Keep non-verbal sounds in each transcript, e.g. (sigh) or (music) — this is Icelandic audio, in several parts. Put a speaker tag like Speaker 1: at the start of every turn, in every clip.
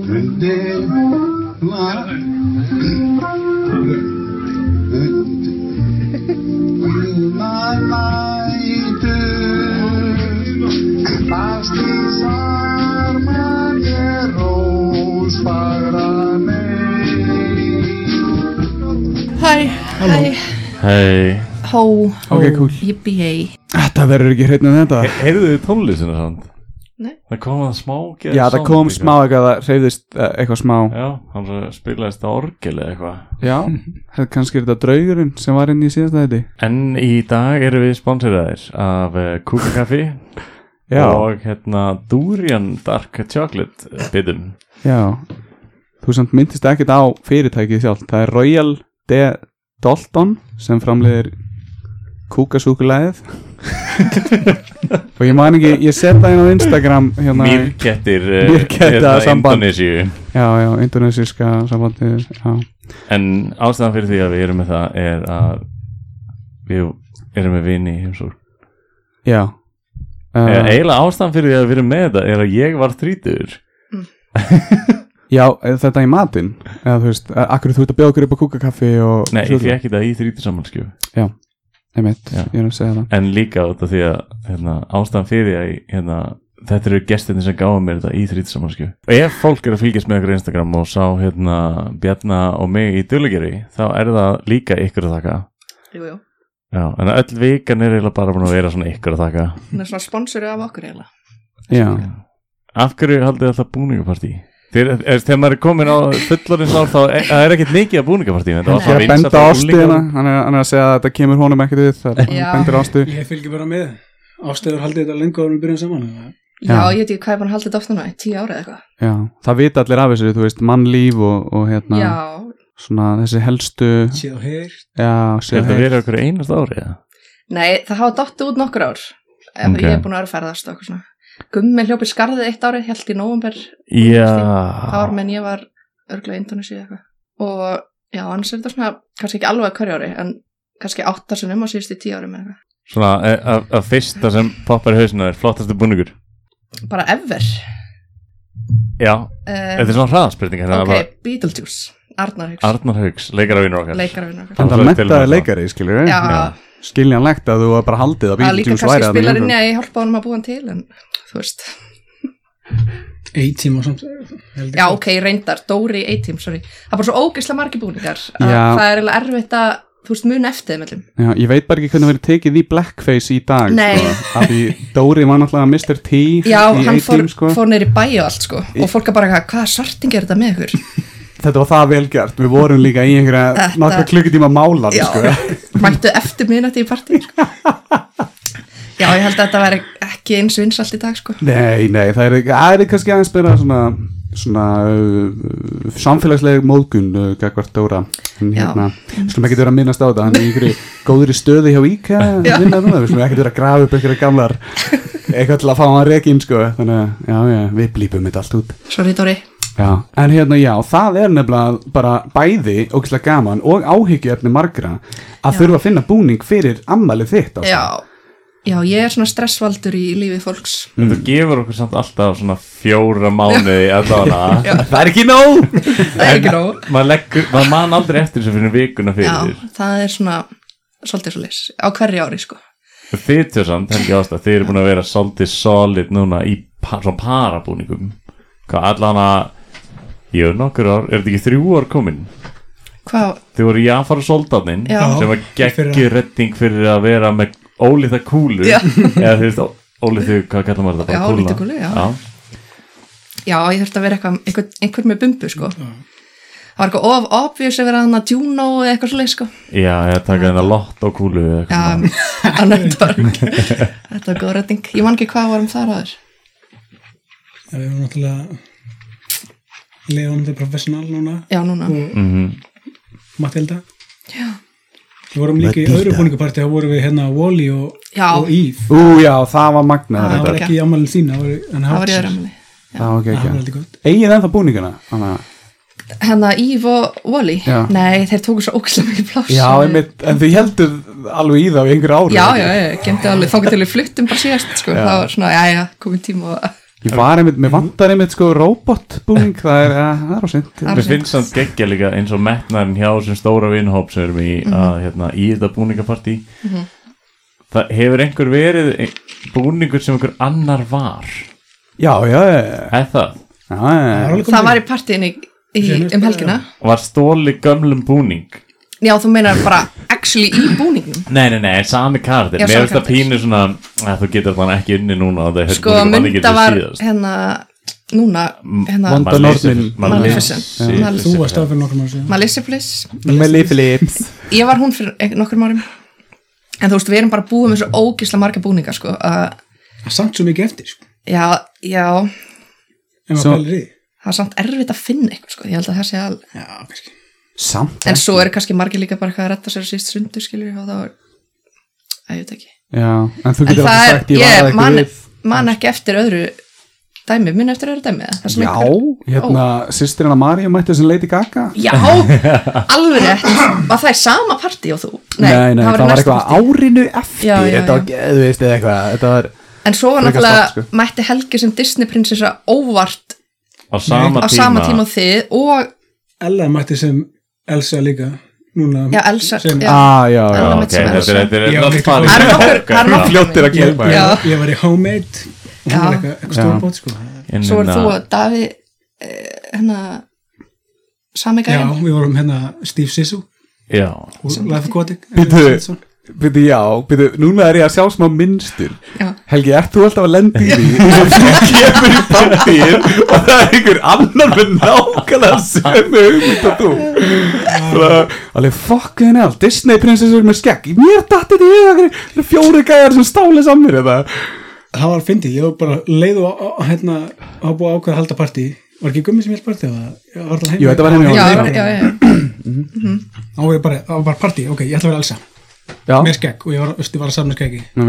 Speaker 1: Önde var.
Speaker 2: Hæ, hæ,
Speaker 3: Hei
Speaker 2: hó,
Speaker 4: Ok, cool
Speaker 2: yippee
Speaker 4: Þetta verður ekki hreitna en þetta
Speaker 3: Heyrðu þið tónlistina samt?
Speaker 2: Nei.
Speaker 3: Það kom að smá gerð
Speaker 4: Já, það
Speaker 3: sound
Speaker 4: kom
Speaker 3: líka.
Speaker 4: smá eitthvað, það reyðist eitthvað smá
Speaker 3: Já, hann svo spilaðist á orgel eða eitthvað
Speaker 4: Já, (laughs) þetta kannski er þetta draugurinn sem var inn í síðasta þetta
Speaker 3: En í dag erum við sponsoraðir af uh, Kúkakaffi
Speaker 4: Já,
Speaker 3: og hérna Durian Dark Chocolate bitum
Speaker 4: já Þú samt myndist ekkert á fyrirtækið sjálf Það er Royal de Dalton sem framleiðir (laughs) kúkasúkulæðið Og ég man ekki, ég set það inn á Instagram hérna í-
Speaker 3: Mýrkettir eh,
Speaker 4: Mýrketta
Speaker 3: hérna,
Speaker 4: samband.
Speaker 3: Indonesíu
Speaker 4: Já, já, indonesíska sambandið Já,
Speaker 3: En ástæðan fyrir því að við erum með það er að við erum með vini í heimsók
Speaker 4: já
Speaker 3: uh.
Speaker 4: Uh,
Speaker 3: Eiginlega ástæðan fyrir því að við erum með þetta er að ég var þrítur
Speaker 4: já, er þetta í matinn eða þú veist, akkur þú ert að bjóða okkur upp á kúkakaffi og
Speaker 3: Nei, ég
Speaker 4: súkkulaði?
Speaker 3: fekk þetta í þrítur samanskjöf
Speaker 4: Einmitt,
Speaker 3: Já.
Speaker 4: ég er að segja það
Speaker 3: en líka út af því að hérna, ástæðan fyrir því að ég, hérna, þetta eru gestinni sem gáða mér þetta í þrítsamanskju og ef fólk er að fylgjast með okkur á Instagram og sá hérna Bjarna og mig í Dullegeri þá er það líka ykkur að þakka
Speaker 2: Jú, jú,
Speaker 3: Já, en öll vikan er eiginlega bara búin að vera svona ykkur að þakka
Speaker 2: hún er svona sponsorið af okkur eiginlega
Speaker 4: Já,
Speaker 3: Af hverju haldið þið alltaf búningapartí? Þegar, er, þegar maður er komin á fullorins ár þá er, það er ekkert mikið að búningapartí þetta var
Speaker 4: ég er
Speaker 3: bara
Speaker 4: að
Speaker 3: vinsælt
Speaker 4: benda
Speaker 3: á
Speaker 4: ástuðina
Speaker 3: unglingum.
Speaker 4: hann er, hann er að segja að þetta kemur honum ekkert við það er-
Speaker 2: Já.
Speaker 4: hann bendir ástuð
Speaker 5: Ég fylgir bara með. Ástæður haldið þetta lengur áður en við byrjum saman. eða?
Speaker 2: Já,
Speaker 4: Já.
Speaker 2: ég veit ekki hvað ég búin að halda þetta oft núna, í tíu ára eða eitthvað
Speaker 4: Já, það vita allir af þessu, þú veist, mannlíf og, og hérna,
Speaker 2: Já,
Speaker 4: svona þessi helstu
Speaker 5: Séð og heyrt.
Speaker 4: Já,
Speaker 3: Er
Speaker 4: séð
Speaker 3: þetta
Speaker 4: heyrt.
Speaker 3: verið okkur einast árið?
Speaker 2: nei, það hafa dottið út nokkur ár okay.
Speaker 3: Ok.
Speaker 2: Ég er búin að vera að ferðast og eitthvað svona Gummi hljópið skarðið eitt árið, held í nóvumber
Speaker 3: Já
Speaker 2: ár menn ég var örglega í Indonesia eða eitthvað og já, annars er þetta svona kannski ekki alveg hverju ári, en kannski átta sinnum á síðustu tíu ári með eitthvað
Speaker 3: Svona eh, að að fyrsta sem poppar í hausinu er flottastu búningur
Speaker 2: Bara ever
Speaker 3: Já,
Speaker 2: uh,
Speaker 3: þetta er svona hraðaspurning hérna,
Speaker 2: Ok,
Speaker 3: okay.
Speaker 2: Beetlejuice, Arnar Huggs
Speaker 3: Arnar Haugs, leikaravinur okkar
Speaker 2: leikarvinn okkar
Speaker 4: Þetta
Speaker 3: Áslaug
Speaker 4: mentaði
Speaker 3: Thelma.
Speaker 4: leikari, skilur við
Speaker 2: Já,
Speaker 4: Skiljanlegt að þú var bara haldið að
Speaker 2: að líka
Speaker 4: Beetlejuice
Speaker 2: kannski
Speaker 4: væri þarna í
Speaker 2: spilarinn
Speaker 4: umferð.
Speaker 2: að ég hjálpa honum að búa hann til en þú veist,
Speaker 5: A-team og samt. held ég.
Speaker 2: já ok, reyndar Dóri í A-team, sorry, það er bara svo ógeðslega margi búningar að
Speaker 4: Já.
Speaker 2: það er eiginlega erfitt að þú veist mun eftir þeim öllum
Speaker 4: Já, ég veit bara ekki hvernig verið tekið í blackface í dag
Speaker 2: Nei.
Speaker 4: sko, af því Dóri var náttúrulega Mr. T
Speaker 2: já,
Speaker 4: í
Speaker 2: hann fór,
Speaker 4: A-team, sko.
Speaker 2: fór neyri bæi og allt sko og fólk er bara eitthvað, hvaða svarting er þetta með ykkur
Speaker 4: Þetta var það velgjart, við vorum líka í einhverja
Speaker 2: Þetta-
Speaker 4: nokkra klukkutíma málan
Speaker 2: já,
Speaker 4: (laughs) sko.
Speaker 2: mættu eftir miðnætti í partí sko. já, ég held að þetta væri ekki eins vinsalt í dag sko
Speaker 4: Nei, nei, það er, það er kannski aðeins meira svona, svona uh, samfélagsleg móðgun uh, gagvart Dóra en
Speaker 2: Já.
Speaker 4: hérna, við slum ekki vera að minnast á þetta hann er í einhverju góðri stöði hjá
Speaker 2: (laughs)
Speaker 4: Íka
Speaker 2: Já.
Speaker 4: vinna núna, við slum ekki vera að grafa upp einhverja gamlar eitthvað til að fá hann rekin sko. þannig að, já, já, við blípum þetta allt út
Speaker 2: sorry Dóri,
Speaker 4: já. en hérna, já, það er nefnilega bara bæði, ógislega gaman og áhyggjöfni margra að þurfa að finna búning fyrir ammalið þitt
Speaker 2: já já, ég er svona stressvaldur í lífi fólks
Speaker 3: En þú gefur okkur samt alltaf svona fjóra mánuði
Speaker 2: (laughs)
Speaker 3: allavega
Speaker 4: það er ekki nóg
Speaker 2: það er ekki nóg
Speaker 3: Maður leggur, maður man aldrei eftir þessu fyrir vikuna fyrir
Speaker 2: Já, það er svona svolítið svo á hverju ári sko
Speaker 3: þér Þið tjóð samt, Helgi Ásta, þið eru búin að vera svolítið solid núna í pa, svona parabúningum Hvað allan að Jú, nokkur ár, er þetta ekki þrjú ár komin?
Speaker 2: Hvað,
Speaker 3: Þið voru Jafar Soldanin
Speaker 2: Já.
Speaker 3: sem var geggi redding fyrir að vera með ólíða kúlu
Speaker 2: Já.
Speaker 3: eða þú veist, ólíðu, hvað kallar maður þetta?
Speaker 2: Já,
Speaker 3: Bara
Speaker 2: ólíta
Speaker 3: kúluna.
Speaker 2: kúlu, já. já, ég þurfti að vera eitthvað, einhver, einhver með bumbu sko Það var eitthvað of obvious að vera hann að Juno eða eitthvað svolítið sko
Speaker 3: Já, já ég taka hérna lott á kúlu eða eitthvað svona.
Speaker 2: Já, annað var Þetta var góð rödding, ég man ekki hvað var um þar aður
Speaker 5: Já, Við erum náttúrulega leiðanum til professional núna.
Speaker 2: Já, núna,
Speaker 5: Og Matilda. Já. Við vorum líka í öðru búningaparti, þá vorum við hérna Wally og,
Speaker 2: Já.
Speaker 5: og Eve.
Speaker 4: Ú, já, það var magnaður
Speaker 2: Já.
Speaker 5: Það
Speaker 4: þetta
Speaker 5: var
Speaker 2: ok.
Speaker 5: ekki í ammælinn þín, það var hann
Speaker 2: það var
Speaker 5: Hafsir.
Speaker 2: ég öðramli
Speaker 4: Já, ok,
Speaker 5: Það var
Speaker 4: ok.
Speaker 5: aldrei gott.
Speaker 4: Egið ennþá búningana? Þannig að...
Speaker 2: Hennar Hérna, Eve og Wally
Speaker 4: Já.
Speaker 2: Nei, þeir tóku svo ókslega mikið pláss
Speaker 4: Já, einmitt, en þið heldur alveg í það á einhverju ári.
Speaker 2: Já, já, ég gemdi alveg, þá getur við fluttum bara síðast sko, þá var svona, já, já, komin tíma og
Speaker 4: Ég var einmitt, mér vantar einmitt sko robotbúning, það er, að, það er á sent
Speaker 2: Það er
Speaker 3: Mér finnst samt geggja líka eins og metnaðurinn hjá sem stóra vinhóp sem erum í, að,
Speaker 2: Mhm.
Speaker 3: hérna, í þetta búningapartí Það hefur einhver verið ein- búningur sem einhver annar var
Speaker 4: Já, já, já,
Speaker 3: eða það,
Speaker 4: já, já,
Speaker 5: alveg
Speaker 2: Það
Speaker 5: komið-
Speaker 2: var í partíinu í, um helgina
Speaker 3: var stóli gömlum búning
Speaker 2: Já, þú meinar bara actually í búningnum
Speaker 3: Nei, nei, nei, en sami kartir
Speaker 2: Já,
Speaker 3: Mér
Speaker 2: sami
Speaker 3: finnst það
Speaker 2: karakter.
Speaker 3: pínu svona að þú getur þannig ekki unni núna og það er
Speaker 2: Sko, mynda var hérna núna, hérna
Speaker 4: Vonda nornin.
Speaker 2: Maleficent. Maleficent.
Speaker 5: Þú varst af fyrir nokkrum ára síðan
Speaker 2: Melissa Bliss
Speaker 4: já Melly Phillips
Speaker 2: Ég var hún fyrir ein- nokkrum árum En þú veist, við erum bara búið með svo ógisla marga búningar sko. uh,
Speaker 5: Samt svo mikið eftir sko,
Speaker 2: Já, já
Speaker 5: En maður
Speaker 4: Svo-
Speaker 5: pælir í því.
Speaker 2: Það er samt erfitt að finna eitthvað sko. Ég held að það sé al
Speaker 5: Já, kannski
Speaker 4: Samt
Speaker 2: En svo eru kannski margir líka bara eitthvað að retta sér á síst sundu skilur og þá er Æ, ég veit ekki
Speaker 4: Já, en þú
Speaker 2: En
Speaker 4: getur
Speaker 2: það
Speaker 4: alltaf
Speaker 2: er,
Speaker 4: sagt ég var
Speaker 2: ég
Speaker 4: það
Speaker 2: man,
Speaker 4: ekki við
Speaker 2: man ekki eftir öðru dæmi, mun eftir öðru dæmi eða? Það sem
Speaker 4: Já,
Speaker 2: einhver-
Speaker 4: hérna, sýstir hennar Maríu mætti sem Lady Gaga (laughs)
Speaker 2: Já, alveg rétt Var það í sama partí og þú? í
Speaker 4: það var,
Speaker 2: næsta
Speaker 4: eitthvað
Speaker 2: partí.
Speaker 4: árinu eftir
Speaker 2: Já, já,
Speaker 4: Þetta var, þú veist, eða eitthvað Þetta var,
Speaker 2: En svo var
Speaker 4: frekar sko.
Speaker 2: náttúrulega
Speaker 4: stórt,
Speaker 2: mætti Helgi sem Disney prinsessa óvart
Speaker 3: Á sama
Speaker 2: á sama tíma og þið og
Speaker 5: Ella mætti sem Elsa líka Núna
Speaker 2: já, Elsa
Speaker 5: sem,
Speaker 2: já,
Speaker 4: ah, já, já
Speaker 2: Ella
Speaker 3: Já,
Speaker 2: mitt
Speaker 3: ok,
Speaker 2: sem er
Speaker 3: þetta er-
Speaker 2: þessu.
Speaker 3: þetta
Speaker 5: Já,
Speaker 3: er alltaf
Speaker 5: líka
Speaker 3: farið
Speaker 5: góð.
Speaker 2: Það eru nokkur- það eru nokkur-
Speaker 4: Fljóttir að
Speaker 5: Ég,
Speaker 4: kemma
Speaker 2: Já.
Speaker 5: ég, ég var í Homemade og hún
Speaker 2: Já.
Speaker 5: var eitthvað, eitthvað
Speaker 4: Já.
Speaker 5: stórbót sko.
Speaker 3: En
Speaker 2: Svo er
Speaker 3: hérna-
Speaker 2: þú og Davi eh, hérna sami
Speaker 5: Já,
Speaker 2: gæðin
Speaker 5: við vorum hérna Steve Sissou
Speaker 3: Já,
Speaker 5: og Life Aquatic
Speaker 4: Bíddu. Býtu, já, býtu, núna er ég að sjá smá minnstur
Speaker 2: Já.
Speaker 4: Helgi, ert þú alltaf að lenda í
Speaker 5: (laughs)
Speaker 4: því að þú kemur í partíin og það er einhver annar með nákvæmlega sömu hugmynd og þú Svona, alveg fokk henni all Disney prinsessur með skegg mér datti því það er fjóri gæjar sem stáli samir eða
Speaker 5: Það var fyndið, ég var bara leið og á- á- hérna, hafa búið að ákveða að halda partí var ekki gummi sem held partí eða Ég var alltaf heima
Speaker 4: Jú, þetta var heima hjá
Speaker 2: Já, já,
Speaker 4: honum.
Speaker 2: já, já.
Speaker 5: Þá var ég bara, það var bara partí, ok, ég ætla að vera Elsa með skegg og ég var, östu, var að safna skeggi
Speaker 4: já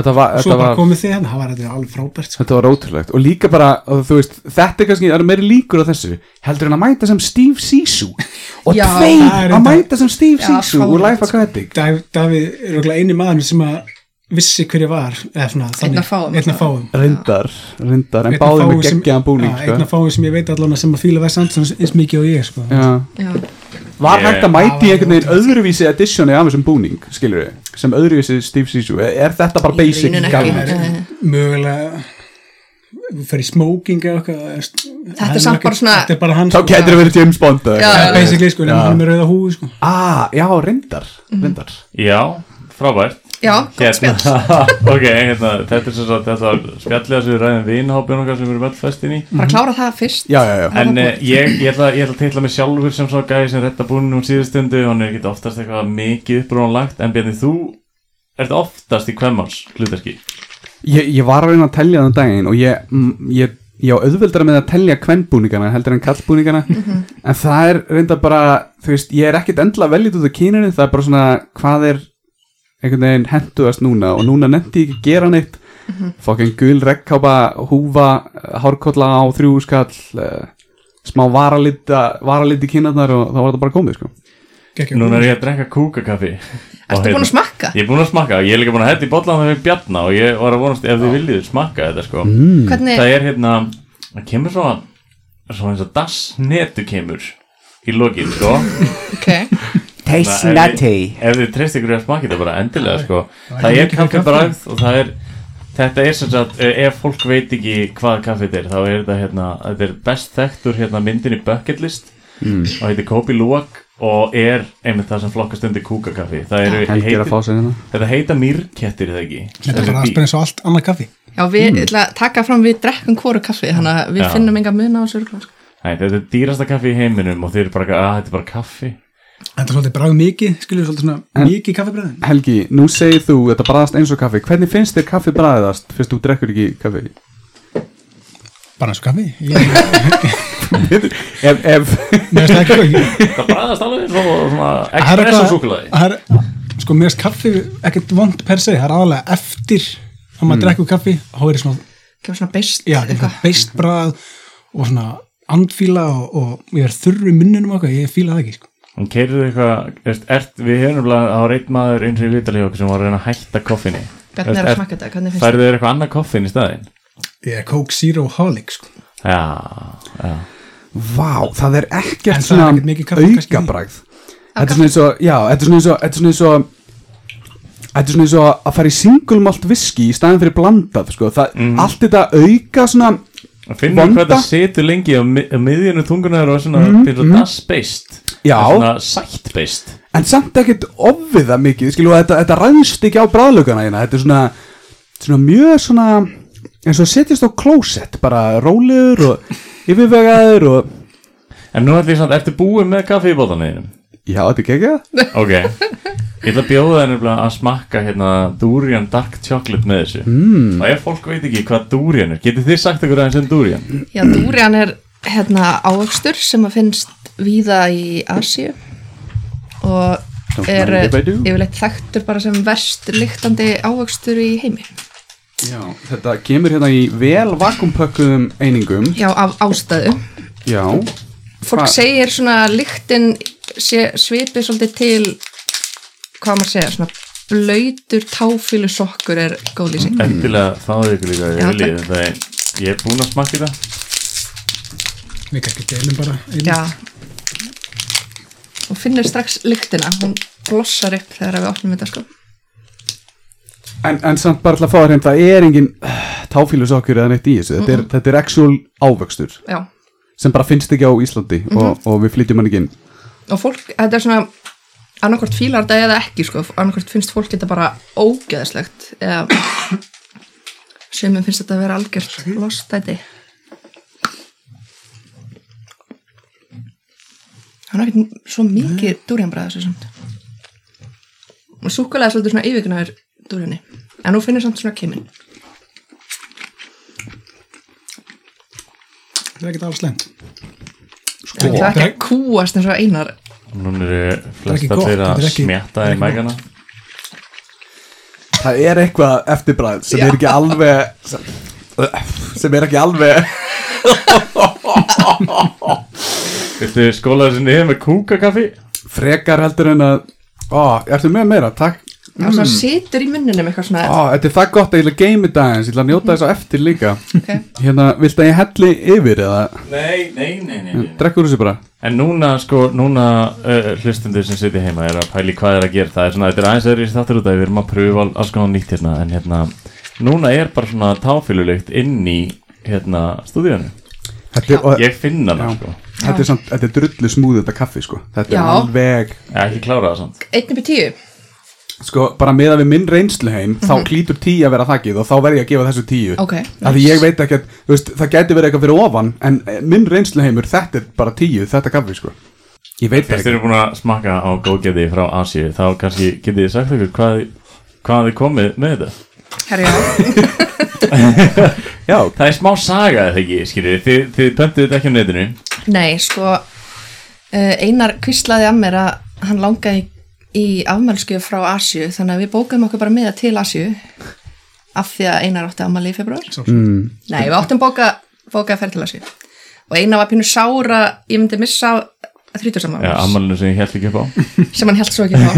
Speaker 4: þetta var,
Speaker 5: Svo
Speaker 4: þetta
Speaker 5: bara
Speaker 4: var
Speaker 5: komið þið hérna, það var þetta alveg frábært sko.
Speaker 4: Þetta var ótrúlegt og líka bara, að þú veist, þetta er kannski, það eru meiri líkur á þessu heldur en að mæta sem Steve Sisu og
Speaker 2: Já.
Speaker 5: Það er
Speaker 4: tveir að
Speaker 5: enda-
Speaker 4: mæta sem Steve
Speaker 2: Já,
Speaker 4: Sisu úr
Speaker 2: fáránlegt,
Speaker 4: Life Aquatic
Speaker 5: Dav, Davíð er okkur eini maður sem að vissi hverja var eða svona,
Speaker 2: Einn af fáum.
Speaker 5: einn af fáum.
Speaker 4: Reyndar, reyndar, en
Speaker 5: Einn af
Speaker 4: báðum
Speaker 5: fáum
Speaker 4: með
Speaker 5: sem-
Speaker 4: geggjaðan búning
Speaker 5: Já,
Speaker 4: sko.
Speaker 5: einn af fáum sem ég veit allan að sem að fíla Wes Anderson eins- eins mikið og ég sko.
Speaker 4: Já.
Speaker 2: já.
Speaker 4: Var
Speaker 3: Ég-
Speaker 4: hægt að mæti
Speaker 5: Það var
Speaker 4: einhvern veginn öðruvísi editioni af þessum búning, skilur við sem öðruvísi Steve Sisu, er þetta bara
Speaker 2: Í
Speaker 4: basic
Speaker 2: rauninni ekki.
Speaker 4: galmur?
Speaker 2: Nei, nei.
Speaker 5: mögulega fer í smoking eða eitthvað eða st-
Speaker 2: er
Speaker 5: hann
Speaker 2: samt
Speaker 5: ekki-
Speaker 2: bara svona-
Speaker 5: þetta er bara hans
Speaker 4: Þá getur það verið James Bond
Speaker 2: Já,
Speaker 4: eða eitthvað.
Speaker 5: Já, basically sko,
Speaker 4: Já.
Speaker 5: nema hann er með rauða húi sko.
Speaker 4: Ah, já, reyndar, reyndar
Speaker 2: Mhm.
Speaker 3: já, frábært Hérna.
Speaker 2: já, gott spjall
Speaker 3: (laughs) ok, hérna, þetta er sem sagt þetta var spjallið að við ræðum vinhópin okkar sem við erum öll festin í
Speaker 2: bara klára það fyrst
Speaker 4: Já, já, já
Speaker 3: en eh, ég, ég ætla, ég ætla að teitla mig sjálfur sem svo gæði sem retta búinum síðustundu hann er ekki oftast eitthvað mikið upprónlagt en Bjarni, þú ert oftast í kvemmars hlutarki
Speaker 4: Ég, ég var að reyna að tellja þann daginn og ég, mm, ég, ég á auðveldara með að tellja kvennbúningana heldur en kallbúningana en það er reynda bara þú veist, ég er ekkit endla veljit út af kyninu það er bara svona hvað er einhvern veginn hentuðast núna og núna nefndi ég ekki að gera neitt fokkin gul rekkápa, húfa hárkolla á þrjú skall uh, smá eh, varalita varaliti kynarnar og þá var þetta bara komið sko.
Speaker 5: Gekkjum.
Speaker 3: núna er ég að drekka kúkakaffi hérna,
Speaker 2: ertu búin að smakka?
Speaker 3: Ég er búin að smakka, ég er líka búin að hætti bollan það við Bjarna og ég var að vonast ef þið viljið smakka þetta sko
Speaker 2: Mm. hvernig,
Speaker 3: það er hérna það kemur svo svo eins og dassnetu kemur í lokin sko
Speaker 2: ok
Speaker 3: Þannig að ef þið- ef þið treyst ykkur í að smaka þetta bara endilega sko það er kaffi bragð og það er þetta er sem sagt eh, ef fólk veit ekki hvað kaffi þetta er þá er þetta hérna þetta er best þekktur hérna myndin í bucket list og heitir Kopi Luwak og er einmitt það sem flokkast undir kúkakaffi það eru
Speaker 4: Helgi er að
Speaker 3: heitir,
Speaker 4: fá sér hérna
Speaker 3: þetta heita mýrkettir er það ekki
Speaker 5: þetta er bara
Speaker 3: Þessi
Speaker 5: allt
Speaker 3: bí-
Speaker 5: bara eins og allt annað kaffi
Speaker 2: já, við mm. ætla, að taka fram við drekkum hvoru kaffi þannig að við
Speaker 3: Já.
Speaker 2: finnum enga mun á þessu örugglega, sko.
Speaker 3: Nei, þetta er dýrasta kaffi í heiminum og þeir eru bara að þetta er bara kaffi
Speaker 5: þetta er svolítið bragð mikið, skilur svolítið svona
Speaker 4: En-
Speaker 5: mikið kaffibræðin
Speaker 4: Helgi, nú segir þú þetta bræðast eins og kaffi Hvernig finnst þér kaffi bræðast? Fyrst þú drekkur ekki kaffi
Speaker 5: bara eins og kaffi, ég,
Speaker 4: Ef, ef
Speaker 5: mér finnst það ekki góð
Speaker 3: Það bræðast alveg eins og svona expresso súkulaði
Speaker 5: það er, sko mér finnst kaffi ekkert vond per se, það er aðalega eftir að
Speaker 4: Mm.
Speaker 5: maður drekkur kaffi, þá er ég svona
Speaker 2: kemur svona beist
Speaker 5: já,
Speaker 2: eitthvað.
Speaker 5: eitthvað beistbrað og svona andfíla og, og ég er þurru munninum okkar, ég fíla það ekki sko.
Speaker 3: Hún keirði eitthvað, veist, ert, við höfum nefnilega það var einn maður eins og ég vitalið okkur sem var að reyna að hætta koffinni
Speaker 2: Bjarni er að smakka þetta, hvernig finnst
Speaker 3: Færðu þér eitthvað annað koffin í staðinn?
Speaker 5: ég er Coke Zero Holic sko.
Speaker 3: Já, já
Speaker 4: Vá, það er
Speaker 5: En
Speaker 4: ekkert
Speaker 5: það er
Speaker 4: svona
Speaker 5: ekkert mikið kaffi kannski í því.
Speaker 4: aukabræð Þetta er svona eins og, já, þetta er svona eins og Þetta er svona eins og Þetta er svona eins og að fara í singulmalt viski í staðin fyrir blandað, sko það,
Speaker 5: Mhm.
Speaker 4: Allt þetta auka svona
Speaker 3: Finnum Vonda?
Speaker 4: Vonda?
Speaker 3: hvað það setur lengi á, mi á miðjunu tungunar og er svona mm, byrja mm. das-based
Speaker 4: Já.
Speaker 3: Er Svona sætt-based
Speaker 4: En samt ekkert ofviða mikið, skilu Þetta, þetta ræðst ekki á bræðlögana hérna Þetta er svona, svona mjög svona eins og setjast á klósett bara rólegur og yfirvegaður og
Speaker 3: En nú ætlum ég samt, ertu búin með kaffi í bóðaneginu?
Speaker 4: Já, þetta er geggjað
Speaker 3: Ok Ég ætla að bjóða þér nefnilega að smakka hérna Durian Dark Chocolate með þessu mm. Og ef fólk veit ekki hvað Durian er Getið þið sagt okkur aðeins um Durian?
Speaker 2: Já, dúrian er hérna ávöxtur sem að finnst víða í Asíu og
Speaker 4: Don't
Speaker 2: er eh,
Speaker 4: mind if I do.
Speaker 2: yfirleitt þekktur bara sem verst lyktandi ávöxtur í heimi.
Speaker 4: Já, þetta kemur hérna í vel vakumpökkuðum einingum
Speaker 2: Já, af ástæðu.
Speaker 4: Já,
Speaker 2: Fólk
Speaker 4: Hva-
Speaker 2: segir svona lyktin sé, svipið svolítið til hvað maður segja, svona blöytur táfílu sokkur er góð lýsing.
Speaker 3: Endilega fáðu ykkur líka
Speaker 2: Já,
Speaker 3: ef þið viljið Þetta er, ég er búin að smakka þetta
Speaker 5: við kannski deilum bara einu.
Speaker 2: Já. Og finnir strax lyktina, hún blossar upp þegar við opnum þetta sko.
Speaker 4: en, en samt bara alltaf að fá það hreint, það er engin táfílusokkur eða neitt í þessu, þetta er, þetta er actual ávöxtur
Speaker 2: Já.
Speaker 4: sem bara finnst ekki á Íslandi og, og við flytjum hann ekki inn
Speaker 2: og fólk, þetta er svona annarkvort fílar þetta eða ekki sko annarkvort finnst fólk þetta bara ógeðslegt eða sumum finnst þetta að vera algjört lostæti það er ekkert svo mikið dúrjanbræða þessu samt og súkulega er svolítið svona yfirgnaður dúrjani en nú finnir samt svona kimin
Speaker 5: það er ekkert alveg slemt
Speaker 2: það er ekki að kúast eins og einar
Speaker 3: Nún eru
Speaker 5: ekki
Speaker 3: flesta
Speaker 5: gott,
Speaker 3: þeirra
Speaker 5: þetta
Speaker 3: að
Speaker 5: er ekki-
Speaker 3: smjatta í mækana
Speaker 4: Það er eitthvað eftirbræð sem
Speaker 2: Já.
Speaker 4: er ekki alveg sem, sem er ekki alveg
Speaker 3: Viltu skóla þessu niður með kúkakaffi?
Speaker 4: frekar heldur en að Ó, ertu með meira, takk
Speaker 2: það er svona situr í munninum eitthvað svona
Speaker 4: Ó, þetta er það gott að ég ætla að geimi dagins, ég ætla að njóta þess á eftir líka
Speaker 2: Ok.
Speaker 4: Hérna, viltu að ég helli yfir eða
Speaker 3: Nei, nei, nei, nei, nei.
Speaker 4: drekkur þessu bara?
Speaker 3: En núna, sko, núna uh, hlustundur sem sitja heima er að pæli hvað er að gera það er svona, þetta er aðeins öðru í þáttur út að við erum að pröfa all- alls konar nýtt hérna en hérna, núna er bara svona táféluleikt inn í hérna stúdíunum,
Speaker 4: Þetta er, og,
Speaker 3: ég finna það
Speaker 4: Já.
Speaker 3: sko
Speaker 4: Þetta er, samt, þetta er drullu smúð þetta kaffi sko Þetta
Speaker 2: Já.
Speaker 4: er alveg
Speaker 3: ég ekki klára það samt,
Speaker 2: einn upp í tíu
Speaker 4: sko, Bara meða við minn reynslu heim Þá klítur tíu að vera þakkið og þá verð ég að gefa þessu tíu
Speaker 2: Mhm. Ok,
Speaker 4: Af því ég veit ekki að þú veist, Það gæti verið eitthvað fyrir ofan En eh, minn reynslu heimur, þetta er bara tíu Þetta kaffi sko Ég veit
Speaker 3: fyrst
Speaker 4: það
Speaker 3: þeir
Speaker 4: ekki
Speaker 3: eru búin að smakka á góðgæði frá Asíu, þá kannski getið þið sagt okkur hvað, hvað þið komið með þetta
Speaker 2: herri já
Speaker 4: Já,
Speaker 3: það er smá saga eða ekki, skiljið, þið, þið pöntuðu þetta ekki á netinu
Speaker 2: Nei, sko eh, Einar kvíslaði að mér að hann langaði í afmælsku frá Asju þannig að við bókum okkur bara miða til Asju af því að Einar átti afmæli í februar
Speaker 5: mm.
Speaker 2: Nei, við áttum bóka, bóka að ferð til Asju og Einar var pínu sára ég myndi missa
Speaker 3: já,
Speaker 2: þrítursammáls
Speaker 3: ammálinu sem ég held ekki upp á
Speaker 2: sem hann held svo ekki á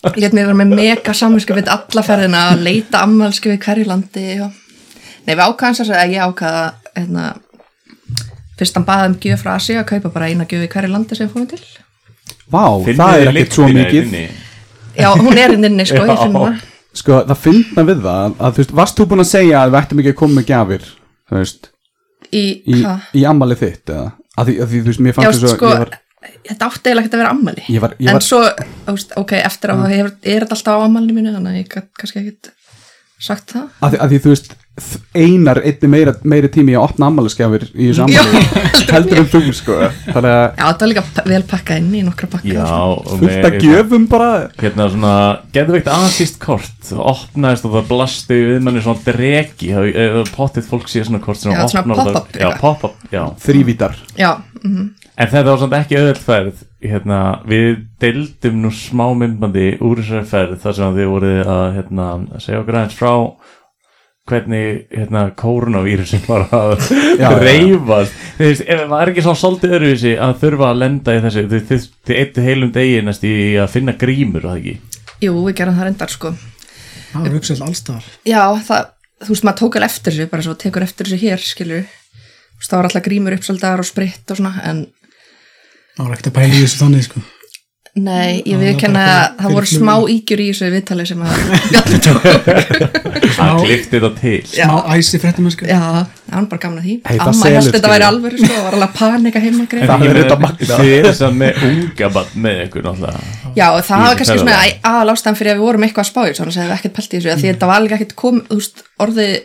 Speaker 4: (laughs)
Speaker 2: Lét mér vera með mega samvinsku við alla ferðina að leita afmælsku við hverju landi og... Nei, við ákvaðum sér að ég ákvaða hérna, fyrst hann baði um gjöf frá Asi að kaupa bara eina gjöf í hverju landi sem við fórum til
Speaker 4: vá, það
Speaker 3: þið
Speaker 4: er ekkert svo
Speaker 3: lyktina
Speaker 4: mikið
Speaker 3: hérna inni?
Speaker 2: Já, hún er inn inni, sko, ég finn
Speaker 3: Já.
Speaker 2: það
Speaker 4: Sko, það fyndna við það að, að, þú veist, Varst þú búin að segja að við ættum ekki að koma með gjafir Þú veist,
Speaker 2: Í,
Speaker 4: í,
Speaker 2: hvað?
Speaker 4: í ammali þitt eða Að því, að því, þú veist, mér
Speaker 2: Já,
Speaker 4: fannst þess
Speaker 2: sko,
Speaker 4: að ég var
Speaker 2: þetta átti eiginlega ekkert að vera ammali
Speaker 4: Ég var- ég var-
Speaker 2: En svo, þú veist, ok, eftir á það hefur- er þetta alltaf á ammalinu mínu þannig að ég gat kannski ekkert sagt það
Speaker 4: að því, að því þú veist þ- einar einni meira, meiri tími í að opna ammælisgjafir í þessu
Speaker 2: Já, (laughs)
Speaker 4: ammæli heldur en þú sko þannig að
Speaker 2: Já, þetta var líka p- vel pakkað inn í nokkra pakka
Speaker 3: Já, og
Speaker 4: fullt að
Speaker 3: með-
Speaker 4: gjöfum bara
Speaker 3: hérna svona, geðveikt aðsýst kort og opnaðist og það blasti við manni svona dregi, það- eh, pottið fólk sé svona kort sem
Speaker 2: Já, svona
Speaker 3: opnar og það-
Speaker 2: pop-up
Speaker 3: já,
Speaker 2: eitthvað.
Speaker 3: pop-up, já,
Speaker 4: þrývítar
Speaker 2: Já, mhm.
Speaker 3: en þetta var samt ekki öðvöld ferð hérna, við deildum nú smá myndbandi úr þessari ferð þar sem þið voruð að hérna, segja okkur aðeins frá hvernig hérna koronavírusin var að
Speaker 4: (laughs) Já, já.
Speaker 3: reyfast þú veist, ef það er ekki svona svolítið öðruvísi að þurfa að lenda í þessu þið, þið, þið eittu heilum degi næst í að finna grímur, var það ekki?
Speaker 2: Jú, við gerum það reyndar, sko
Speaker 5: það er uppsett allstar
Speaker 2: Já, það, þú veist, maður tók alveg eftir þessu bara svo tekur eftir þessu hér, skilur þú veist, þá var alltaf grímur uppsaldar og spritt og svona, en
Speaker 5: Það var ekkert að pæla í þessu þannig sko
Speaker 2: nei, ég
Speaker 5: Það var
Speaker 2: viðkenna
Speaker 5: bara
Speaker 2: að
Speaker 5: fyrir-
Speaker 2: það voru
Speaker 5: fyrir
Speaker 2: smá
Speaker 5: flugum.
Speaker 2: ígjur í þessu viðtali sem að Bjarni tók
Speaker 3: Hann klifti þetta til
Speaker 5: Smá æsi fréttamennska
Speaker 2: já, það var bara gaman að því
Speaker 4: Hey, það
Speaker 2: amma
Speaker 4: selur,
Speaker 2: hérst þetta
Speaker 4: skilur.
Speaker 2: væri alveg, sko, það var alveg að panika heima greið
Speaker 4: Það er þetta magnað.
Speaker 3: Þið eru samt með unga bann með ykkur náttúrulega
Speaker 2: Já, og það
Speaker 3: Í
Speaker 2: var
Speaker 3: þessu
Speaker 2: kannski
Speaker 4: um
Speaker 2: svona
Speaker 3: ferðalagi.
Speaker 2: aðal ástæðan fyrir að við vorum eitthvað að spája þannig að við ekkert pælt í þessu, mm. því að þetta var alveg ekkert kom, þú veist, orðið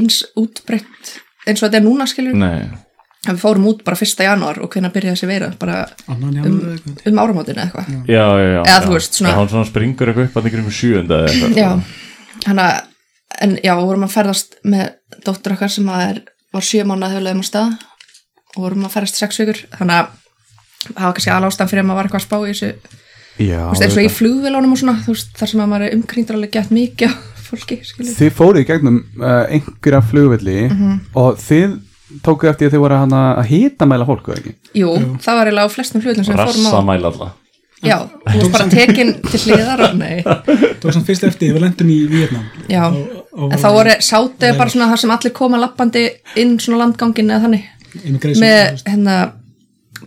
Speaker 2: eins útbreytt eins og þetta er núna skilur
Speaker 3: Nei,
Speaker 2: að við fórum út bara 1. janúar og hvenær byrjaði þessi veira bara
Speaker 5: Annan í sko. alveg eitthvað
Speaker 2: um áramótinu eða eitthvað
Speaker 3: já, já, já
Speaker 2: Eða þú
Speaker 3: já.
Speaker 2: veist, svona-
Speaker 3: Já, Hann svona springur eitthvað upp að ykkur um sjöunda eða eitthvað.
Speaker 2: Já, hann að en já, við vorum að ferðast með dóttur okkar sem að er, var sjö mánuð höflegum á stað og vorum að ferðast sex vikur þannig að það var kannski aðal ástæðan fyrir að maður var eitthvað að spá í þessu
Speaker 4: Já,
Speaker 2: þú veist, eins og í flugvélunum og svona þú veist, þar sem að maður er umkringdur alveg gett mikið af fólki, skilur
Speaker 4: þið fóruð í gegnum uh, einhverja flugvelli
Speaker 2: Mhm.
Speaker 4: og þið tókuð eftir að þið voru hana að hita mæla fólk eða ekki
Speaker 2: Jú, það var eiginlega á flestum hlutum sem við
Speaker 3: Rassa
Speaker 2: fórum á
Speaker 3: mæla alla
Speaker 2: Já, þú varst bara tekin til hliðar og nei,
Speaker 5: Það var samt fyrst eftir, við lendum í Vietnam
Speaker 2: já
Speaker 5: Og- og-
Speaker 2: En þá voru sátu bara svona þar sem allir koma lappandi inn svona landgangin eða þannig
Speaker 5: Immigration,
Speaker 2: með hérna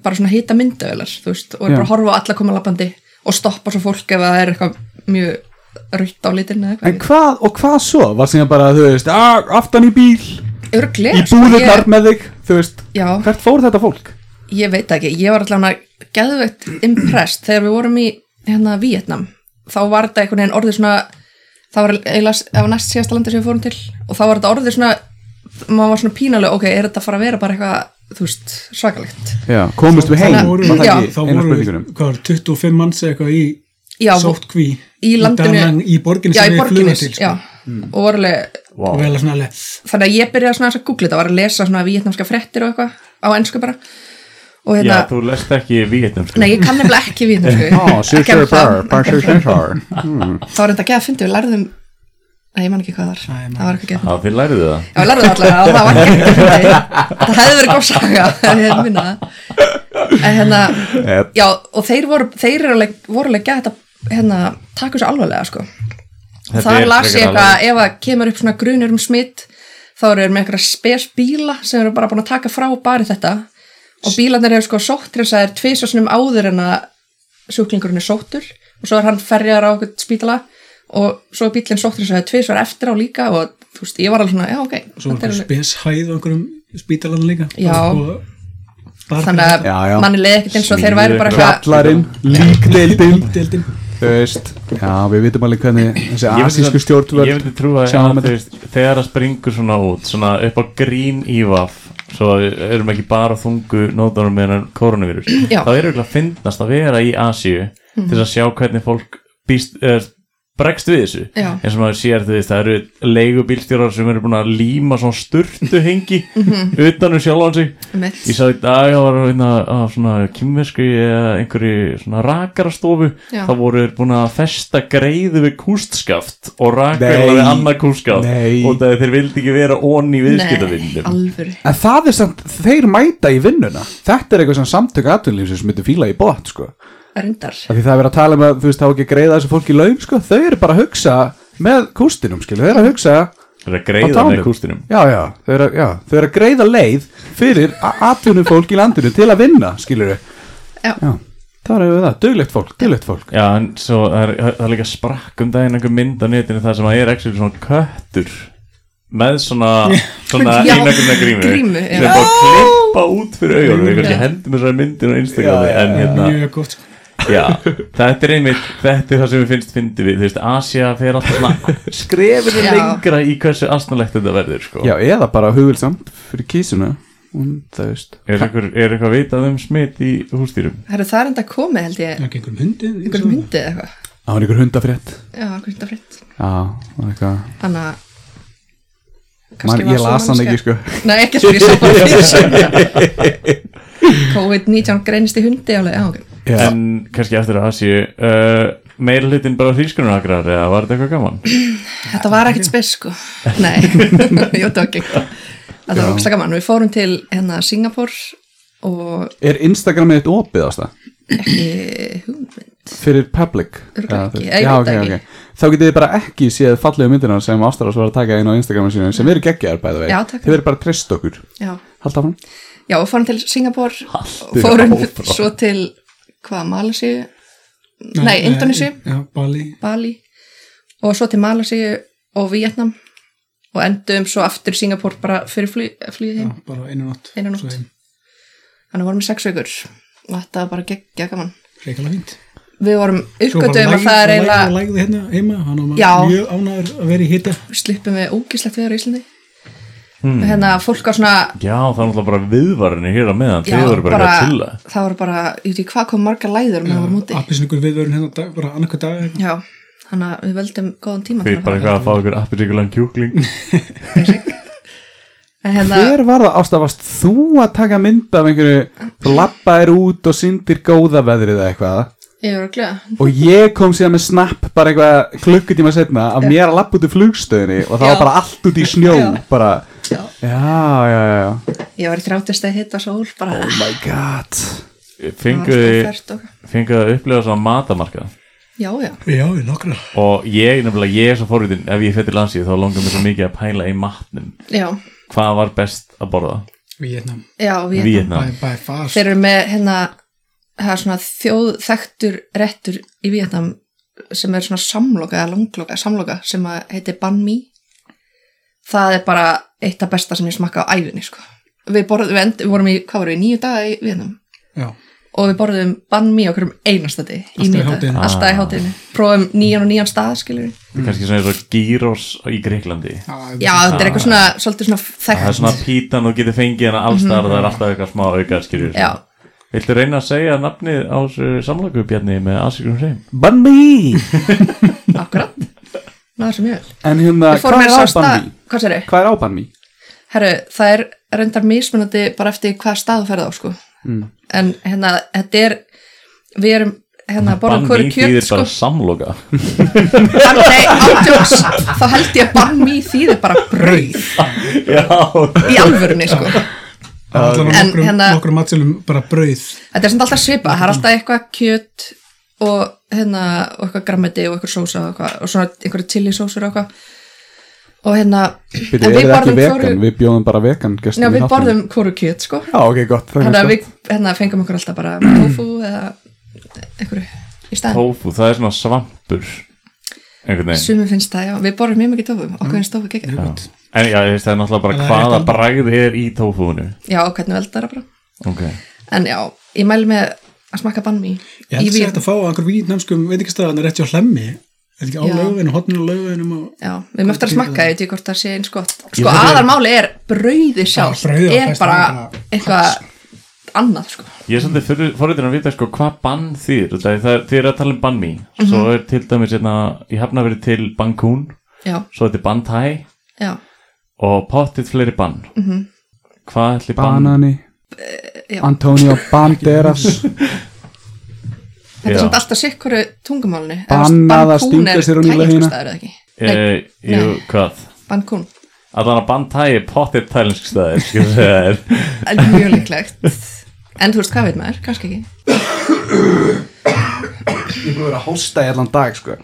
Speaker 2: bara svona hýta myndavelar, þú veist og er bara að horfa á alla koma lappandi og stoppa svo fólk ef það er eitthvað mjög rutt á litin eða
Speaker 4: En
Speaker 2: eitthvað
Speaker 4: hvað, og hvað svo? Var sem ég bara, þú veist, "Ah, aftan í bíl
Speaker 2: Örglega,
Speaker 4: í búðunar með þig, þú veist
Speaker 2: sko, Já.
Speaker 4: hvert fór þetta fólk?
Speaker 2: Ég veit það ekki, ég var allavega geðveitt impressed þegar við vorum í hérna Vietnam, þá var þetta einhvern veginn orðið svona, það var eiginlega það var næst síðasta landi sem við fórum til og þá var þetta orðið svona, maður var svona pínaleg ok, er þetta að fara að vera bara eitthvað þú veist, svakalegt
Speaker 4: Já, komust við heim,
Speaker 5: Þá
Speaker 2: Þannig-
Speaker 4: var
Speaker 5: voru,
Speaker 4: það
Speaker 2: Já.
Speaker 4: ekki
Speaker 5: þá
Speaker 4: eina um?
Speaker 5: voru við,
Speaker 4: spurningunum
Speaker 5: hvað var, 25 manns eða eitthvað í
Speaker 2: Já,
Speaker 5: sótkví
Speaker 2: í landinu
Speaker 5: Danang, í borginni
Speaker 2: já,
Speaker 5: sem
Speaker 2: í
Speaker 5: við flugum
Speaker 2: borginni,
Speaker 5: til
Speaker 2: já,
Speaker 5: sko.
Speaker 2: og var alveg
Speaker 3: Vá.
Speaker 5: og við erum svona alveg
Speaker 2: þannig að ég byrjaði svona aðeins að googla þetta, var að lesa svona vietnamska frettir og eitthvað á ensku bara og
Speaker 3: Já,
Speaker 2: hérna,
Speaker 3: þú Ah, lest ekki Víetnam sko.
Speaker 2: nei, ég kann nefnilega ekki
Speaker 3: (laughs)
Speaker 2: vietnamsku
Speaker 4: Ó,
Speaker 2: Ekki
Speaker 4: sure,
Speaker 2: ennþá.
Speaker 4: Ah, bar,
Speaker 2: (laughs)
Speaker 4: bar, sure, sure, sure
Speaker 2: það var enda ekki að fyndi, við lærðum Nei, ég man ekki hvað það
Speaker 5: Nei,
Speaker 2: var,
Speaker 5: ég man
Speaker 2: það var ekki að
Speaker 3: Já, þið læriðu það
Speaker 2: Já, við lærðum það allavega, það var ekki eftir því. Það hefði verið góð saga, (laughs) ef ég hefði minna það. En hérna, já, og þeir voru, þeir eru alveg, voru alveg gett að hérna, taka þessu alvarlega, sko.
Speaker 3: Þetta
Speaker 2: það
Speaker 3: er
Speaker 2: las ég
Speaker 3: frekar
Speaker 2: eitthvað, ef það kemur upp svona grunur um smitt, þá eru þeir með eitthvað spes bíla sem eru bara búin að taka frá bara þetta og bílarnir eru sko sóttresaðir tvisasunum áður en að sjúklingurinn er sóttur og svo er hann ferjaður á eitthvað spítala og svo er bílinn sóttresaðir tvisar eftir á líka og þú veist, ég var alveg svona, já, ok.
Speaker 5: svo
Speaker 2: þetta er
Speaker 5: var
Speaker 2: alveg-
Speaker 5: speshæð á einhverjum spítalann líka
Speaker 2: Já.
Speaker 5: Og- og-
Speaker 2: þannig að
Speaker 4: Já, já.
Speaker 2: manni leiði ekkert eins og þeir
Speaker 3: Smíðið
Speaker 2: væri bara
Speaker 3: ykkur
Speaker 2: eitthvað
Speaker 4: Allarinn, líkdeildin
Speaker 5: Deildin.
Speaker 4: Þú veist, já, við vitum alveg hvernig þessi
Speaker 3: Ég myndi
Speaker 4: asísku
Speaker 3: samt- Ég
Speaker 4: stjórnvöld
Speaker 3: myndi trúa
Speaker 4: sjá um
Speaker 3: að
Speaker 4: þetta.
Speaker 3: þú veist, þegar það springur svona út svona upp á grín í vaff svo erum ekki bara á þungu nótunum með hennar koronavírus
Speaker 2: Já. Mm.
Speaker 3: þá er auðvitað að finnast að vera í Asíu til þess að sjá hvernig fólk býst, er, bregst við þessu
Speaker 2: Já.
Speaker 3: eins og maður sér þú veist það eru leigubílstjórar sem eru búin að líma svona sturtu hengi
Speaker 2: Mhm.
Speaker 3: utanum sjálfan sig
Speaker 2: Einmitt.
Speaker 3: ég sá í dag að var hérna, á svona kymversku eða einhverju svona rakarastofu
Speaker 2: Já.
Speaker 3: þá voru þeir búin að festa greiðu við kústskaft og rakara
Speaker 4: Nei.
Speaker 3: við annað kústskaft
Speaker 4: Nei.
Speaker 3: og það þeir vildi ekki vera
Speaker 2: Nei,
Speaker 3: onni viðskiptavinnum
Speaker 2: alvöru
Speaker 4: En það er samt, þeir mæta í vinnuna Þetta er eitthvað sem samtök aðtunlífsins myndi fíla í bótt, sko
Speaker 2: reyndar
Speaker 4: Af Því það er verið að tala um að þú veist, þá ekki að greiða þessu fólki laun, sko Þau eru bara að hugsa með kústinum, skilu Þau eru að hugsa
Speaker 3: þeir eru að
Speaker 4: á
Speaker 3: greiða
Speaker 4: tánum.
Speaker 3: með kústinum
Speaker 4: Já, já, þau eru, að- já, þau eru að greiða leið fyrir aðtunum fólk í landinu til að vinna, skilur
Speaker 2: Já.
Speaker 4: já þar hefur við það, duglegt fólk, duglegt fólk
Speaker 3: Já, en svo það er, það er líka sprakk um daginn einhver mynd á netinu það sem að ég er ekki svona köttur með svona, svona
Speaker 2: Já,
Speaker 3: einhverjum grímu,
Speaker 2: grímu, já.
Speaker 3: sem er bara að klippa út fyrir augunum, einhvern
Speaker 2: Já.
Speaker 3: veginn hendur með svona myndin á Instagrami
Speaker 4: Já, já,
Speaker 3: en hérna,
Speaker 5: mjög gott sko.
Speaker 3: Já, þetta er einmitt þetta er það sem við finnst fyndi við, þú veist, Asia fer alltaf
Speaker 2: (laughs)
Speaker 3: svona skrefinu
Speaker 2: Já.
Speaker 3: lengra í hversu astnalegt þetta verður, sko
Speaker 4: Já, eða bara hugulsamt fyrir kísuna og það veist
Speaker 3: Er eitthvað, er eitthvað vitað um smitt í hústýrum?
Speaker 2: Herru, það er enda komið held ég
Speaker 5: Það er ekki einhverjum hundi
Speaker 2: einhverjum myndið eða eitthvað
Speaker 4: Það var einhver hundafrétt
Speaker 2: já, einhverjum þetta fritt
Speaker 4: Já, það var eitthvað
Speaker 2: þannig að
Speaker 4: Man, ég
Speaker 2: sú
Speaker 4: las hann
Speaker 2: manneskja-
Speaker 4: ekki, sko.
Speaker 2: nei, ekki sko, ég sá bara fyrir
Speaker 4: (laughs)
Speaker 2: COVID-19 greinist í hundi alveg, já, ok
Speaker 4: Já.
Speaker 3: En kannski eftir að Asi uh, meira hlutin bara hrískununagrar eða var þetta eitthvað gaman?
Speaker 2: þetta var ekkit spes, sko
Speaker 4: (laughs)
Speaker 2: nei, ég veit ekki þetta var ógsta gaman, við fórum til hérna Singapur og
Speaker 4: Er Instagramið eitt opið ásta?
Speaker 2: ekki hugmynd veit
Speaker 4: fyrir public
Speaker 2: Örugglega ekki.
Speaker 4: Eða, þú-
Speaker 2: Ég
Speaker 4: já,
Speaker 2: veit
Speaker 4: ok,
Speaker 2: það
Speaker 4: ok.
Speaker 2: ekki.
Speaker 4: þá getið þið bara ekki séð fallegu myndinar sem Ástrás var að taka inn á Instagramu sínu sem eru geggjaðar bæðu vei
Speaker 2: Já, takk.
Speaker 4: þið verið bara að treysta okkur
Speaker 2: já,
Speaker 4: halda fram
Speaker 2: já og fórum til Singapur og
Speaker 4: Haltu
Speaker 2: fórum
Speaker 4: áfram.
Speaker 2: svo til hvað, Malasíu
Speaker 4: eh,
Speaker 2: nei, Indonesia,
Speaker 5: Já, Bali
Speaker 2: Bali og svo til Malasíu og Vietnam og endum svo aftur í Singapur bara fyrir flý, flýðið
Speaker 5: Já,
Speaker 2: heim
Speaker 5: bara einu nótt
Speaker 2: Eina nótt.
Speaker 5: Svo heim.
Speaker 2: þannig vorum við sex vikur og þetta var bara geggja gaman
Speaker 5: Reykjavík fínt
Speaker 2: við vorum
Speaker 5: Svo bara
Speaker 2: uppgötum að
Speaker 5: lægð-
Speaker 2: það er
Speaker 5: lægð-
Speaker 2: eiginlega
Speaker 5: Lægði hérna heima, hann var
Speaker 2: Já.
Speaker 5: maður mjög ánæður að vera í hita
Speaker 2: sluppum við ógislegt veður í Íslandi mm. hérna fólk var svona
Speaker 3: Já, það er náttúrulega bara viðvarinir hér á meðan
Speaker 2: já,
Speaker 3: Þið voru bara, bara að chilla
Speaker 2: það voru bara, ég veit ekki hvað kom margar læður með það vorum úti
Speaker 5: Appisningur viðvörun hérna dag, bara annarkvæð dag eitthvað.
Speaker 2: já, þannig að við völdum góðan tíma
Speaker 3: Þið
Speaker 2: til að
Speaker 3: bara
Speaker 2: fara.
Speaker 3: eitthvað að fá ykkur appisíkulegan
Speaker 2: (laughs)
Speaker 3: kjúkling
Speaker 2: en hérna,
Speaker 4: hver var það ástafast þú að taka mynd af einhverju lappaðir út og syndir góða veðrið eða eitthvað
Speaker 2: ég voru að glega
Speaker 4: og ég kom síðan með snapp bara eitthvað klukkutíma setna af mér að lappa út í flugstöðinni og það
Speaker 2: Já.
Speaker 4: var bara allt út í snjó bara, já, já, já, já
Speaker 2: ég var í þrjáttist að hitta sól bara,
Speaker 4: oh my god
Speaker 3: Fenguði
Speaker 2: fært og
Speaker 3: fenguð að upplifa svona matamarkað
Speaker 2: já, já,
Speaker 5: Já, við nokkra
Speaker 3: og ég nefnilega, ég er svo forvitin ef ég fætti landsið þá langar mér svo mikið að pæla í matnum
Speaker 2: já,
Speaker 3: hvað var best að borða
Speaker 5: Vietnam,
Speaker 2: já við,
Speaker 3: Víetna,
Speaker 5: by, by far
Speaker 2: þeir eru með hérna það er svona þjóðþektur réttur í Vietnam sem er svona samloka eða langloka, samloka sem að heitir Banh Mi það er bara eitt af besta sem ég smakka á æfinni sko. við, borð, við, end, við vorum í, hvað vorum við, nýju daga í Vietnam
Speaker 5: Já,
Speaker 2: og við borðum Banh Mi okkur um einasta dag
Speaker 5: Alltaf í hádeginu.
Speaker 2: alltaf í
Speaker 3: Ah.
Speaker 2: hátinu, prófum nýjan og nýjan stað skilur
Speaker 3: það er kannski svona eins og gyros í Greiklandi
Speaker 5: Já,
Speaker 2: já, þetta er eitthvað svona, svolítið svona
Speaker 3: Ah. það er
Speaker 2: þekkt
Speaker 3: svona pítan og getur fengið hana allstar og það er alltaf eitthvað smá auka skilur
Speaker 2: já,
Speaker 3: Viltu reyna að segja nafnið á þessu samlöku bjarni með Asikum Reim?
Speaker 4: Bun B
Speaker 2: akkurat náður sem ég vil
Speaker 4: En hérna,
Speaker 2: við
Speaker 4: hvað
Speaker 2: fórum
Speaker 4: er
Speaker 2: með
Speaker 4: á
Speaker 2: þess að
Speaker 4: Bambi?
Speaker 2: stað, hvað sér
Speaker 4: Hvað er á Bambi?
Speaker 2: Herru, það er reyndar mismunandi bara eftir hvað stað þú ferð á sko.
Speaker 4: Hmm.
Speaker 2: en hérna, þetta er við erum hérna að borða hverju kjöt
Speaker 3: þýðir
Speaker 2: sko.
Speaker 3: bara
Speaker 2: (laughs)
Speaker 3: samloka
Speaker 2: Bann- Nei, ándjóks, þá held ég að bann mý þýðir bara brauð
Speaker 3: Já,
Speaker 2: í alvörunni sko.
Speaker 5: Allan á
Speaker 2: En
Speaker 5: nokkrum,
Speaker 2: hérna-
Speaker 5: nokkrum matselum bara brauð
Speaker 2: Þetta er samt alltaf svipa, það er alltaf eitthvað kjöt og hérna og eitthvað grammeti og eitthvað sósa og, eitthvað, og svona einhverju chili sósur og eitthvað og hérna
Speaker 4: Byrju,
Speaker 2: en
Speaker 4: er það ekki vegan?
Speaker 2: hvoru-
Speaker 4: Við bjóðum bara vegan gestum
Speaker 2: Já, við borðum hvoru kjöt sko
Speaker 4: Já, ok, gott, það er
Speaker 2: Þannig að
Speaker 4: mjög
Speaker 2: við hérna, fengum okkur alltaf bara tofu eða einhverju í staðin.
Speaker 3: tofu, það er svona svampur einhvern veginn
Speaker 2: Sumum finnst það, já. Við borðum mjög mikið tofu, okkur finnst tofu ekki.
Speaker 3: Já. En já, ég veist það er náttúrulega bara
Speaker 5: En það er
Speaker 3: hvaða
Speaker 5: rétt
Speaker 3: bragð er í tófúinu
Speaker 2: Já, og hvernig veldar það bara.
Speaker 3: Ok
Speaker 2: En já, ég mæli með að smakka banmi
Speaker 5: Ég held
Speaker 2: í
Speaker 5: að segja þetta
Speaker 2: vín.
Speaker 5: að fá einhver vítnamskum veitingastæðan rétt hjá hlemmi Er ekki á
Speaker 2: Já.
Speaker 5: lauginu, hotninu lauginum og
Speaker 2: Já, við mögum eftir að smakka þetta, ég veit hvort það sé eins gott.
Speaker 3: Ég
Speaker 2: Sko,
Speaker 3: þarf að-
Speaker 2: aðarmáli er brauði sjálf,
Speaker 5: Já, brauðið á
Speaker 2: er
Speaker 5: besta
Speaker 2: bara
Speaker 5: bara-
Speaker 2: eitthvað annað, sko.
Speaker 3: Ég er svolítið forritin að vita sko hvað bann þýr Það er, þið eru að tala um bann mín
Speaker 2: Mhm.
Speaker 3: Svo er til dæmis hérna, ég hafna verið til Bankún,
Speaker 2: Já,
Speaker 3: svo þetta er bann tæ
Speaker 2: já,
Speaker 3: og pottitt fleiri bann -hmm.
Speaker 2: Mhm.
Speaker 3: Hvað ætli bann
Speaker 4: Banani
Speaker 2: Eh, já. (laughs)
Speaker 4: Antonio Banderas
Speaker 2: Þetta
Speaker 3: Já.
Speaker 2: er samt alltaf sikkur tungumálinu.
Speaker 4: Bannað að stinga sér ofan í laugina.
Speaker 2: Ekki. Nei,
Speaker 3: e, Jú, hvað?
Speaker 2: bankún.
Speaker 3: Allan að bann tæ er pottitt tælensk staðir
Speaker 2: (laughs)
Speaker 3: Skal við segja þér
Speaker 2: En mjög líklegt. En þú veist hvað veit maður, kannski ekki.
Speaker 4: Ég búið að vera að hósta í allan dag, sko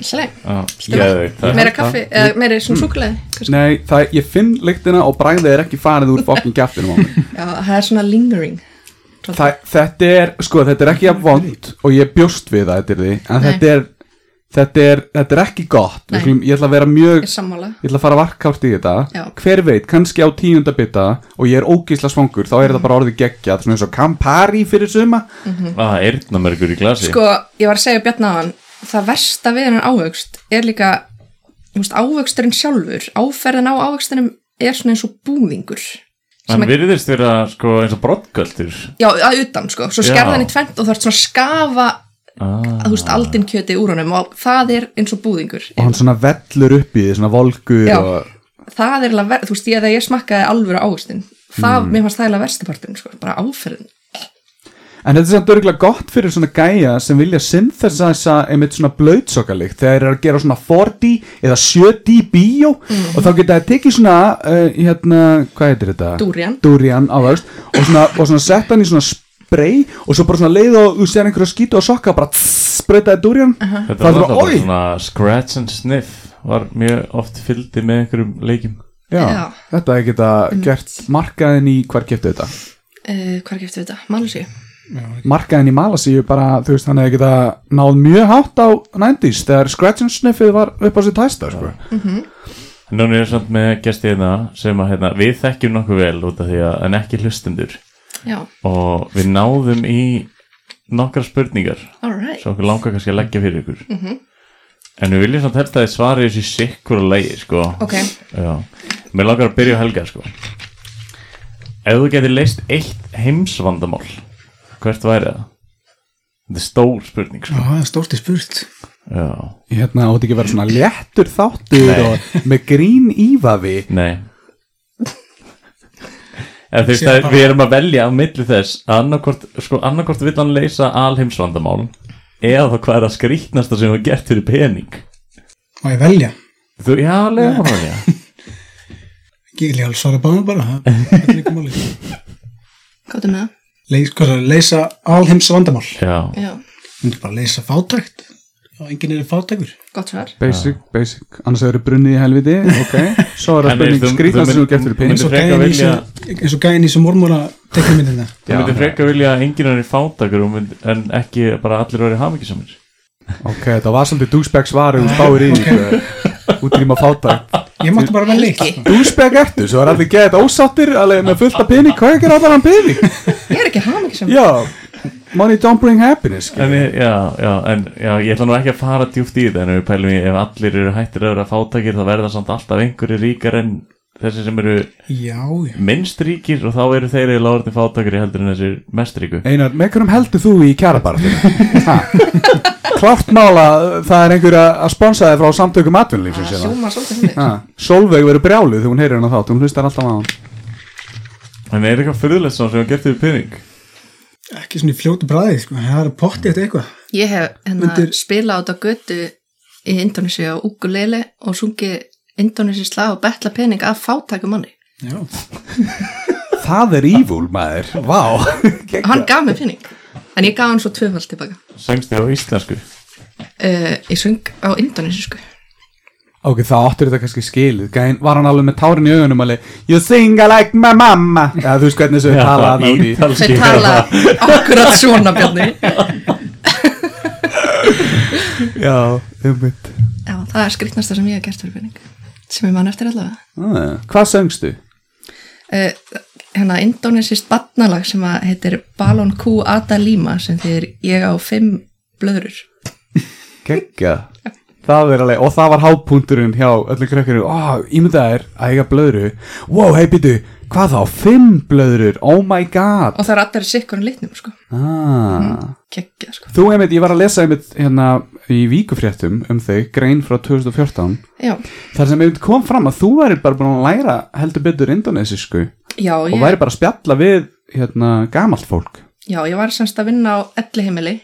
Speaker 2: Slæm.
Speaker 3: Já, geðveikt, það-
Speaker 2: meira kaffi, eða meira svona súkulegði
Speaker 4: Nei, það, ég finn lyktina og bragðið er ekki farið úr fokkin kjaftinum á mig
Speaker 2: já, það er svona lingering
Speaker 4: Þa, Þetta er, sko, þetta er ekki að vond og ég bjóst við það, þetta er því en
Speaker 2: Nei.
Speaker 4: þetta er, þetta er, þetta er ekki gott Við
Speaker 2: Nei.
Speaker 4: skulum, Ég ætla að vera mjög
Speaker 2: er sammála
Speaker 4: ég ætla að fara varkárt í þetta
Speaker 2: Já.
Speaker 4: hver veit, kannski á tíunda bita og ég er ógísla svangur, þá er
Speaker 2: Mm.
Speaker 4: þetta bara orðið geggjað svona eins og Campari fyrir suma
Speaker 3: Ah, eyrnamergur í glasi
Speaker 2: sko, ég var að segja Bjarni á hann það versta við hennan ávöxt er líka þú veist, ávöxturinn sjálfur áferðin á ávöxtunum er svona eins og búðingur sem
Speaker 3: Hann
Speaker 2: að,
Speaker 3: virðist vera sko eins og brottgöldur
Speaker 2: já, að utan sko svo
Speaker 3: Já.
Speaker 2: skerðan í tvent og það er svona að skafa
Speaker 3: ah.
Speaker 2: að þú veist, aldinn kjöti úr honum og það er eins og búðingur
Speaker 4: og hann svona vellur upp í því, svona volgur
Speaker 2: Já.
Speaker 4: og
Speaker 2: það er alveg, ver- þú veist, ég þegar ég smakkaði alvöru ávöxtin, það, mér fannst það alveg verstapartin sko, bara áferðin
Speaker 4: En þetta er samt örgulega gott fyrir svona gæja sem vilja synthesize einmitt svona blöytsokkalikt þegar þeir eru að gera svona 4D eða 7D bíó
Speaker 2: Mhm.
Speaker 4: og þá geta þeir tekið svona, uh, hérna, hvað heitir þetta?
Speaker 2: Durian.
Speaker 4: Durian ávöxt og svona, og svona sett hann í svona sp- spray og svo bara svona leið og þú sér einhverju skýtu og sokka bara tss, spreytaði dúrjan
Speaker 3: Þetta
Speaker 4: Það
Speaker 3: var
Speaker 4: var
Speaker 3: alltaf bara
Speaker 4: oj!
Speaker 3: svona scratch and sniff var mjög oft fylgdi með einhverjum leikjum
Speaker 4: já,
Speaker 2: Já. Mhm.
Speaker 4: þetta er geta gert markaðin í hvar keftu þetta
Speaker 2: Uh, hvað geftum við þetta? Malusi?
Speaker 4: markaðin í Malasíu bara þú veist hann hefði geta náð mjög hátt á 90s þegar Scratch and Sniffið var upp á sitt hæsta sko.
Speaker 3: En Núna er samt með gesti hérna sem að hérna, við þekkjum nokkuð vel út af því að en ekki hlustendur
Speaker 2: Já,
Speaker 3: og við náðum í nokkra spurningar
Speaker 2: alright
Speaker 3: sem okkur langar kannski að leggja fyrir ykkur en við viljum samt helst að þið svari þessu sikkur að leið sko.
Speaker 2: Ok.
Speaker 3: Já. Mér langar að byrja á helga sko. Ef þú getur leist eitt heimsvandamál hvert væri það? Þetta er stór spurning sko.
Speaker 5: það er stórti spurt
Speaker 3: Já.
Speaker 4: hérna átti ekki að vera svona léttur þáttur
Speaker 3: Nei.
Speaker 4: og með grín ífavi
Speaker 3: Nei En þú veist
Speaker 5: Síðan
Speaker 3: að
Speaker 5: bara-
Speaker 3: við erum að velja á milli þess að annarkvort, sko, annarkvort vill hann leysa alheimsvandamál eða þá hvað er að skrýtnasta sem þú hefur gert fyrir pening
Speaker 5: Má ég velja?
Speaker 3: Þú, já, lega hann já
Speaker 5: Ég er alveg svara báðum bara það- (laughs) þetta er ekki máli.
Speaker 2: Káttu með um það?
Speaker 5: Leys- hvað sagði, Leysa alheims vandamál
Speaker 3: Já,
Speaker 2: Já,
Speaker 5: Hún er bara að leysa fátækt og enginn er fátækur
Speaker 2: gott svar
Speaker 4: basic, basic, annars hefur brunnið í helviti ok, (laughs) svo
Speaker 3: En
Speaker 4: er það
Speaker 3: þú-
Speaker 4: spurning
Speaker 3: þú
Speaker 4: skrýtast sem
Speaker 3: mynd-
Speaker 4: þú getur
Speaker 3: myndir-
Speaker 4: fyrir pening
Speaker 5: eins og
Speaker 3: frekar
Speaker 5: gæin í
Speaker 3: vilja-
Speaker 5: sem- eins og gæin í sem mormóra teknum minna
Speaker 3: þú myndir frekar vilja að enginn hann er fátakur og mynd, en ekki bara allir verið hamingisamir
Speaker 4: ok, þetta var svolítið dúsbæk svar ef þú spáir í sko. okay. útrýma fáta
Speaker 5: ég mátti bara vel leitt
Speaker 2: Helgi,
Speaker 4: dúsbæk eftir, svo er allir geðið ósáttir alveg með fullt af pening, hvað er ekki allan pening
Speaker 2: ég er ekki hamingi sem
Speaker 4: já, money don't bring happiness skilur.
Speaker 3: En ég, já, já, en já, ég ætla nú ekki að fara djúpt í þetta en ef við pælum í ef allir eru hættir að vera fátakir þá verða samt alltaf einhverju ríkar en þessi sem eru
Speaker 5: já, já
Speaker 3: minnst ríkir og þá eru þeir eða lágarni fátakari heldur en þessir mest ríku
Speaker 4: Einar, með hverjum heldur þú í kjærabarðinu? Klátt mála uh, það er einhver að að sponsa þig frá samtökum atvinnulífsins
Speaker 2: Það
Speaker 4: hérna.
Speaker 2: sjóma svolítið henni
Speaker 4: Ha, Solveig verður brjáluð þegar hún heyrir hennar þátt, hún hlustar alltaf á hann
Speaker 3: En er eitthvað fyrirlegt svona sem hann gert fyrir pening?
Speaker 5: ekki svona í fljótu bræði sko. það er pottið þetta eitthvað
Speaker 2: Ég hef hérna
Speaker 5: Myndir-
Speaker 2: spilað út á götu í Indonési á ukulele og sungið Indonési slag og betla pening af fátæku manni
Speaker 5: já.
Speaker 4: Það er evil maður, vá
Speaker 2: og hann gaf mér pening en ég gaf hann svo tvöfald tilbaka
Speaker 3: Söngst þér á íslensku?
Speaker 2: uh, Ég sung á Indonési sko
Speaker 4: (laughs) Ok, þá áttur þetta kannski skilið Gæn, Var hann alveg með tárin í augunum alveg You sing I like my mama Já, þú veist hvernig þessu tala hann út í
Speaker 2: Þeir tala
Speaker 4: (laughs)
Speaker 2: akkurat svona bjarni
Speaker 4: Já, umvitt
Speaker 2: Já, það er skrittnasta sem ég hef gert fyrir pening sem ég man eftir allavega
Speaker 4: Hvað söngstu?
Speaker 2: Eh, hérna indonesist batnalag sem að heitir Balon Q Ata Lima sem þýðir ég á fimm blöðrur
Speaker 4: Kekka Það er alveg, og það var hápunkturinn hjá öllum krökkurinn, ó, ímyndað er að eiga blöðru, wow, hei, býtu, hvað þá, fimm blöðrur, oh my god,
Speaker 2: og það er allir sikkur en litnum sko
Speaker 4: ah.
Speaker 2: kekkja sko
Speaker 4: Þú, einmitt, ég var að lesa einmitt hérna í víkufréttum um þig, grein frá 2014,
Speaker 2: já,
Speaker 4: þar sem einmitt kom fram að þú væri bara búin að læra heldur betur indonesisku
Speaker 2: já,
Speaker 4: og
Speaker 2: ég,
Speaker 4: væri bara að spjalla við, hérna, gamalt fólk,
Speaker 2: já, ég var semst að vinna á elli heimili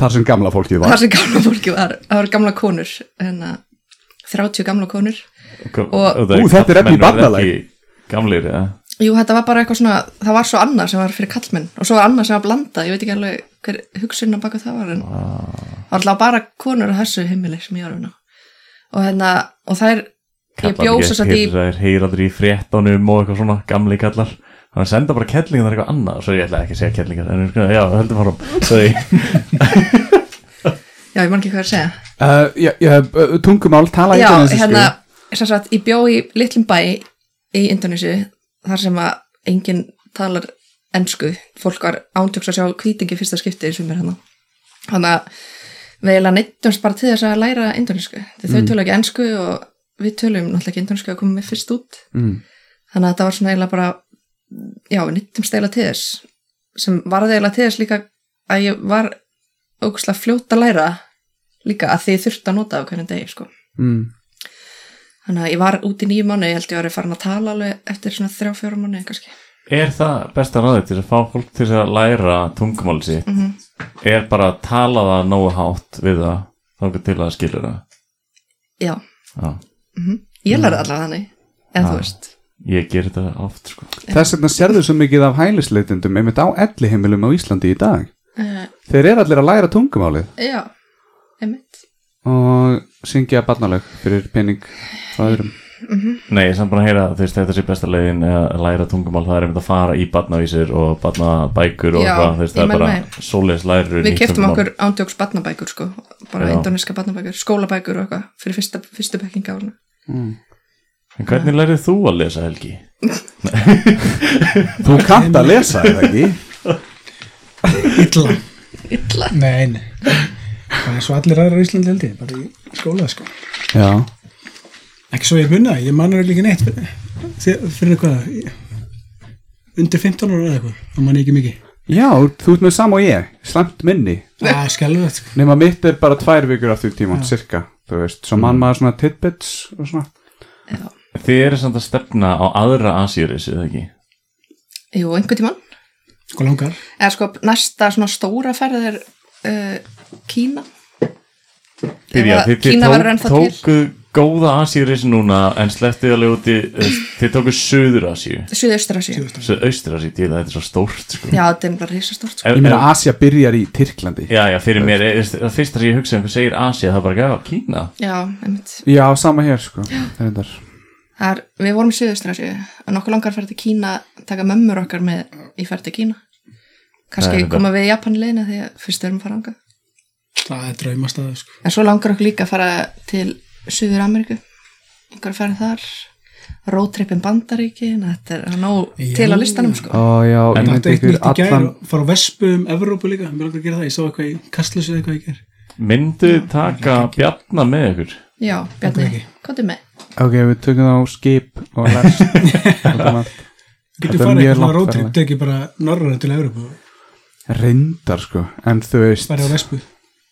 Speaker 4: þar sem gamla fólkið var.
Speaker 2: þar sem gamla fólki var, það var gamla konur hérna, 30 gamla konur Og-
Speaker 4: Ú, þetta er efni í barnalag.
Speaker 3: Gamlir, eða?
Speaker 2: jú, þetta var bara eitthvað svona það var svo annað sem var fyrir kallmenn og svo var annað sem var blandað, ég veit ekki alveg hver hugsunna baka það var en það var alltaf bara konur á þessu heimili sem ég var að vinna á. og hérna, og þær ég
Speaker 3: Kallar
Speaker 2: bjó
Speaker 3: ekki
Speaker 2: svo satt í
Speaker 3: eftir þessu, þeir heyra aldrei í fréttunum og eitthvað svona, gamli kallar þannig að senda bara kettlingar það er eitthvað annað svo ég ætla ekki að segja kettlingar en sko, já, höldum fórum
Speaker 4: (laughs)
Speaker 3: Sorry.
Speaker 2: Já, ég man ekki hvað ég er að segja.
Speaker 4: Uh, já, já, uh, tungumál, tala
Speaker 2: Já,
Speaker 4: indonesisku.
Speaker 2: hérna, sem sagt, ég bjó í litlum bæ í Indonési, þar sem að enginn talar ensku. Fólk var ántöks að sjá kvítingi fyrsta skipti eins og mér hérna. Þannig að við eiginlega neittumst bara til þess að læra indonesku. Því þau tölum ekki ensku og við tölum náttúrulega ekki indonesku að koma með fyrst út.
Speaker 4: Mm.
Speaker 2: Þannig að þetta var svona eiginlega bara, já, við neittumst eiginlega til þess. Sem varði eiginlega til þess líka að ég var ógustlega fljótt að læra líka að því ég þurfti að nota á hvernig degi, sko.
Speaker 4: Mm.
Speaker 2: Þannig að ég var út í nýju mánu, ég held ég að ég farin að tala alveg eftir svona þrjá, fjóra mánu kannski.
Speaker 3: er það besta ráðið til að fá fólk til að læra tungumáli sitt
Speaker 2: Mhm.
Speaker 3: er bara að tala það nógu hátt við það þá til að það skilur það
Speaker 2: Já,
Speaker 3: já.
Speaker 2: ég lærði allavega þannig, eða þú veist.
Speaker 3: Ég ger þetta oft sko
Speaker 4: Þess vegna sérðu svo mikið af hælisleitendum einmitt á elli heimilum á Íslandi í dag
Speaker 2: uh,
Speaker 4: Þeir eru allir að læra tungumálið
Speaker 2: já, einmitt
Speaker 4: og syngja barnalög fyrir pening frá öðrum
Speaker 3: Nei, ég er samt búin að heyra þú veist, þetta sé besta leiðin að læra tungumál það er einmitt að fara í batnavísir og batnabækur og
Speaker 2: Já,
Speaker 3: eitthvað, þú veist, það
Speaker 2: ég
Speaker 3: er
Speaker 2: meina
Speaker 3: bara svoleiðis lærir
Speaker 2: við keftum okkur ándjóks batnabækur sko, bara
Speaker 3: Já.
Speaker 2: indóniska batnabækur, skólabækur og eitthvað fyrir fyrsta, fyrstu bekkinga árna
Speaker 3: En hvernig lærið þú að lesa, Helgi?
Speaker 4: Þú kannt að lesa er það ekki
Speaker 5: illa
Speaker 2: illa
Speaker 5: Nei, nei Það er svo allir aðra á Íslandi held ég, bara í skóla sko.
Speaker 4: Já,
Speaker 5: Ekki svo ég munna, ég manna ekki neitt fyrir, fyrir eitthvað ég- undir 15 ára eða eitthvað, það manna ekki mikið
Speaker 4: Já þú ert með sam og ég, slæmt minni
Speaker 5: Það er skelvögt sko.
Speaker 4: nema mitt er bara tvær vikur aftur í tíman, cirka þú veist,
Speaker 5: Mm.
Speaker 4: svo mann maður svona tidbits og svona
Speaker 2: já.
Speaker 3: Þið eru samt að stefna á aðra Asíuris, eða ekki?
Speaker 2: jú, einhvern tímann
Speaker 5: sko langar
Speaker 2: eða sko, næsta svona stóra ferð er uh, Kína
Speaker 3: Þið, já,
Speaker 2: Eða
Speaker 3: þið, þið
Speaker 2: Kína
Speaker 3: tók,
Speaker 2: verður ennþá
Speaker 3: tóku góða Asíuris núna en slepptið alveg úti þú veist, þið tóku Suður Asíu
Speaker 2: Suðaustur Asíu já,
Speaker 3: Suður Austur Asíu, til þetta er svo stórt sko.
Speaker 2: þetta er bara risastórt sko.
Speaker 3: Ef-
Speaker 4: Ég meina
Speaker 3: ef-
Speaker 4: Asia byrjar í Tyrklandi
Speaker 3: Já, já, fyrir mér, er- það fyrsta sem ég hugsa einhver segir Asía, það er bara, já, Kína
Speaker 2: já, einmitt
Speaker 4: Já, sama hér sko Reyndar.
Speaker 2: Það er, við vorum í Suðaustur Asíu og nokkuð langar ferð til Kína taka mömmur okkar með í ferð til Kína
Speaker 3: Það
Speaker 2: kannski
Speaker 3: er þetta.
Speaker 2: koma við í Japan leina því að fyrst erum að fara anga
Speaker 5: Það er draumastæða sko.
Speaker 2: en svo langar okkur líka að fara til Suður Ameríku einhver ferð þar roadtripin Bandaríkin þetta er nóg
Speaker 5: Já.
Speaker 2: til á listanum sko
Speaker 4: Ó, já, ég
Speaker 5: Það
Speaker 4: myndi
Speaker 5: er eitt
Speaker 4: ykkur
Speaker 5: nýtt í gær
Speaker 4: allan
Speaker 5: og fara á Vespu um Evrópu líka Mér langar að gera það, ég sá eitthvað í Kastlösu eða eitthvað í gær
Speaker 3: Myndu taka Bjarna með ykkur
Speaker 2: já, Bjarni, komdu með
Speaker 4: Ok, við tökum það á skip og
Speaker 5: (laughs)
Speaker 4: lest Tökum allt. Þetta
Speaker 5: Getur
Speaker 4: er mjög
Speaker 5: farið hérna eitthvað svona
Speaker 4: langt
Speaker 5: rótrip,
Speaker 4: ferðalag.
Speaker 5: tekið bara norröna til Evrópu og
Speaker 4: Reyndar sko, en þú veist
Speaker 5: farið á Vespu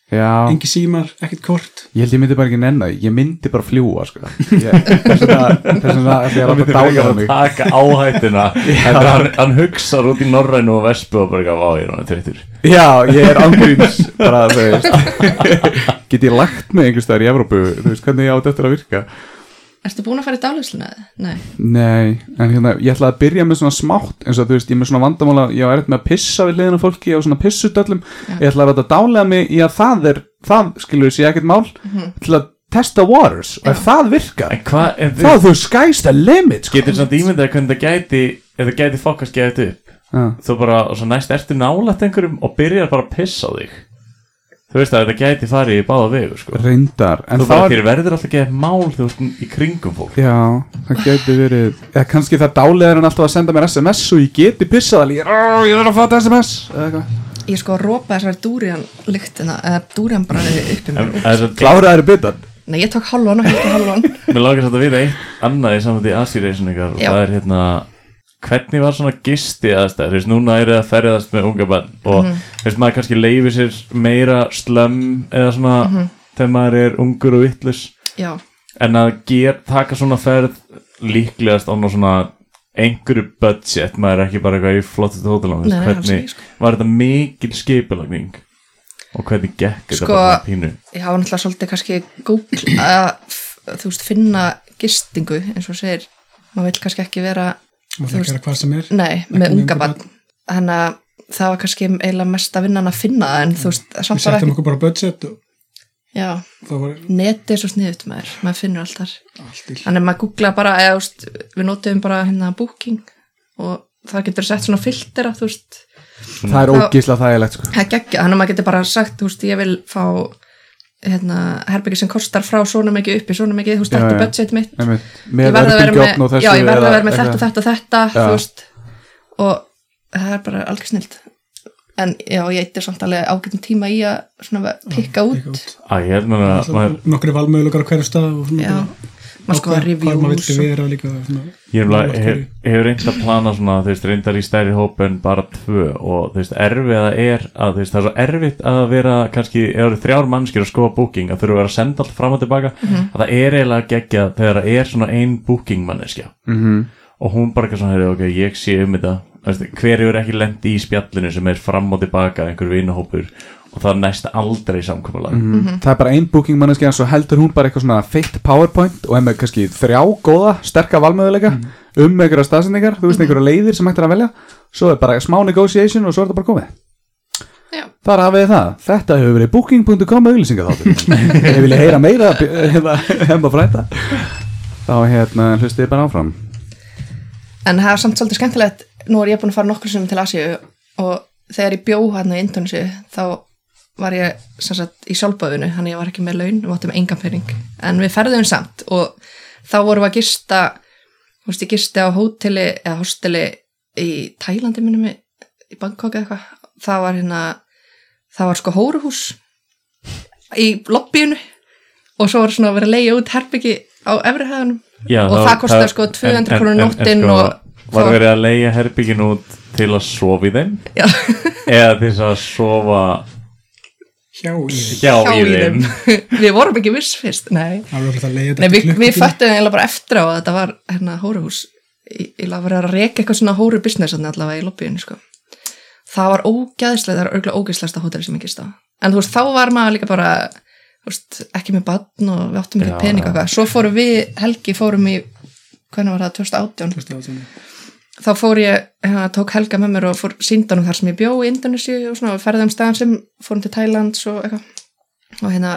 Speaker 4: Já,
Speaker 5: Engi símar, ekkert kort
Speaker 4: ég held ég myndi bara ekki nenni það, ég myndi bara fljúa sko Ég- Þess vegna- þess vegna ætla ég er alltaf
Speaker 3: ekki
Speaker 4: dáið á
Speaker 3: að
Speaker 4: mig
Speaker 3: taka áhættuna
Speaker 4: (laughs)
Speaker 3: Þetta er hann, hann hugsar út í Norrænu og Vespu og bara, eitthvað, vá, ég er hann þreyttur
Speaker 4: Já, ég er angriðins bara þú veist Get ég lagt mig einhvers staðar í Evrópu, þú veist hvernig ég átt eftir að virka
Speaker 2: Ertu búin að fara í dálisluna? Nei,
Speaker 4: Nei, en hérna, ég ætlaði að byrja með svona smátt eins og þú veist, ég er með svona vandamála ég á erfitt með að pissa við liðina fólki og svona pissudöllum ég ætlaði að láta dálega mig í að það er það, skilur þessi ekkert mál til að testa waters og ef það virkar
Speaker 3: En hvað, en
Speaker 4: þá
Speaker 3: þið
Speaker 4: er þú skæst að limit sko.
Speaker 3: getur samt ímyndað hvernig það gæti eða gæti fokast gæti upp
Speaker 4: Já.
Speaker 3: þú bara, og svo næst ertu nálægt einhverjum og byrjar bara að pissa á þig þú veist að þetta gæti farið í báða vegur sko.
Speaker 4: reyndar, en
Speaker 3: þú bara,
Speaker 4: það
Speaker 3: þér verður alltaf að geta mál þú veist, í kringum fólk
Speaker 4: já, það gæti verið eða kannski það dálega er hann alltaf að senda mér sms og ég geti pissað alveg, ég, "Ó, ég verður að fá þetta sms eða eitthvað.
Speaker 2: ég sko rópa þessari dúrian lyktina, eða dúrian bara uppi
Speaker 3: en,
Speaker 2: mér.
Speaker 3: en, en,
Speaker 4: kláraður bitan
Speaker 2: Nei, ég tók halvan og hætti halvan.
Speaker 3: Mér langar samt að vita eitt annað í samvætti Asi-reisun ykkar og
Speaker 2: Já.
Speaker 3: það er hérna hvernig var svona gisti aðstæð þú veist, núna er það að ferðast með unga bann og
Speaker 2: Mhm.
Speaker 3: þú veist, maður kannski leifir sér meira slömm eða svona
Speaker 2: Mhm.
Speaker 3: þegar maður er ungur og vittlus
Speaker 2: Já,
Speaker 3: en að ger, taka svona ferð líklegast án og svona einhverju budget, maður er ekki bara eitthvað í flottu tótalann,
Speaker 2: Nei, nei, alls
Speaker 3: hvernig
Speaker 2: ekki, sko.
Speaker 3: var þetta mikil skipulagning og hvernig gekk þetta
Speaker 2: Sko,
Speaker 3: bara pínu
Speaker 2: ég hafa náttúrulega svolítið kannski Google að, f- þú veist, finna gistingu, eins og þú segir, maður vil kannski ekki vera,
Speaker 5: Má það
Speaker 2: veist- Mm,
Speaker 5: gera hvað sem er
Speaker 2: nei,
Speaker 5: með
Speaker 2: með
Speaker 5: unga
Speaker 2: unga barn. Þannig að það var kannski eiginlega mest að vinna hann að finna það, en þú veist,
Speaker 5: Við
Speaker 2: samt var
Speaker 5: settum
Speaker 2: ekki.
Speaker 5: okkur bara budget og
Speaker 2: Já,
Speaker 5: það var
Speaker 2: netið er svo sniðut maður, maður finnur allt þar.
Speaker 5: allt í
Speaker 2: Þannig að maður googla bara, eða, þú veist, við notum bara hérna booking og það getur sett svona filtera, þú veist,
Speaker 4: það er ógísla þægilegt sko.
Speaker 2: það geggja, þannig að maður getur bara sagt, þú veist, ég vil fá hérna, herbyggi sem kostar frá svona mikið uppi, svona mikið, þú veist,
Speaker 4: Já,
Speaker 2: þetta
Speaker 4: já.
Speaker 2: er budget mitt
Speaker 4: Einmitt.
Speaker 2: ég verð að
Speaker 4: Með
Speaker 2: vera
Speaker 4: örbylgjuofn og
Speaker 2: með,
Speaker 4: þessu
Speaker 2: já, ég verð
Speaker 4: eða
Speaker 2: að vera með þetta
Speaker 4: eitthvað.
Speaker 2: og þetta og þetta,
Speaker 4: Já.
Speaker 2: þú veist og það er bara algjör snilt en já, ég eittir samt alveg ágætum tíma í að svona pikka
Speaker 5: pikka
Speaker 2: út
Speaker 5: út.
Speaker 3: að ég held maður að maður,
Speaker 5: Nokkri valmöðlökar á hverju stað og svona
Speaker 2: já,
Speaker 5: bara-
Speaker 2: maður sko að
Speaker 5: Ákveða hvað maður
Speaker 2: reviews
Speaker 5: vildi
Speaker 2: og-
Speaker 5: vera líka svona,
Speaker 3: Ég hef,
Speaker 5: nálægt
Speaker 3: hef,
Speaker 5: hverju.
Speaker 3: hef reynd að plana svona, þú veist, reyndar í stærri hóp en bara tvö og þú veist, erfiða er að þú veist, það er svo erfitt að vera kannski, ef það eru þrjár mannskir að skoða booking að þurfa að vera að senda allt fram og tilbaka
Speaker 2: Mhm.
Speaker 3: að það er eiginlega geggjað þegar það er svona ein booking manneskja
Speaker 4: Mhm.
Speaker 3: og hún bara eitthvað svona, heyrðu, ok, ég sé um þetta Þú veist, hver hefur ekki lendi í spjallinu sem er fram og tilbaka einhver vinahópur og og það næst aldrei samkomulag
Speaker 4: það er bara ein booking manneski en svo heldur hún bara eitthvað svona feitt powerpoint og er með kannski þrjá góða sterka valmöðuleika um einhverja staðsendingar þú veist einhverja leiðir sem hægt er að velja svo er bara smá negotiation og svo er þetta bara komið
Speaker 2: Já.
Speaker 4: þar hafið þið það þetta hefur verið booking.com auðlýsinga þáttur ef vilja heyra meira eh, hefða fræta þá hérna hlustið þið bara áfram
Speaker 2: En það er samt svolítið skemmtilegt, nú er ég búin að fara nokkur sinnum til Asíu og þegar ég bjó hann í Indonesu þá var ég sem sagt í sjálfböðinu, þannig ég var ekki með laun, við áttum engan pening. En við ferðum samt og þá vorum við að gista, þú veist, ég gisti á hóteli eða hosteli í Tælandi minnum í, í Bangkok eða eitthvað. Það var hérna, það var sko hóruhús í lobbyinu og svo var svona að vera að leigja út herbyggi á efrihæðunum
Speaker 3: Já,
Speaker 2: og það kostaði sko 200 krónur nóttin
Speaker 3: sko,
Speaker 2: og
Speaker 3: Var verið að leigja herbyggin út til að sofa í þeim
Speaker 2: Já.
Speaker 3: eða til þess að sofa
Speaker 5: hjá í því
Speaker 3: hjá,
Speaker 2: hjá
Speaker 3: í þeim
Speaker 2: (laughs) við vorum ekki viss fyrst nei,
Speaker 5: Það var alltaf að leiða
Speaker 2: nei
Speaker 5: þetta
Speaker 2: við, við
Speaker 5: klukkutíma.
Speaker 2: föttum eiginlega bara eftir á að þetta var hérna hóruhús ég ég var að reka eitthvað svona hóru business þarna allavega í lobbyinu sko það var ógæðislega, það var örgulega ógæðislegasta hótel sem ég gist á, en þú veist þá var maður líka bara þú veist, ekki með badn og við áttum
Speaker 3: Já.
Speaker 2: ekki pening og eitthvað, svo fórum við Helgi fórum í, hvernig var það, 2018 þá fór ég, hérna, tók Helga með mér og fór síndanum þar sem ég bjó í Indonesia og um svona, við ferðum staðan sem, fórum til Thailands og eitthvað, og hérna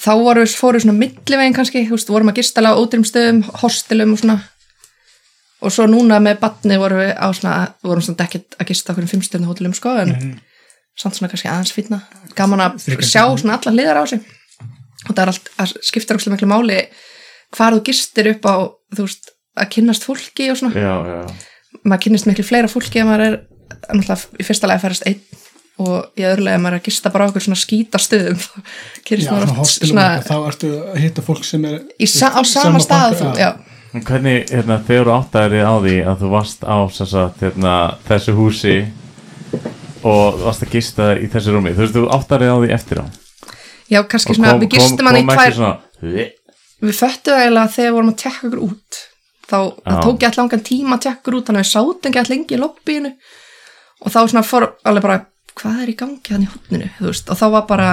Speaker 2: þá voru, fóru svona millivegin kannski, þú veist, vorum að gistala á ótrým stöðum, hostelum og svona og svo núna með batni vorum við á svona, vorum svona ekkert að gista okkur um fimmstjörnu hótelum sko, en samt svona kannski aðeins fýtna gaman að
Speaker 5: Þriggja
Speaker 2: sjá svona alla hliðar á sig og það er allt, að skipta okkur miklu máli hvar þú gistir upp á þú veist, að kynnast fólki og svona
Speaker 3: Já, já,
Speaker 2: maður kynnist miklu fleira fólki ef maður er náttúrulega í fyrsta lagi að ferast einn og í öðrulega ef maður er að gista bara á okkur svona skýta stöðum þá
Speaker 5: Já,
Speaker 2: kynnist maður
Speaker 5: svona
Speaker 2: oft
Speaker 5: hostelum
Speaker 2: svona
Speaker 5: og þá ertu að hitta fólk sem er
Speaker 2: í sa á sama stað þú, já,
Speaker 3: En hvernig, hérna, þegar þú áttaðir á því að þú varst á sem sagt, hérna, þessu húsi og þú varst að gista í þessu rúmi þú veist, þú áttaðir á því eftir á
Speaker 2: já, kannski svona við gistum hann í
Speaker 3: kom
Speaker 2: tvær
Speaker 3: ekki svona
Speaker 2: við föttum eiginlega að þegar við vorum að tekka okkur út þá það
Speaker 3: Já.
Speaker 2: tók ég alltaf langan tíma að tekka okkur út þannig að við sátum ekki alltaf lengi í lobbyinu og þá svona fór alveg bara hvað er í gangi hann í hóttinu veist, og þá var bara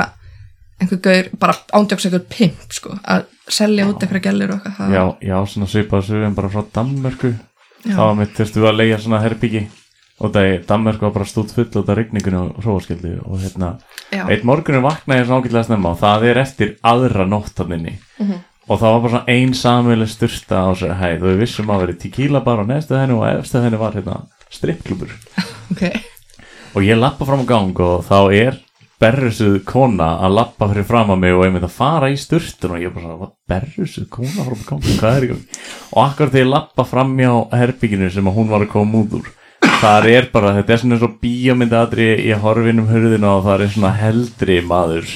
Speaker 2: einhver gaur bara ándjóks einhver pimp sko, að selja út einhverja gælur og eitthvað
Speaker 3: Já, já, svona svipaðu sögum bara frá Danmörku
Speaker 2: Já.
Speaker 3: þá mitt þurftu að leigja svona herbyggi og það er Danmörku var bara stútt full og það rigninginu og hróaskildi og hérna
Speaker 2: Já.
Speaker 3: eitt morgunum vaknaði ég svona ágætlega snemma og það er eftir aðra nóttaninni mm
Speaker 2: Mhm.
Speaker 3: -hmm. og það var bara svona ein samileg styrta á sér hæð og við vissum um að verið tequila bar á neðstu henni og efstu henni var hérna strippklubur
Speaker 2: ok
Speaker 3: og ég lappa fram á gang og þá er berrusuð kona að lappa fyrir fram að mig og einmitt að fara í sturtun og ég er bara svona, hvað berrusuð kona fram á gang, hvað er ekki og akkur þegar ég lappa fram hjá herbygginu sem að hún var að koma út úr þar er bara, þetta er svona eins og bíómyndaðri ég horfi inn um hurðina og það er svona heldri maður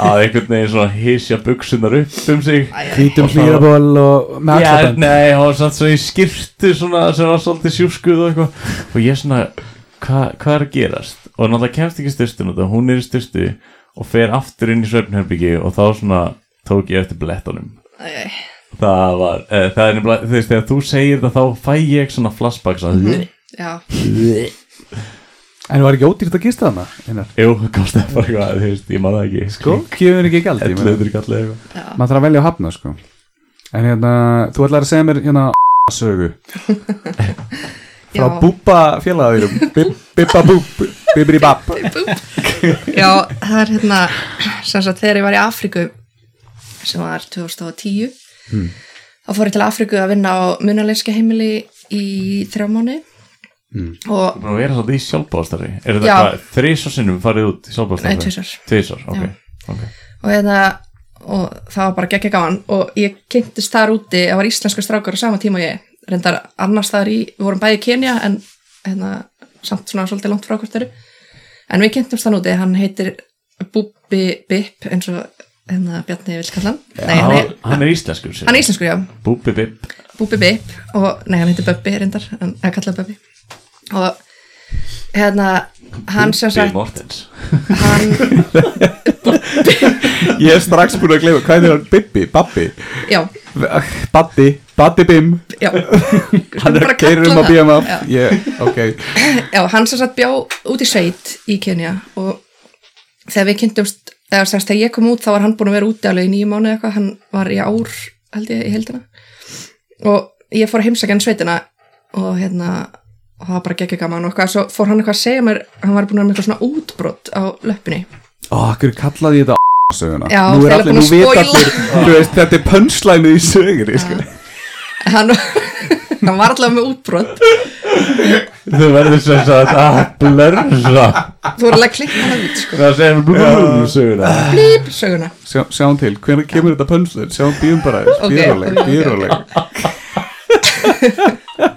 Speaker 3: að einhvern veginn svona hysja buksunar upp um sig
Speaker 4: hvítum hlýraból og með
Speaker 3: Já,
Speaker 4: axlabönd
Speaker 3: nei, hann var samt svona í skirtu svona sem var svolítið sjúskuð og eitthvað og ég svona, hva, hvað er að gerast? Og náttúrulega kemst ekki styrstun út og hún er í styrstu og fer aftur inn í svefnherbyggi og þá svona tók ég eftir blettunum
Speaker 2: Æ,
Speaker 3: Það var, e, það er nefnilega, þú veist, þegar þú segir það þá fæ ég svona flashback svona
Speaker 2: (laughs) Já,
Speaker 4: en var ekki ódýrt að gista þarna Einar?
Speaker 3: Jú, það kostaði bara eitthvað, þú veist, ég man það ekki
Speaker 4: sko, gefur ekki gæld ég meina.
Speaker 3: Elluður kallið eitthvað
Speaker 2: já.
Speaker 4: maður þarf að velja að hafna sko en hérna, þú ætlar að segja mér hérna sögu frá
Speaker 2: Já.
Speaker 4: búba
Speaker 2: (laughs)
Speaker 4: félagaðurum bibba búb, bibbri bab
Speaker 2: já, það er hérna sem sagt þegar ég var í Afríku sem var 2010 þá fór ég til Afríku að vinna á munaleiska heimili í þrjá mánu og
Speaker 3: Búin að vera svolítið í sjálfbóðastarfi Er þetta
Speaker 2: Já.
Speaker 3: hvað, þrís og sinnum farið út í sjálfbóðastarfi?
Speaker 2: Nei, tvisvar.
Speaker 3: Tvisvar, ok,
Speaker 2: Já.
Speaker 3: ok
Speaker 2: og hérna og það var bara geggja gaman og ég kynntist þar úti, það var íslensku strákur á sama tíma og ég, reyndar annars þar í við vorum bæði í Kenya en hérna, samt svona svolítið langt frá hvort eru en við kynntumst þann úti, hann heitir Bubbi Bipp eins og hérna Bjarni vil kalla hann nei,
Speaker 3: hann,
Speaker 2: nei,
Speaker 3: hann er íslenskur sér.
Speaker 2: hann er íslensku, já
Speaker 3: Búbi Bibb
Speaker 2: Búbi Bipp og, nei, hann heitir Bubbi reyndar, en ég kallaði Bubbi og hérna hann sem
Speaker 3: Bill
Speaker 2: sagt
Speaker 3: Mortens
Speaker 2: hann,
Speaker 4: ég er strax búin að glefa, hvað er það bibbi, babbi eh,
Speaker 2: já,
Speaker 4: baddi, baddi bim
Speaker 2: já
Speaker 4: hann er
Speaker 2: Bara
Speaker 4: að keira um
Speaker 2: kalla
Speaker 4: að býja maður
Speaker 2: það,
Speaker 4: ég, ok,
Speaker 2: já, hann sem sagt bjó út í sveit í Kenya og þegar við kynntumst eða semst þegar ég kom út þá var hann búin að vera úti alveg í nýju mánu eitthvað, hann var í ár held ég í heldina og ég fór að heimsækja hann í sveitina og hérna og það var bara geggja gaman og eitthvað svo fór hann eitthvað að segja mér hann var búin að vera með eitthvað svona útbrot á löppinni
Speaker 4: Ó, hverju kallaði ég þetta á söguna?
Speaker 2: Já,
Speaker 4: nú er
Speaker 2: þeir eru
Speaker 4: allir,
Speaker 2: búin
Speaker 4: nú
Speaker 2: að
Speaker 4: veit
Speaker 2: spoila.
Speaker 4: allir, þú veist, þetta er pönslænu í sögunni, sko.
Speaker 2: hann, (laughs) hann var allavega með útbrot
Speaker 3: Þú verður sem sagt að blörra
Speaker 2: þú voru alveg að klikka það út sko
Speaker 3: Það segir blörrum söguna
Speaker 2: blíp söguna
Speaker 4: Sjá, sjáum til, hvernig kemur þetta pönslæn? Sjáum, býðum bara, þess,
Speaker 2: Ok,
Speaker 4: býðróleg,
Speaker 2: ok, ok.
Speaker 4: býðróleg.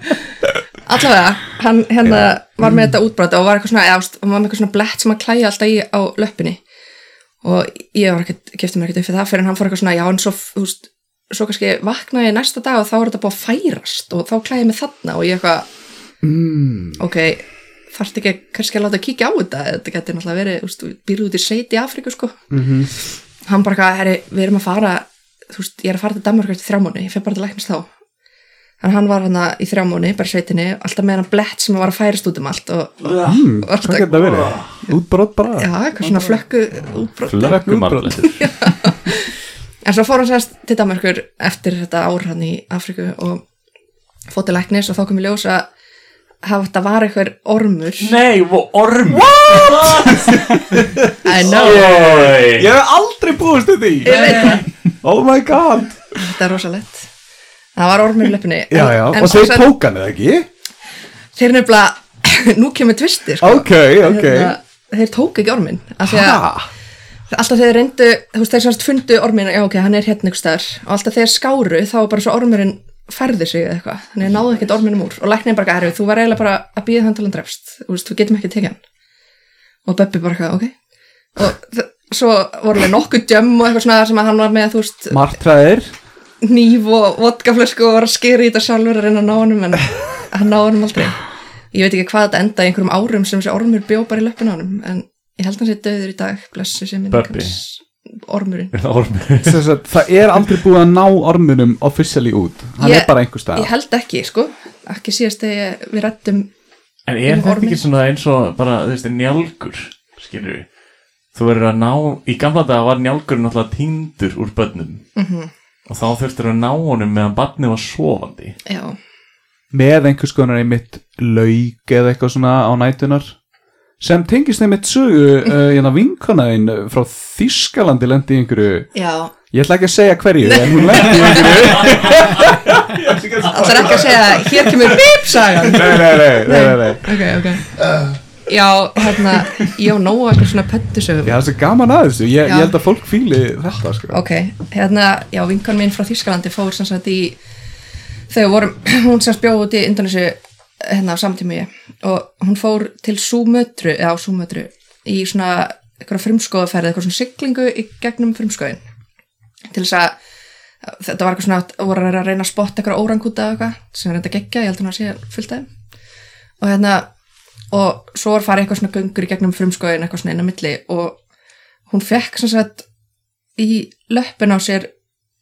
Speaker 2: allavega, hann hérna var með þetta útbrot og var eitthvað svona, eða, ást, hann var með eitthvað svona blett sem að klæja alltaf í á löppinni og ég var ekkert, kefti mér ekkert upp fyrir það fyrir hann fór eitthvað svona, já en svo þú veist, svo kannski vaknaði ég næsta dag og þá er þetta búið að færast og þá klæði ég mig þarna og ég eitthvað, mm. ok þarf ekki kannski að láta að kíkja á þetta þetta getur náttúrulega verið, þú veist, þú býrðu út í seit í Afríku sko
Speaker 4: Mhm.
Speaker 2: -hmm. hann bara eitthvað, herri, við erum að fara þú veist, ég er að fara til Danmark eftir þrjá mánu, ég fer bara til læknis þá en hann var hann í þrjá mánu, bara í sveitinni alltaf með hann blett sem var að færast út um allt og, og,
Speaker 4: Mm,
Speaker 2: og
Speaker 4: hvað getur það verið? Útbrott bara?
Speaker 2: já, eitthvað svona flökku útbrot
Speaker 3: Flökkum allir
Speaker 2: en svo fór hann sérst til Danmarkur eftir þetta ár hann í Afriku og fótt til læknis og þá kom í ljós að hafa þetta var eitthvað ormur
Speaker 3: Nei, orm
Speaker 2: I know,
Speaker 4: Ég hef aldrei búist til því!
Speaker 2: ég veit það,
Speaker 4: Oh my god!
Speaker 2: þetta er rosalegt það var ormur í löpunni
Speaker 4: Já, já, og þeir tókan eða ekki?
Speaker 2: þeir nefnilega, (laughs) nú kemur tvistir sko.
Speaker 4: Ok, ok.
Speaker 2: Hérna, þeir tók ekki ormin af því að
Speaker 4: Ha?
Speaker 2: alltaf þeir reyndu, þú veist þeir semst fundu ormin já ok, hann er hérna ykkur staðar og alltaf þeir skáru þá var bara svo ormurinn færði sig eða eitthvað, þannig að náðu ekkert orminum úr og læknir bara erfið, þú var eiginlega bara að býða hann til hann drefst, þú veist, þú getum ekki tekið hann og Böbbi bara eitthvað, ok og þ- svo voru við nokkuð djömm og eitthvað svona sem að hann var með, þú veist
Speaker 4: Martraðir?
Speaker 2: nýf og vodkaflösku og var að skera í þetta sjálfur að reyna að ná honum en hann ná honum aldrei ég veit ekki hvað þetta endaði í einhverjum árum sem þessi ormur bjó bara í löppinu á honum en ég held hann sé döður í dag blessu sem minn
Speaker 3: Bubbi.
Speaker 2: ormurinn
Speaker 3: Orm
Speaker 4: Sem sagt, Það er aldrei búið að ná ormunum officially út. Hann
Speaker 2: Ég-
Speaker 4: er bara einhver stað.
Speaker 2: ég held ekki sko ekki síðast þegar við rættum
Speaker 3: En er
Speaker 2: Um
Speaker 3: þetta
Speaker 2: orminn.
Speaker 3: ekki svona eins og bara, þú veist, njálgur, skilur við? Þú verður að ná, í gamla daga var njálgur náttúrulega týndur úr börnum
Speaker 2: Mhm.
Speaker 3: -hmm. og þá þurftur að ná honum meðan barnið var sofandi.
Speaker 2: já,
Speaker 4: með einhvers konar einmitt lauk eða eitthvað svona á nætunar sem tengist einmitt sögu uh, hérna vinkonaðin frá Þískalandi lendi í einhverju
Speaker 2: já
Speaker 4: ég ætla ekki að segja hverju en hún lendi í
Speaker 2: (laughs)
Speaker 4: einhverju
Speaker 2: alltaf ekki að segja hér kemur bípsagan
Speaker 4: nei, nei, nei, nei, nei, nei.
Speaker 2: ok, ok já, hérna, ég á nógu eitthvað svona pöttusöfum
Speaker 4: Já, það er svo gaman að þessu, ég,
Speaker 2: Já.
Speaker 4: ég held að fólk fíli þetta sko.
Speaker 2: ok, hérna, já, vinkan mín frá Þýskalandi fór sem sagt í þegar við vorum, (clears throat) hún sem spjóð út í Indonesu hérna á samtími og hún fór til Súmötru eða á Súmötru í svona eitthvað frumskoðaferð, eitthvað svona siglingu í gegnum frumskoðin til þess að þetta var eitthvað svona að voru að reyna að spotta eitthvað órangúta eða eitthvað sem er reynda geggja, ég held hún að sé fullt af þeim og hérna og svo var farið eitthvað svona göngur í gegnum frumskoðin eitthvað svona inn á milli og hún fekk sem sagt í löppin á sér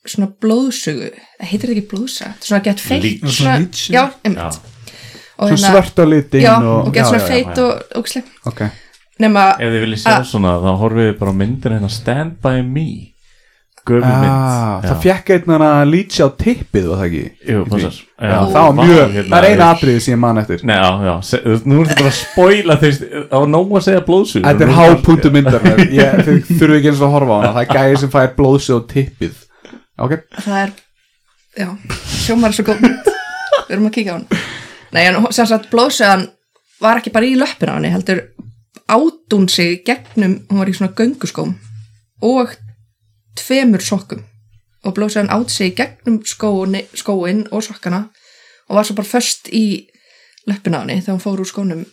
Speaker 2: svona blóðsugu, það heitir þetta ekki blóðsa þetta er svona gett feitt
Speaker 3: Leech.
Speaker 2: svona,
Speaker 5: Svona
Speaker 2: já,
Speaker 5: leech, já.
Speaker 3: Já,
Speaker 2: einmitt og
Speaker 4: Svo svört á litin
Speaker 2: Hérna- já,
Speaker 4: og,
Speaker 2: og gett svona
Speaker 4: já, já,
Speaker 2: feitt og ógislega
Speaker 4: já. Ok.
Speaker 2: nema,
Speaker 3: ef þið viljið sjá
Speaker 2: Ah.
Speaker 3: svona, þá horfið þið bara á myndina hérna Stand By Me, gömul
Speaker 4: Ah,
Speaker 3: mynd.
Speaker 4: Það fekk einn hana lítið á tippið var það ekki?
Speaker 3: Jú, passar. Já,
Speaker 4: Það var
Speaker 3: vá,
Speaker 4: mjög,
Speaker 3: hérna,
Speaker 4: það er eina
Speaker 3: ég-
Speaker 4: atriði sem ég man eftir
Speaker 3: Nei, já, já, se, þú- nú ertu bara að spoila þeir, á nóg að segja blóðsugur.
Speaker 4: Þetta er hápunktu myndar
Speaker 3: (laughs)
Speaker 4: Ég þið þurfið ekki eins og að horfa á hana Það er gæði sem fær blóðsöð og tippið Ok,
Speaker 2: það er já, sjómar er svo góð mynd við erum að kíka á hann nei, en hún- sem sagt blóðsöðan var ekki bara í löppin á henni, heldur átún sig í gegnum, hún var í svona gönguskóm og tveimur sokkum og blóðsöðan át sig í gegnum skóin, skóin og sokkana og var svo bara först í löppin á henni þegar hún fór úr skónum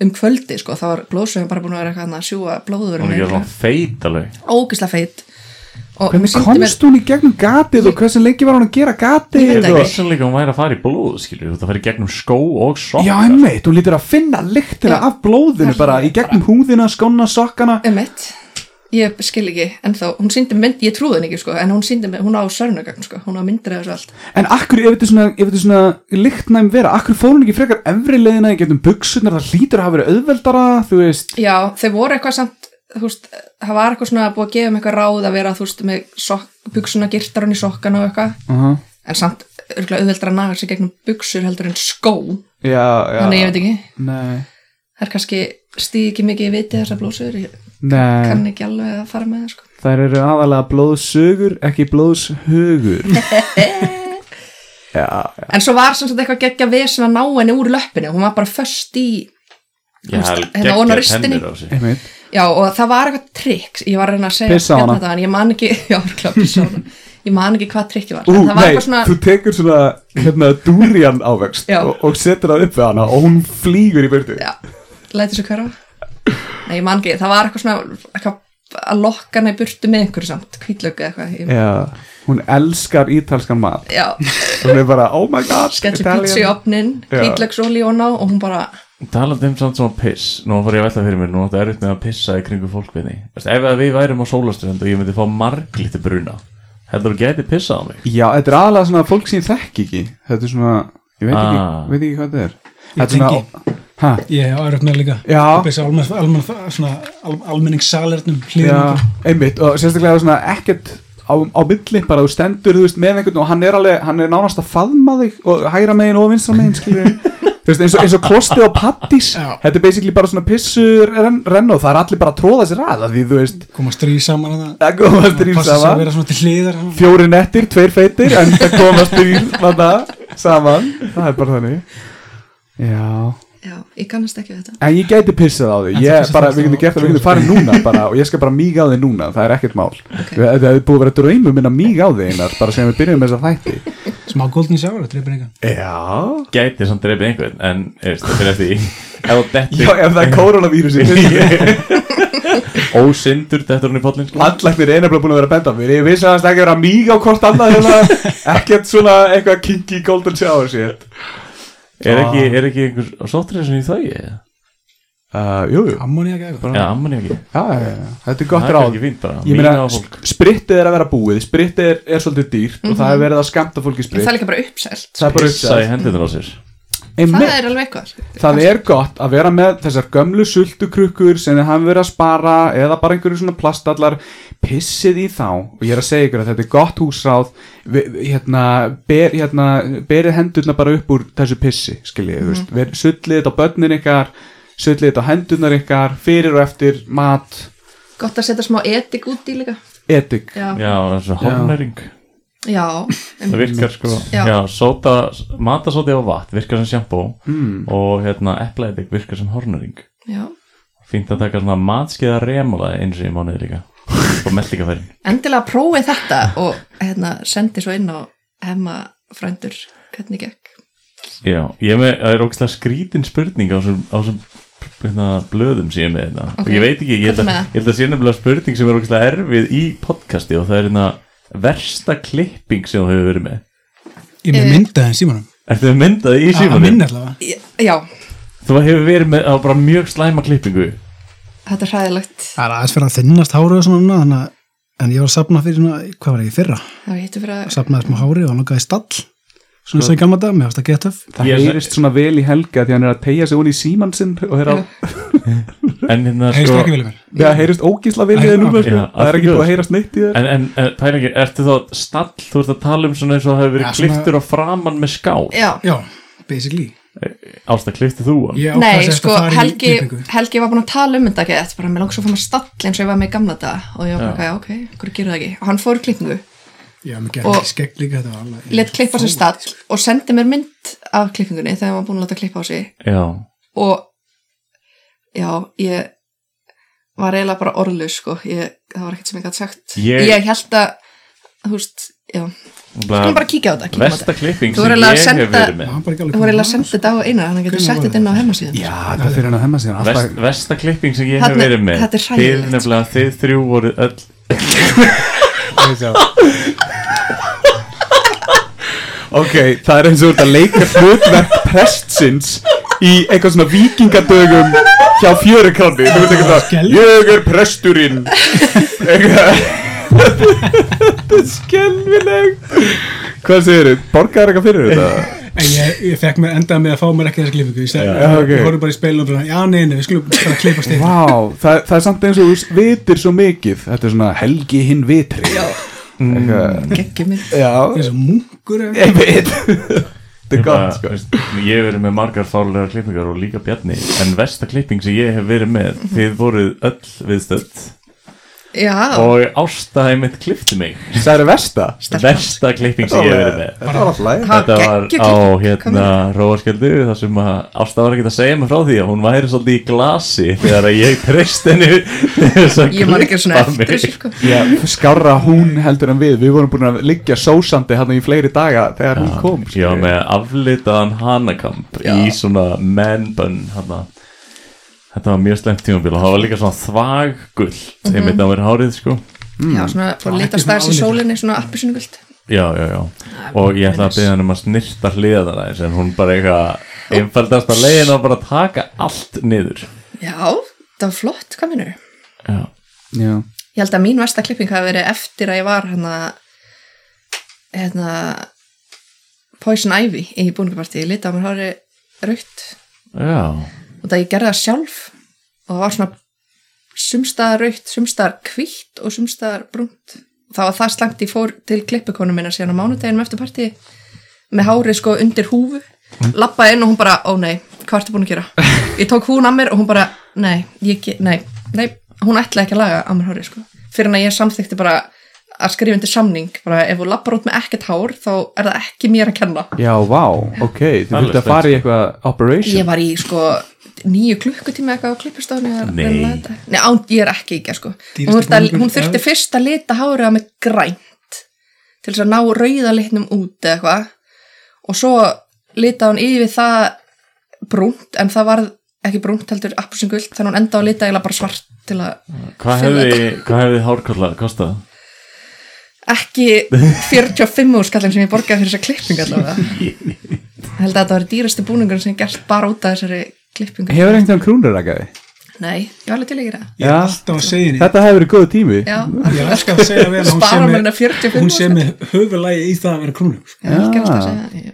Speaker 2: um kvöldi sko, þá var blóðsöðan bara búin að vera eitthvað þarna að sjúga blóður
Speaker 3: Hún er ekki svona feit alveg.
Speaker 2: ógislega feit og
Speaker 4: hvernig
Speaker 2: sýndi mér-
Speaker 4: komst hún í gegnum gatið og hversu lengi var hún að gera
Speaker 2: Ég
Speaker 4: gatið
Speaker 2: veit
Speaker 3: Ég
Speaker 4: og...
Speaker 2: ekki.
Speaker 3: vissi líka að hún væri að fara í blóð, skilur, þú ert að fara í gegnum skó og sokka.
Speaker 4: Já, einmitt, hún lítur að finna lyktina
Speaker 2: Já.
Speaker 4: af blóðinu bara í gegnum húðina, skóna, sokkana
Speaker 2: Emmett, ég skil ekki ennþá, hún síndi mynd, ég trúði henni ekki sko en hún síndi mynd, hún á sörnugagn sko hún á myndir eða þessu allt,
Speaker 4: En akkur, ef þetta er svona, ef þetta er svona lyktnæm vera, akkur fór hún ekki frekar efri leiðina í gegnum buksunar, það lítur að hafa verið auðveldara, þú veist
Speaker 2: já, þeir voru eitthvað samt þú veist, það var eitthvað svona búið að gefa um eitthvað ráð að vera, þú veist, með sok, buksuna girtar hann í sokkana og eitthvað
Speaker 4: Aha.
Speaker 2: en samt örgulega auðveldra að naga sig gegnum buksur heldur en skó
Speaker 4: Já, já
Speaker 2: þannig ég veit ekki,
Speaker 4: Nei,
Speaker 2: það er kannski stíð ekki mikið í viti þessar blósur ég
Speaker 4: nei
Speaker 2: kann ekki alveg að fara með það sko.
Speaker 4: Þær eru aðalega blóðsugur, ekki blóðshugur
Speaker 2: (laughs)
Speaker 4: Já,
Speaker 2: en svo var sem sagt eitthvað geggja vesen að ná henni úr löppinu hún var bara föst í
Speaker 3: Já, það er
Speaker 2: Hérna ofan á
Speaker 3: geggjað
Speaker 2: ristinni.
Speaker 3: tennur á sér.
Speaker 4: einmitt
Speaker 2: já og það var eitthvað trikk ég var að reyna að segja
Speaker 4: Pissa á
Speaker 2: hérna
Speaker 4: hana.
Speaker 2: þetta, en ég man ekki (laughs) já, örugglega pissa á hana. ég man ekki hvað trikki var
Speaker 4: Ú,
Speaker 2: en það var
Speaker 4: nei,
Speaker 2: eitthvað svona
Speaker 4: þú tekur svona hérna dúrjan ávext
Speaker 2: Já.
Speaker 4: og, og setur það upp við hana og hún flýgur í byrtu
Speaker 2: já, læti svo hverfa nei, ég man ekki, það var eitthvað svona eitthvað að lokka hana í burtu með einhverju samt kvítlöku eða eitthvað ég,
Speaker 4: hún elskar ítalskan mat
Speaker 2: já,
Speaker 4: hún er bara, oh my god
Speaker 2: skellir
Speaker 4: Italian.
Speaker 2: pítsu í opnin
Speaker 4: Já.
Speaker 2: kvítlöksóli og ná og hún bara
Speaker 3: Talandi um samt svona piss Nú fór ég að velta fyrir mér, nú áttu erfitt með að pissa í kringu fólk við því Vist, Ef að við værum á sólastönd og ég myndi fá marglíti bruna Heldur þú gæti pissað á mig?
Speaker 4: já, þetta er aðalega svona fólk sem ég þekki ekki þetta er svona, ég veit ekki,
Speaker 3: Ah.
Speaker 4: veit ekki hvað þetta er þetta er
Speaker 5: tengi.
Speaker 4: svona, hæ,
Speaker 5: Ég hef aðröfna líka
Speaker 4: Já.
Speaker 5: Þessi almenn, almenn, svona al, almenningssalernum
Speaker 4: já,
Speaker 5: hlýðum
Speaker 4: einmitt og sérstaklega svona ekkert á, á milli bara þú stendur, þú veist, með einhvern og hann er alveg, hann er nánast að faðma þig og hægra megin og vinstra megin, skilur
Speaker 5: (laughs)
Speaker 4: þú veist, eins og, eins og klostið á pattís
Speaker 5: Já.
Speaker 4: þetta er basically bara svona pissur renn, renn og það er allir bara að tróða sér að af því, þú veist,
Speaker 5: Koma stríð saman að það
Speaker 4: það komast þrýr
Speaker 5: Passa sig að
Speaker 4: saman
Speaker 5: vera svona til hliðar
Speaker 4: fjóri nettir, tveir feitir en það komast þrýr þarna saman, það er bara þannig já,
Speaker 2: Já, ég kannast ekki við þetta.
Speaker 4: en ég gæti pissað á því
Speaker 5: En þú
Speaker 4: ég
Speaker 5: pissar
Speaker 4: bara,
Speaker 5: strax
Speaker 4: við getum
Speaker 5: á-
Speaker 4: gert það, við getum farið núna bara, og ég skal bara míga á því núna, það er ekkert mál okay. það hefur búið að vera draumum minn að míga á því einar, bara sem við byrjum með þessa þætti
Speaker 5: Smá golden shower, það dreipir engan
Speaker 4: já,
Speaker 3: Gæti samt dreipið einhvern En er, það fyrir eftir í Ef þú
Speaker 4: já,
Speaker 3: dettur
Speaker 4: ef það er (laughs) koronavírusi
Speaker 3: (laughs) ósindur Dettur hún í pollin sko?
Speaker 4: Landlæknir er nefnilega búin að vera að benda á mér Ég vissi að það ekki vera mýg á hvort annað hérna. Ekkert svona eitthvað kinky golden shower shit
Speaker 3: er, ekki,
Speaker 4: Ah.
Speaker 3: er ekki einhver sóttrið sem ég þau? eða?
Speaker 4: uh, Jú, jú
Speaker 5: Ammoniak eða
Speaker 3: Já, amman ég ekki
Speaker 4: já, já, já. Þetta
Speaker 3: Það
Speaker 4: er Ah. gott
Speaker 3: er
Speaker 4: ráð
Speaker 3: ekki fínt bara
Speaker 4: Ég
Speaker 3: Mína
Speaker 4: meina, sko,
Speaker 3: á fólk
Speaker 4: sp- sprittið er að vera búið Sprittið er, er svolítið dýrt Og það er verið að skamta fólki
Speaker 2: En
Speaker 4: spritt
Speaker 2: það er líka bara uppselt.
Speaker 4: Það er bara
Speaker 3: Pissa í
Speaker 4: uppsæð
Speaker 3: hendunar á sér
Speaker 2: Það er alveg eitthvað.
Speaker 4: Það er gott að vera með þessar gömlu sultukrukkur sem þið hafa verið að spara eða bara einhverju svona plastallar pissið í þá og ég er að segja ykkur að þetta er gott húsráð Vi- vi- hérna, ber, hérna, berið hendurna bara upp úr þessu pissi skiljið, mm -hmm. veist, sullið þetta á börnin ykkar sullið þetta á hendurnar ykkar fyrir og eftir mat
Speaker 2: Gott að setja smá etik út í líka.
Speaker 4: etik
Speaker 2: Já, já,
Speaker 3: Já, þessu hálfnæring
Speaker 2: já,
Speaker 3: Það virkar sko
Speaker 2: Já.
Speaker 3: Já, sóta, matasóti á vatn virkar sem sjampó
Speaker 4: Hmm.
Speaker 3: mm. Og hérna, eplaedik virkar sem hálfnæring
Speaker 2: já.
Speaker 3: Fínt að taka svona matskeiða remula eins og ég mánuði líka og meldingafærin
Speaker 2: Endilega prófið þetta og hérna, sendi svo inn á hemma frændur hvernig gekk.
Speaker 3: Já, ég er með, það er ógæslega skrítin spurning á þessum- á þessum hérna, blöðum sem ég er með hérna
Speaker 2: Ok,
Speaker 3: og ég veit ekki, ég held
Speaker 2: hvað er
Speaker 3: að,
Speaker 2: með það?
Speaker 3: ég held að sé nefnilega spurning sem er ógæslega erfið í podcasti og það er hérna versta klipping sem þú hefur verið með
Speaker 5: Ég er með
Speaker 2: Eh.
Speaker 5: myndaði en símanum
Speaker 3: Ertu með myndaði í
Speaker 5: Að
Speaker 3: símanum?
Speaker 5: minna allavega
Speaker 2: Ég- Já,
Speaker 3: Þú hefur verið með á bara mjög slæma klippingu
Speaker 2: þetta er hræðilegt.
Speaker 5: Það er aðeins fyrir að þinnast hárið og svona núna, þannig að En ég var að sapna fyrir svona, hvað var ég í fyrra?
Speaker 2: Það var hittu fyrir að...
Speaker 5: Sapnaði smá hárið og langaði stall Svona
Speaker 4: Sko-
Speaker 5: sem í gamla dag, mér varst að geta töff
Speaker 4: Það
Speaker 3: Ég-
Speaker 4: heyrist svona vel í helga því hann er að tegja sig hún í símann sinn og er að,
Speaker 3: en hérna
Speaker 5: Heist
Speaker 3: sko
Speaker 5: ekki vel í mér
Speaker 4: já, heyrist ógísla vel í
Speaker 5: Já.
Speaker 4: þeir núna sko.
Speaker 3: Já,
Speaker 4: það
Speaker 3: allt
Speaker 4: er ekki
Speaker 3: í
Speaker 4: búið að
Speaker 3: góðu.
Speaker 4: heyrast neitt í þeir
Speaker 3: En, en, en pæla ekki, ertu þá stall, þú ert að tala um svona eins og það hefur verið
Speaker 5: Ja,
Speaker 3: ja,
Speaker 5: svona-
Speaker 3: kliftur á framann með skál
Speaker 2: Já,
Speaker 5: Já, basically
Speaker 3: Ásta, kliftir þú hann?
Speaker 5: Ég ákvað
Speaker 2: nei,
Speaker 5: sem sagt
Speaker 2: sko,
Speaker 5: að fara í
Speaker 2: Helgi,
Speaker 5: klippingu.
Speaker 2: Helgi var búin að tala um þetta ekki, þetta er bara, mér langs að fá maður stall eins og ég var með í gamla dag og ég var bara, já, ok, hverju gerðu það ekki? Og hann fór í klippingu,
Speaker 5: Já, mér
Speaker 2: Og-
Speaker 5: gerði ekki skegg líka þetta var alveg
Speaker 2: let klippa sér stall og sendi mér mynd af klippingunni þegar hann var búin að láta klippa á sig
Speaker 3: Já,
Speaker 2: og já, ég var eiginlega bara orðlaus sko, ég, það var ekkert sem ég gæti sagt
Speaker 3: Ég-
Speaker 2: held að, þú veist já,
Speaker 3: Bara,
Speaker 2: skulum bara kíkja á þetta kíkja á
Speaker 3: Vesta
Speaker 2: þetta.
Speaker 3: klipping
Speaker 2: Þú
Speaker 3: sem
Speaker 2: verður eiginlega
Speaker 3: ég
Speaker 2: að
Speaker 3: hef
Speaker 2: senda-
Speaker 3: verið með
Speaker 5: Hann var ekki alveg
Speaker 2: þú var
Speaker 5: kominn
Speaker 2: eiginlega sendið þetta á einar þannig að getur
Speaker 5: Hvenær
Speaker 2: sett
Speaker 5: var
Speaker 2: þetta inn á heimasíðan
Speaker 4: Já, þetta fyrir hann að hemma sér
Speaker 3: Vest, Vesta klipping sem ég hef
Speaker 2: Þarna-
Speaker 3: verið með
Speaker 2: þetta er
Speaker 3: Þið
Speaker 2: hræðilegt.
Speaker 3: nefnilega, þið þrjú voru öll
Speaker 4: Ok, það er eins og þú ert að leika hlutverk prestsins í eitthvað svona vikingadögum hjá fjörukranni Þú veist eitthvað það, ég er presturinn Eitthvað Þetta er skelvileg Hvað segir þið, borgaður eitthvað fyrir þetta?
Speaker 5: En ég, ég fekk mér endaði með að fá mér ekki þessa klippingu Ég, seg,
Speaker 4: Já, ok.
Speaker 5: ég horfði bara í speilum og bara, já, nei, nei, við skulum bara klippa stið
Speaker 4: Vá, það, það er samt eins og þú vitir svo mikið Þetta er svona helgi hinn vitri Já Eitthvað,
Speaker 2: geggjum mig
Speaker 4: Mm.
Speaker 5: Það
Speaker 4: Já,
Speaker 5: er svo munkur eða
Speaker 4: ég veit Þetta er
Speaker 3: Bara,
Speaker 4: gott sko
Speaker 3: veist, Ég hef verið með margar fárlega klippingar og líka Bjarni En versta klipping sem ég hef verið með
Speaker 2: Mhm.
Speaker 3: Þið voruð öll viðstöld
Speaker 2: já,
Speaker 3: Og ástæði mitt klippti mig
Speaker 4: Það er versta
Speaker 3: Versta klipping sem ég hef verið með
Speaker 4: Það var alltaf læg
Speaker 2: Ha,
Speaker 3: Þetta var
Speaker 2: geggjuð
Speaker 3: á
Speaker 2: klipping,
Speaker 3: hérna Róarskjöldu þar sem að Ásta var ekkert að segja mig frá því að hún væri svolítið í glasi þegar að ég treyst henni (laughs) til þess að
Speaker 2: ég var ekki svona
Speaker 3: klippa
Speaker 2: eftir
Speaker 3: mig.
Speaker 2: þessu sko
Speaker 4: Já, skarra hún heldur en við Við vorum búin að liggja sósandi hann í fleiri daga Þegar hún kom
Speaker 3: Ég var með aflitaðan hanakamp í svona man bun hana. Þetta var mjög slemt tímabil og það var líka svona þvaggullt mm -hmm.
Speaker 5: Mhm.
Speaker 3: einmitt á mér hárið sko
Speaker 2: já, svona fór að
Speaker 5: ekki
Speaker 2: lita
Speaker 5: svona
Speaker 2: stæðis í
Speaker 5: álíka.
Speaker 2: sólinni svona appisynugult
Speaker 3: Já, já, já og ég ætla að byrja hann um að snirta hliðan aðeins en hún bara eitthvað einfaldast að leiðin að bara taka allt niður
Speaker 2: já, það var flott, hvað minnur
Speaker 3: Já,
Speaker 4: Já,
Speaker 2: ég held að mín versta klipping hafi verið eftir að ég var hérna hérna Poison Ivy í búningapartíi, ég lita á mér hóri rautt
Speaker 3: já,
Speaker 2: og það ég gerði það sjálf og það var svona sumstaðar rautt, sumstaðar hvítt og sumstaðar brúnt það var það slæmt ég fór til klippikonu minna síðan á mánudeginum eftir partíi með hárið sko undir húfu lappaði inn og hún bara, ó nei, hvað ertu búin að gera ég tók hún að mér og hún bara nei, ég, ge- nei, nei, hún ætlaði ekki að laga að mér hárið sko, fyrir en að ég samþykti bara að skrifa undir samning bara ef þú lappar út með ekkert hár þá er það ekki mér að kenna
Speaker 4: já, vá, ok Þið
Speaker 3: Alveg
Speaker 4: þurftu að
Speaker 3: spennt.
Speaker 4: fara í eitthvað operation
Speaker 2: Ég var í sko nýju klukkutíma eitthvað á klippustofni að
Speaker 3: Nei.
Speaker 2: reyna að þetta. Nei, án, ég er ekki ekki sko. Hún
Speaker 5: Dýrasti
Speaker 2: þurfti, að,
Speaker 5: búningur
Speaker 2: hún þurfti
Speaker 5: ever.
Speaker 2: fyrst að lita hárið með grænt til þess að ná rauða litnum út eða eitthvað og svo lita hún yfir það brúnt en það varð ekki brúnt heldur appelsingult þannig hún enda á að lita eiginlega bara svart til að
Speaker 3: hvað hefði, hvað hefði hárkollað kostað?
Speaker 2: ekki 45 úr skallin sem ég borgaði fyrir þessa klippingu allavega. Ég held að þetta var dýrasti búningur sem ég gert bara út af þessari klippingu.
Speaker 4: Hefur einhvern krúnur að gæði?
Speaker 2: Nei, ég var alveg til að gera það.
Speaker 5: Ég er
Speaker 4: Já.
Speaker 5: alltaf að segja henni
Speaker 4: Þetta hefur verið góð tími
Speaker 2: Já,
Speaker 5: Ég elska að segja við
Speaker 2: Spara
Speaker 5: hana,
Speaker 2: mér hérna 45
Speaker 5: hún sé með höfulægi í það að vera krúnum sko.
Speaker 2: já, ég skal alltaf segja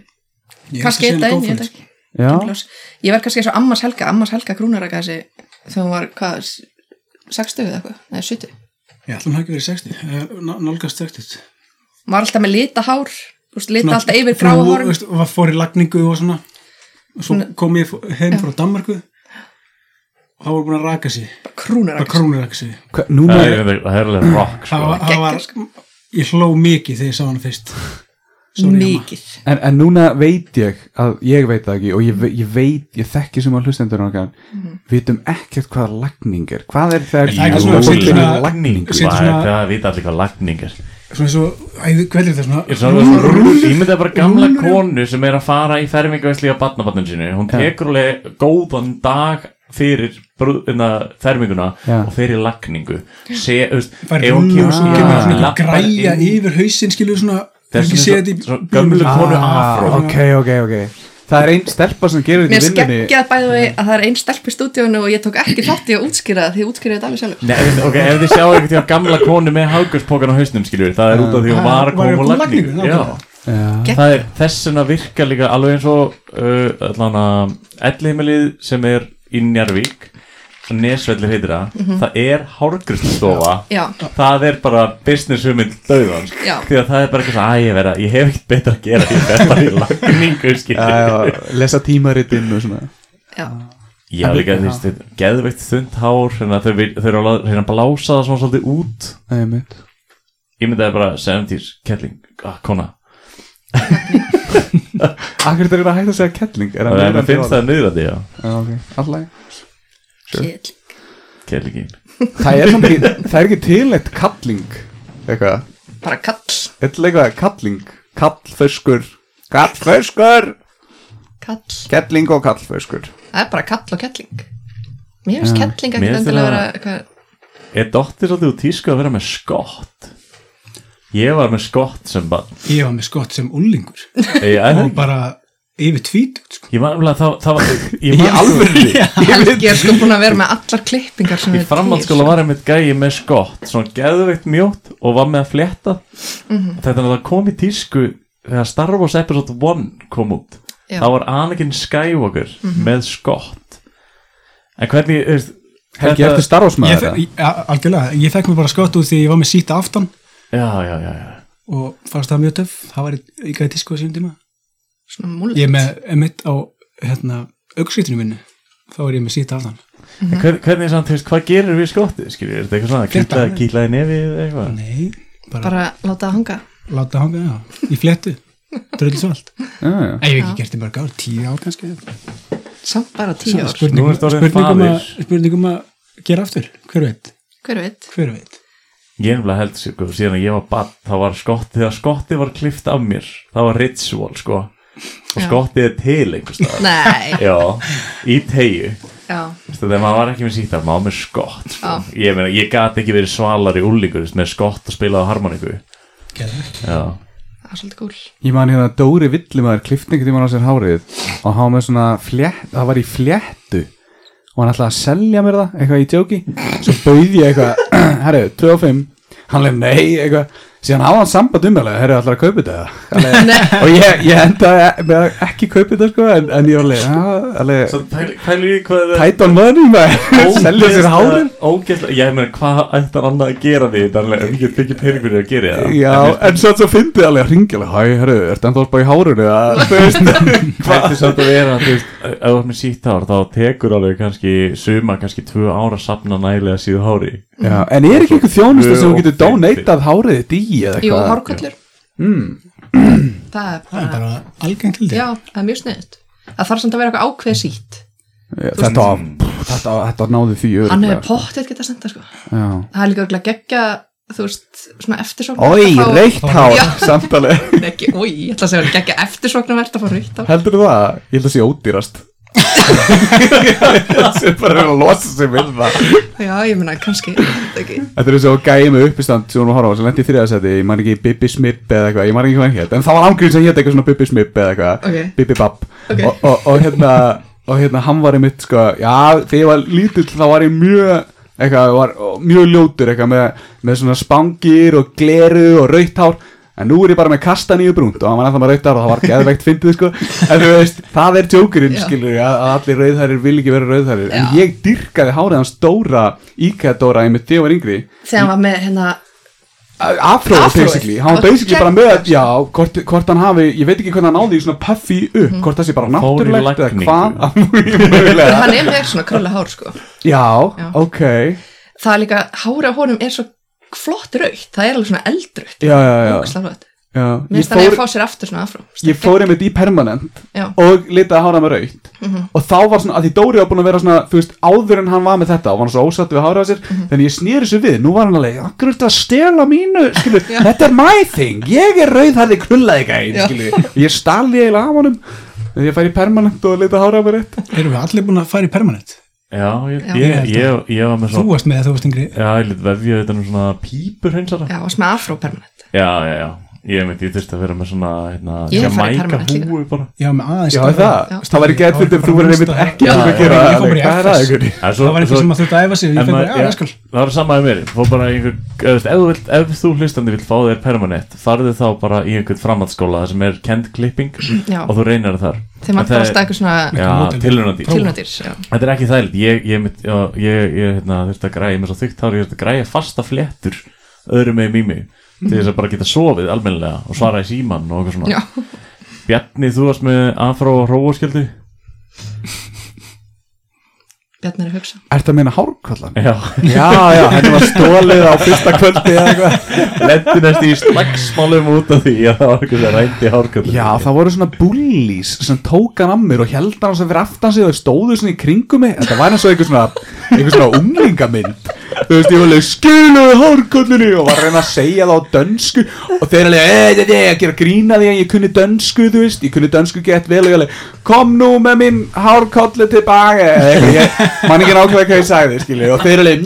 Speaker 5: Ég elska
Speaker 2: Kanski
Speaker 5: að segja
Speaker 2: einn
Speaker 5: henni
Speaker 2: daginn,
Speaker 5: go
Speaker 2: ég veit ekki
Speaker 5: for it,
Speaker 4: Já,
Speaker 2: Ljós. Ég verð kannski eins og Ammas Helga Ammas Helga krúnaraka þessi þegar hún var, hvað, s- 60 eða eitthvað, nei 70
Speaker 5: sko. Ég ætlum ekki verið 60, eh, ná- nálgast 60
Speaker 2: Hún var alltaf með lita hár, úst, lita
Speaker 5: Svona
Speaker 2: alltaf yfir
Speaker 5: frú,
Speaker 2: gráa hárum
Speaker 5: veist, og var fór í lagningu og svona og svo kom ég fó- heim frá Danmarku og þá voru búin að raka sig bara
Speaker 2: krúnaraka
Speaker 5: krónir raka sig
Speaker 4: Hva-
Speaker 3: Það
Speaker 4: núna
Speaker 3: er- Það er alveg rock
Speaker 5: það
Speaker 3: sko.
Speaker 5: var, það var, ég hló mikið þegar ég sá hana fyrst Sorry, amma.
Speaker 2: mikið
Speaker 4: En, en núna veit ég að ég veit það ekki og ég, ve- ég veit, ég þekki sem að hlustendur okkar,
Speaker 2: Mhm.
Speaker 4: vitum ekkert hvað lagning er, hvað er þegar
Speaker 5: En það er
Speaker 3: svona
Speaker 4: fólk er
Speaker 5: svona-
Speaker 4: með lagning
Speaker 3: Hvað
Speaker 5: Setur
Speaker 3: er
Speaker 5: svona-
Speaker 3: það að vita allir hvað lagning er?
Speaker 5: svona svo, æ, hvað er þetta svona
Speaker 3: Ég svona svona rúlur Ég myndi að bara gamla konu sem er að fara í fermingavæsli á batnabatnum sinu Hún tekur alveg góðan dag fyrir brú- hérna, ferminguna
Speaker 4: Já.
Speaker 3: og fyrir lagningu Se, veist,
Speaker 5: fær
Speaker 3: ef hún
Speaker 5: rúlur og svo
Speaker 3: Já,
Speaker 5: kemur svona einhver
Speaker 3: lappar
Speaker 5: græja
Speaker 3: inn-
Speaker 5: yfir hausinn skilur svona
Speaker 3: Það er
Speaker 5: ekki
Speaker 3: svona
Speaker 5: séð
Speaker 3: svo-
Speaker 5: þetta í-
Speaker 3: svona gömlu konu afró.
Speaker 4: ah, ok, ok, ok það er einn stelpa sem gerir
Speaker 2: Mér
Speaker 4: þetta í vinnunni
Speaker 2: skeggjað bæði við að það er einn stelp í stúdíónu og ég tók ekki þátt í að útskýra það því ég útskýraði þetta alveg sjálf
Speaker 3: Nei, ok, ef þið sjáu einhvern tíma gamla konu með haugurspokan á hausnum skilur Það er út af því hún
Speaker 5: Ah,
Speaker 3: var að
Speaker 5: var
Speaker 3: koma
Speaker 5: hún
Speaker 3: úr lagningu
Speaker 5: lagningu,
Speaker 3: Já.
Speaker 5: nákvæmlega.
Speaker 4: Já.
Speaker 2: Gegn-
Speaker 3: Það er þessuna virka líka alveg eins og uh, allan að ellheimilið sem er í Njarvík Nesvellir heitir það
Speaker 5: Mhm.
Speaker 3: Það er hárgrunnstofa
Speaker 2: Já,
Speaker 3: það er bara business hugmynd döðan
Speaker 2: Já.
Speaker 3: því að það er bara eitthvað svona, að ég vera, ég hef ekkert betra að gera ég fer bara í lagningu
Speaker 4: Já,
Speaker 3: skilur.
Speaker 4: já, lesa tímaritinn og svona
Speaker 2: já,
Speaker 3: já, líka því að geðveikt þund hár þannig að þau, vil- þau eru að la- reyna að blása það svona svolítið út
Speaker 4: Nei, mitt.
Speaker 3: ég myndi að það er bara 70s kettling, ah, kona
Speaker 4: Akkur þetta er að hætta að segja kettling er hann
Speaker 3: það er
Speaker 4: leiðandi
Speaker 3: að finnst
Speaker 4: orð?
Speaker 3: það niðrandi, já,
Speaker 4: Já, ok, allt í lagi.
Speaker 2: kjell
Speaker 3: kettlingin
Speaker 4: það er samt ekki, það er ekki tilnætt kalling eitthvað,
Speaker 2: Bara kall,
Speaker 4: eitthvað eitthvað kalling kallföskur, kallföskur
Speaker 2: kall
Speaker 4: kettling og kallföskur
Speaker 2: Það er bara kall og kelling Mér finnst kelling
Speaker 3: Mér
Speaker 2: ekkert
Speaker 3: finnst
Speaker 2: endilega að vera
Speaker 3: það-
Speaker 2: eitthvað-
Speaker 3: er dóttir svolítið úr tísku að vera með skott ég var með skott sem bara
Speaker 5: ég var með skott sem ullingur
Speaker 3: ég,
Speaker 5: og bara yfir tvítut sko.
Speaker 3: ég var alveg að það, það var ég,
Speaker 4: í
Speaker 3: man- (laughs)
Speaker 4: alvörni
Speaker 2: Helgi er sko búin að vera með allar klippingar sem
Speaker 3: í
Speaker 2: eru til,
Speaker 3: framhaldsskóla var ég mitt gæi með skott svona geðveikt mjótt og var með að
Speaker 2: Mhm.
Speaker 3: fletta þetta er að það kom í tísku þegar Star Wars Episode 1 kom út
Speaker 2: Já. Mhm.
Speaker 3: þá var Anakin Skywalker með skott en hvernig þú veist,
Speaker 4: Helgi eftir
Speaker 5: Ég,
Speaker 4: starfsmæður
Speaker 5: fe- ég- a- algjörlega, ég fekk mér bara skott út því ég var með síta aftan
Speaker 3: já, já, já, já.
Speaker 5: og fannst það mjög töff, það var líka í tísku á sínum tíma.
Speaker 2: svona múlið
Speaker 5: Ég er með, emitt á, hérna, augskýtinu minni, þá er ég með síta aftan.
Speaker 2: Mhm.
Speaker 3: En Hver, hvernig samt, þú veist, hvað gerir við skottið skilur, er þetta eitthvað svona,
Speaker 5: Flétta.
Speaker 3: kýtlaði kýtla nefið eða eitthvað,
Speaker 5: Nei, bara,
Speaker 2: bara láta það hanga
Speaker 5: láta hanga, já, í fléttu, dröldsvöld.
Speaker 4: Já,
Speaker 5: Nei, ég hef ekki gert í mörg ár, tíu ár kannski.
Speaker 2: samt bara tíu ár,
Speaker 3: Nú ertu orðinn
Speaker 5: spurningum um- að,
Speaker 3: faðir.
Speaker 5: spurningum að gera aftur, hver veit,
Speaker 2: hver veit
Speaker 5: hver veit.
Speaker 3: ég nefnilega held sko, síðan að ég var bann, þá var skottið þegar skottið var klift af mér, það var ritual sko, og
Speaker 2: Já.
Speaker 3: skottið er til einhvers staðar,
Speaker 2: nei,
Speaker 3: já í tegju,
Speaker 2: já,
Speaker 3: þegar maður var ekki með sítar maður var með skott, sko.
Speaker 2: Já.
Speaker 3: ég meina ég gat ekki verið svalari úlingur, með skott og spilaði á harmoniku,
Speaker 5: Gerðu.
Speaker 3: já
Speaker 2: það er svolítið gúl
Speaker 4: Ég man hérna Dóri Villimæður kliftningu tíma á sér hárið og hann var með svona flétt, það var í fléttu og hann ætlaði að selja mér það eitthvað í djóki, svo bauði ég eitthvað (clears throat) herru, 25, hann lef nei eitthvað, síðan hafa hann samband um alveg, herru, ætlaði að kaupa þetta eða?" Alveg- og ég, ég endaði e- með að ekki kaupa þetta sko, en, en ég var alveg, "Já, alveg
Speaker 3: svo pæli pæli ég hvað það
Speaker 4: tætt á möðunum
Speaker 3: (laughs)
Speaker 4: maður, (laughs) selja sér hárið
Speaker 3: ógeðslega, ég meina hvað ætti hann annað að gera því þannig að ég get ekki peningur í að gera það
Speaker 4: Já, en svo svo fyndið alveg að ringja alveg, hæ, herru, ertu ennþá að spá í hárinu eða, þú veist,
Speaker 3: Þetta er samt að vera, þú veist, ef þú ert með sítt hár þá tekur alveg kannski suma, kannski tvö ára safna nægilega síðu hári
Speaker 4: Já,
Speaker 2: Mm.
Speaker 4: en er ekki eitthvað þjónustu sem þú getur
Speaker 3: Og
Speaker 4: donatað hárið þitt í eða
Speaker 2: jú,
Speaker 4: eitthvað?
Speaker 2: hárkollur
Speaker 3: Hmm.
Speaker 2: það er
Speaker 5: Það er
Speaker 2: bara,
Speaker 5: bara algengt hildið.
Speaker 2: já, það er mjög sniðut það þarf samt að vera eitthvað ákveð sítt
Speaker 4: Þetta, var- pff, þetta, þetta náði því
Speaker 2: hann
Speaker 4: örugglega,
Speaker 2: hefur pottið geta senda sko
Speaker 4: Já.
Speaker 2: það er líka örugglega geggja, þú veist, svona eftirsóknarvert að
Speaker 4: Ói,
Speaker 2: fá-
Speaker 4: reitt hár,
Speaker 2: (laughs) Já.
Speaker 4: samtali
Speaker 2: Nei, ekki, ói, ég ætla að segja að geggja eftirsóknarvert að fá rautt á
Speaker 4: Heldur það? Ég held að sé
Speaker 2: (laughs)
Speaker 4: ódýrast (laughs) Það er bara að losa sig við það
Speaker 2: já, ég meina, kannski, þetta ekki
Speaker 4: Þetta er eins og gæði með uppistand sem hún var að horfa á sem lendi í þriðasæti, ég man ekki Bibi Smip eða eitthvað, ég man ekki hvað hann hétt, en það var ángríð sem hétt eitthvað svona Bibi Smip eða eitthvað,
Speaker 2: Ok.
Speaker 4: Bibi Bab
Speaker 2: Ok.
Speaker 4: og, og, og hérna og hérna hann var einmitt sko, já þegar ég var lítill þá var ég mjög eitthvað, var mjög ljótur eitthvað með, með svona spangir og gleru og rautt hár en nú er ég bara með kasta nýju brúnt og hann var ennþá með rautt hár og það var geðveikt fyndið sko en þú veist, það er tjókurinn
Speaker 2: Já.
Speaker 4: skilur að, að allir rauðhærir vil ekki vera rauðhærir en
Speaker 2: Já.
Speaker 4: ég dyrkaði hárið hans stóra íkæðdóra einmitt þegar ég var yngri
Speaker 2: þegar hann var með, hérna,
Speaker 4: afróið
Speaker 2: Afróið.
Speaker 4: basically, hann var
Speaker 2: Og
Speaker 4: basically bara
Speaker 2: geggjað.
Speaker 4: með já, hvort, hvort hann hafi, ég veit ekki hvernig hann náði í svona puffy upp, hvort það sé bara
Speaker 3: Fór í
Speaker 4: náttúrulegt eða
Speaker 3: lagningu.
Speaker 4: hvað (laughs) Mögulega.
Speaker 2: Mhm. hann er með svona krölla hár sko
Speaker 4: já,
Speaker 2: Já.
Speaker 4: ok já,
Speaker 2: það er líka, hára á honum er svo flott rautt, það er alveg svona eldrautt
Speaker 4: já, já,
Speaker 2: ógislega rautt.
Speaker 4: já.
Speaker 2: Mér
Speaker 4: Ég,
Speaker 2: finnst þannig að
Speaker 4: fór,
Speaker 2: fá sér aftur svona afró
Speaker 4: ég fór einmitt í permanent
Speaker 2: Já.
Speaker 4: og litaði hára með raukt
Speaker 2: Mhm.
Speaker 4: og þá var svona, að því Dóri var búin að vera svona þú veist, áður en hann var með þetta og var hann svo ósatt við háraða sér,
Speaker 2: Mhm.
Speaker 4: þannig ég snýri þessu við nú var hann alveg, akkur er þetta að stela mínu skilu, þetta er my thing, ég er rauðhærði knullaði gæn,
Speaker 2: Já.
Speaker 4: skilu og ég stal því eiginlega af honum þegar ég færi permanent og litaði háraða með rétt
Speaker 5: Erum við allir búin að fara í permanent?
Speaker 3: Já, ég,
Speaker 2: Já.
Speaker 3: ég, ég, ég var með
Speaker 5: Þú
Speaker 3: svona
Speaker 5: varst með það, þú varst yngri.
Speaker 3: Já, ég lít vefja þetta um svona pípur hreinsara Já,
Speaker 2: já, og svona afró permanent
Speaker 3: já, já, ég veit, ég þurfti að vera með svona hérna,
Speaker 2: Ég er að fara í
Speaker 3: Jamaica
Speaker 2: permanent líka.
Speaker 3: húi bara
Speaker 5: Já, með aðeins.
Speaker 4: Já,
Speaker 5: stærra-
Speaker 4: það,
Speaker 2: Já.
Speaker 4: það var ekki eitthvað ef þú verður einmitt ekki
Speaker 5: Já,
Speaker 4: alveg
Speaker 5: já,
Speaker 4: að gera
Speaker 5: já, ég
Speaker 4: það,
Speaker 5: fór bara í
Speaker 4: hvað er það
Speaker 5: FS.
Speaker 4: ykkur?
Speaker 3: En svo- svo-
Speaker 5: Það var eitthvað sem að þurfti að æfa sig, ég
Speaker 3: En
Speaker 5: finn
Speaker 3: maður-
Speaker 5: bara, já,
Speaker 3: já,
Speaker 5: ég skal.
Speaker 3: Það var sama með mér, fór bara í einhver eða, þú veist, ef, þú vilt, ef þú hlustandi vilt fá þér permanent farðu þá bara í einhvern framhaldsskóla sem er kent klipping
Speaker 2: Já.
Speaker 3: og þú reynir þar
Speaker 2: þegar
Speaker 3: En
Speaker 2: maður
Speaker 3: það
Speaker 2: þarf að
Speaker 3: er-
Speaker 2: eitthvað svona
Speaker 3: Já,
Speaker 5: Módel.
Speaker 3: tilhörnandi
Speaker 2: tilnættir já.
Speaker 3: Þetta er ekki þægilegt, ég, ég, mynd, já, ég, ég hérna, þurfti að græja mér svo þykkt hár, ég þurfti að græja fasta fléttur öðrum með mými til þess að bara geta sofið almennilega og svara í símann og eitthvað svona
Speaker 2: Já.
Speaker 3: Bjarni, þú varst með afró og hróaskjöldu?
Speaker 2: Bjarni er að hugsa
Speaker 4: Ertu að meina hárkvallan?
Speaker 3: Já,
Speaker 4: Já, já, henni var stólið á fyrsta kvöldi eða eitthvað
Speaker 3: lendi næst í slagsmálum út af því að það var eitthvað sem rændi hárkjöldu
Speaker 4: Já, það voru svona bullís sem tók hann af mér og held hann sem fyrir aftan sig og þeir stóðu svona í kringum mig Þetta var eins og einhver svona, einhver svona unglingamynd Þú veist, ég var alveg, skiluðu hárkvallinu og var að reyna að segja það á dönsku "Eh, og þeir alveg, eða, eða, eða, að gera grína því að ég kunni dönsku, þú veist, ég kunni dönsku gett vel og ég alveg kom nú með minn hárkollu tilbaka eða eitthvað, ég man ekki nákvæmlega hvað ég sagði skilur, og þeir eru alveg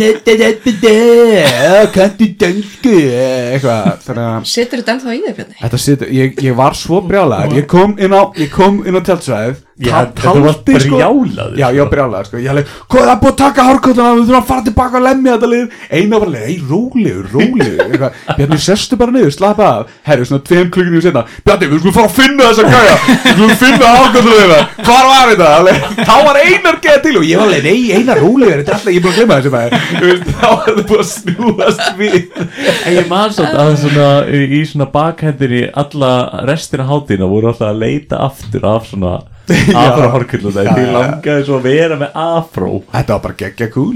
Speaker 4: kanntu eh, dönsku eða eitthvað, þannig að
Speaker 2: Setur þetta ennþá í þér,
Speaker 3: (laughs)
Speaker 2: Bjarni?
Speaker 4: Þetta situr, ég, ég var svo brjálaður Ég kom inn á, ég kom inn á tjaldsvæðið
Speaker 3: Já,
Speaker 4: ta-
Speaker 3: þetta var
Speaker 4: taldi, sko-
Speaker 3: brjálaður,
Speaker 4: Já, ég var
Speaker 3: sko.
Speaker 4: brjálaður sko Ég hafði, hvað er það búið að taka hárkotuna Við þurfum að fara tilbaka og lemja þetta lið Einu var leið, ei, rólegur, rólegur eitthvað. Bjarni, sestu bara niður, slappa af Herri, svona tveim klukkinu setna Bjarni, við skulum fara að finna þessa gæja Við skulum finna hárkotuna þeirra Hvar var þetta? Alveg, Þá var Einar geða til og ég var leið, nei, Einar rólegur Þetta er alltaf, ég er búin að glemma þessu maður Þú veist, Þá var þetta búið að snúast við
Speaker 3: En ég man svolítið að svona í í svona bakhendir í alla restina hátíðina voru alltaf að leita aftur af svona afrahorkulluna
Speaker 4: (laughs) Já,
Speaker 3: því
Speaker 4: já.
Speaker 3: langaði svo að vera með afró
Speaker 4: Þetta var bara geggja kúl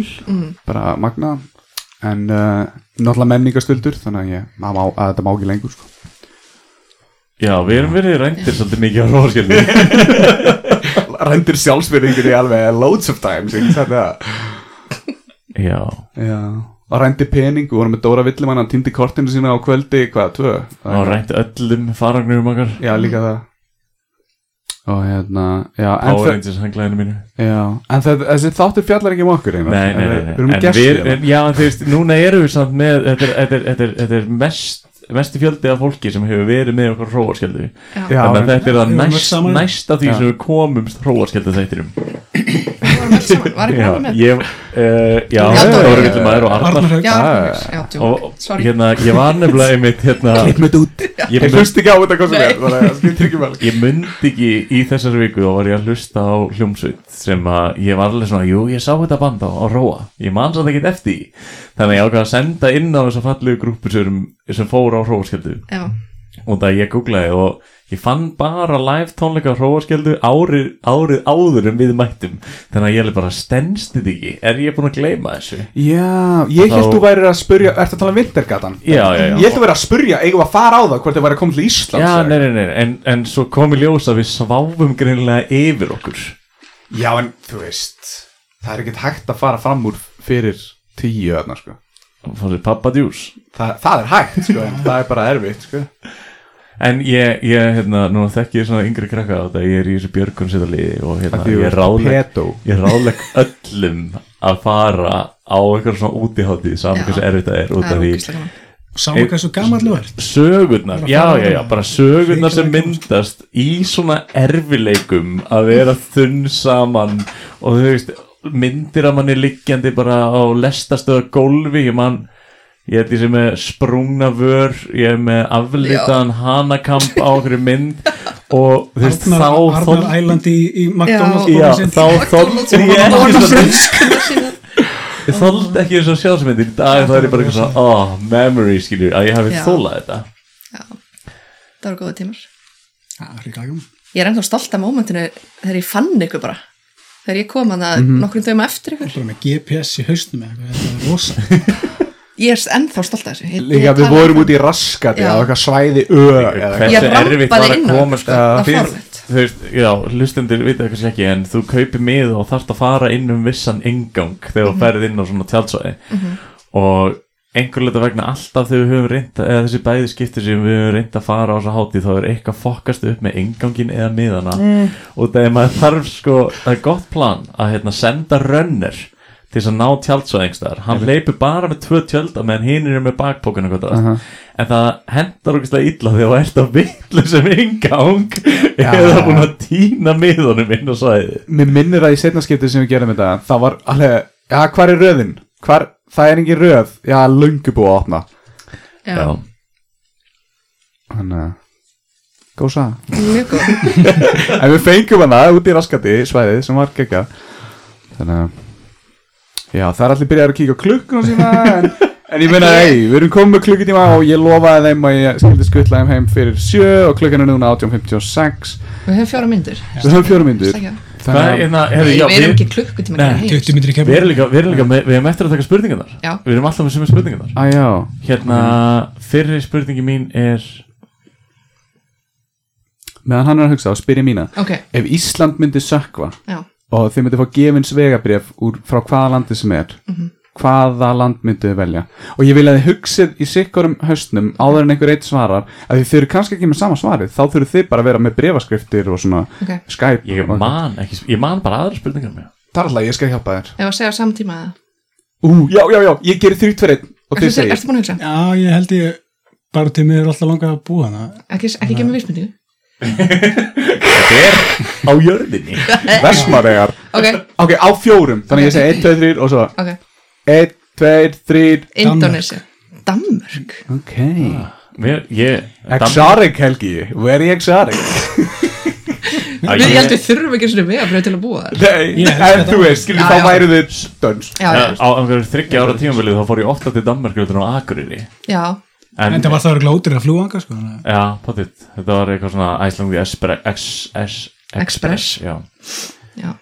Speaker 4: bara magna en uh, náttúrulega menningastöldur þannig að, ég, að, má, að þetta má ekki lengur (laughs) sko.
Speaker 3: Já, við erum verið rændir svolítið mikið á
Speaker 4: (laughs)
Speaker 3: hróskjöldu
Speaker 4: rendir sjálfsbyrðingunni alveg loads of times ekki satt það?
Speaker 3: Já,
Speaker 4: Já. og rendir pening, við vorum með Dóra Villimann hann týndi kortinu sína á kvöldi, hvað, tvö?
Speaker 3: þá rænt öllum faragnurum okkar
Speaker 4: Já, líka það og hérna já, en,
Speaker 3: Power
Speaker 4: þe-
Speaker 3: Rangers hanglæðinu mínu
Speaker 4: já, en þe- þessi þáttur fjallar ekki um okkur einar,
Speaker 3: Nei, nei, nei, nei.
Speaker 4: við erum hérna.
Speaker 3: En
Speaker 4: gestið
Speaker 3: við- en- Já, en þú veist, núna erum við samt með þetta er, þetta er, þetta er, þetta er mest mesti fjöldi af fólki sem hefur verið með okkur hróaskjöldu
Speaker 4: Já,
Speaker 3: þannig að þetta er það
Speaker 5: Við erum öll
Speaker 3: næst,
Speaker 5: saman.
Speaker 3: næsta því
Speaker 4: Já.
Speaker 3: sem við komumst hróaskjöldu þættirum
Speaker 2: Við vorum öll saman, var ekki
Speaker 3: Já,
Speaker 4: hérna.
Speaker 2: hann með?
Speaker 3: ég, uh, já,
Speaker 2: Já, Dóri.
Speaker 3: Dóri Villimæður og
Speaker 5: Arnar
Speaker 3: Arnar
Speaker 5: Haug.
Speaker 2: Já,
Speaker 4: Ah,
Speaker 2: já,
Speaker 3: og
Speaker 2: djú,
Speaker 3: og
Speaker 2: sorry
Speaker 3: hérna, ég var nefnilega einmitt hérna,
Speaker 4: klipp með þetta út
Speaker 3: ég,
Speaker 4: ég
Speaker 3: mun,
Speaker 4: hlusti ekki á þetta hvað sem
Speaker 2: Nei.
Speaker 4: er þannig að skiptir ekki vel
Speaker 3: ég mundi ekki í þessar viku og var ég að hlusta á hljómsveit sem að ég var alveg svona, jú, ég sá þetta band á, á Róa, ég man samt ekkert eftir því. þannig að ég ákvað að senda inn á þessar fallegu grúpur sem, sem fór á Róaskjöldu
Speaker 2: Já,
Speaker 3: og það ég googlaði og ég fann bara live tónleika á hróaskjöldu árið, árið áður en við mættum þannig að ég er bara stendst þetta ekki er ég búin að gleyma þessu
Speaker 4: (laughs) Já, ég
Speaker 3: Þá-
Speaker 4: held þú væri að spurja Ertu að tala um vintergatan?
Speaker 3: Já, já, já.
Speaker 4: Ég held þú væri að spurja, eigum við að fara á það hvort þið væri að koma til Íslands
Speaker 3: Já,
Speaker 4: eða
Speaker 3: nei, nei, nei, en, en svo kom í ljós að við sváfum greinilega yfir okkur
Speaker 4: eitthvað? Já, en þú veist Það er ekkert hægt að fara fram úr fyrir tíu öðna, sko
Speaker 3: og fannst pappa djús
Speaker 4: Þa, Það er hægt, sko, (laughs) en það er bara erfitt, sko
Speaker 3: En ég, ég, hérna, nú þekki ég svona yngri krakka á þetta, ég er í þessu björgunsitaliði og hérna,
Speaker 4: Að því þú
Speaker 3: ég
Speaker 4: ert
Speaker 3: ráðleg
Speaker 4: pedó.
Speaker 3: ég ráðleg öllum að fara á eitthvað svona útiháttið saman
Speaker 2: Já.
Speaker 3: hversu erfitt það er
Speaker 2: það
Speaker 3: út af
Speaker 2: er
Speaker 3: því
Speaker 2: ógæslega gaman
Speaker 5: Sáma hvað svo gammal þú ert
Speaker 3: sögurnar,
Speaker 5: Bara
Speaker 3: já, já,
Speaker 5: fara
Speaker 3: já,
Speaker 5: þarna.
Speaker 3: bara sögurnar sem
Speaker 5: Hrikalega komst.
Speaker 3: myndast í svona erfileikum að vera þunn saman og þú veist, myndir að manni liggjandi bara á lestastöða gólfi, ég man ég held ég sem með sprungna vör ég er með aflitaðan hanakamp á okkur mynd og þú veist,
Speaker 5: Arnar,
Speaker 3: þá
Speaker 5: Arnar
Speaker 3: þoldi-
Speaker 5: Æland í, í
Speaker 2: Já.
Speaker 5: McDonalds
Speaker 3: Já,
Speaker 5: bókin sinn.
Speaker 3: þá þoldi ég ekki svona Ég þoldi ekki þess að sjálfsmyndir í dag þá er ég bara eitthvað svona, oh, memory skilur að ég hafi
Speaker 2: Já.
Speaker 3: þólað þetta
Speaker 2: Það var góða tímar
Speaker 5: Já, það er ekki gaman.
Speaker 2: Ég er ennþá stolt af mómentinu þegar ég fann ykkur bara Þegar ég kom hann að
Speaker 3: Mhm.
Speaker 2: nokkrum dögum eftir ykkur
Speaker 5: Bara með GPS í hausnum eða eitthvað, þetta er rosa
Speaker 2: Ég er ennþá stolt af þessu Ég-
Speaker 4: Líka
Speaker 2: ég
Speaker 4: við
Speaker 2: tala
Speaker 4: vorum
Speaker 2: um
Speaker 4: út í raskati
Speaker 2: Já.
Speaker 4: á eitthvað svæði ö eða
Speaker 2: Ég
Speaker 4: eitthvað.
Speaker 3: hversu
Speaker 2: rampaði
Speaker 3: erfitt var að
Speaker 2: inn á
Speaker 3: koma
Speaker 2: þetta,
Speaker 3: sko.
Speaker 2: sko. Það var
Speaker 3: Fyrir-
Speaker 2: fáránlegt.
Speaker 3: þú veist, já, hlustendur vita kannski ekki en þú kaupir mið og þarft að fara inn um vissan engang þegar þú ferð inn á svona tjálsvæði og einhverleita vegna alltaf þegar við höfum reynda eða þessi bæði skipti sem við höfum reynda að fara á þessa hátíð þá er eitthvað fokkast upp með engangin eða miðana
Speaker 2: Mm.
Speaker 3: og þegar maður þarf sko það er gott plan að hérna, senda runner til þess að ná tjaldsvæðingstar hann leipur bara með tvö tjölda meðan hinn er með bakpókana gott uh
Speaker 4: Aha.
Speaker 3: en það hendar okkur illa þegar þú ert á vitlu sem engang eða búin að týna miðunum inn á svæði
Speaker 4: Mér minnir að í setna skiptið sem við gerum þetta Það var alveg, já, hvar er röðin? Hvar, það er engin röð Já, löngu búið að opna
Speaker 2: Já,
Speaker 3: Já.
Speaker 4: Þannig að, góð saga
Speaker 2: mjög góð
Speaker 3: (laughs)
Speaker 4: En við fengum hana út í raskati svæðið sem var gegja Þannig að Já, það er allir byrjaður að kíka á klukkuna sína en, en ég meina, ei, við erum komið með klukkutíma og ég lofaði þeim að ég skildi skutla þeim heim fyrir sjö og klukkan er núna 18.56
Speaker 2: Við höfum fjóra myndir
Speaker 4: Við höfum fjórum myndur
Speaker 3: Hvað er hérna, herri, já,
Speaker 2: Við erum
Speaker 3: við,
Speaker 2: ekki klukkutíma
Speaker 3: Nei,
Speaker 2: ekki heim.
Speaker 5: 20 myndir í
Speaker 3: við
Speaker 5: kemur
Speaker 3: erum líka, við erum líka með, við erum eftir að taka spurningarnar
Speaker 2: Já.
Speaker 3: við erum alltaf með sem er spurningarnar
Speaker 4: Á já,
Speaker 3: hérna,
Speaker 5: Mhm.
Speaker 3: fyrri spurningi mín er
Speaker 4: meðan hann er að hugsa og spyr ég mína
Speaker 2: Ok,
Speaker 4: Ef Ísland myndi sökva
Speaker 2: já Mhm.
Speaker 4: og þið myndi fá gefins vegabrif úr, frá hvaða landi sem er hvaða land myndu þið velja og ég vil að þið hugsið í sikkurum höstnum áður en einhver eitt svarar að þið þurfi kannski ekki með sama svarið þá þurfi þið bara að vera með brefaskriftir og svona
Speaker 2: Ok.
Speaker 4: Skype
Speaker 3: Ég
Speaker 4: og-
Speaker 3: man, ekki, ég man bara aðra spurningar
Speaker 5: (laughs)
Speaker 3: með
Speaker 4: Tarla, ég skal hjálpa þér
Speaker 2: Ef að segja á samtíma það
Speaker 4: Ú, já, já, já, ég gerir þrjútt fyrir einn og
Speaker 2: Ertu
Speaker 4: þið segir
Speaker 2: ertu búin að hugsa?
Speaker 5: Já, ég held ég bara til mig er alltaf langað að búa hana
Speaker 2: Ekki, ekki gefa mig vísmyndingu
Speaker 3: Hver á jörðinni?
Speaker 2: Eh,
Speaker 4: Vestmaregar
Speaker 2: Ok,
Speaker 4: Ok, á fjórum, þannig ég segi 1, 2, 3 og svo
Speaker 2: ok
Speaker 4: 1, 2, 3
Speaker 2: Indonesia Danmörk
Speaker 4: Ok
Speaker 3: Mér, ég
Speaker 4: Ah, Exotic Helgi, very exotic
Speaker 3: Dam- að
Speaker 2: Við ég held
Speaker 3: ég-
Speaker 2: við þurfum ekki svona vega til að búa þar
Speaker 4: Nei,
Speaker 5: Ég elska
Speaker 4: en þú
Speaker 5: Danmark.
Speaker 4: veist, skilur
Speaker 2: Já,
Speaker 4: þá
Speaker 2: já.
Speaker 4: væru þið stöns
Speaker 2: Já, já,
Speaker 3: Á á einhverju þryggja ára tímabilið þá fór ég ofta til Danmark heldur en á Akureyri
Speaker 2: já
Speaker 5: En það var það að glótir að flúanga sko þannig að-
Speaker 3: Já, potið, þetta var eitthvað svona Æslangi Express
Speaker 2: Express.
Speaker 3: Já,
Speaker 2: Já,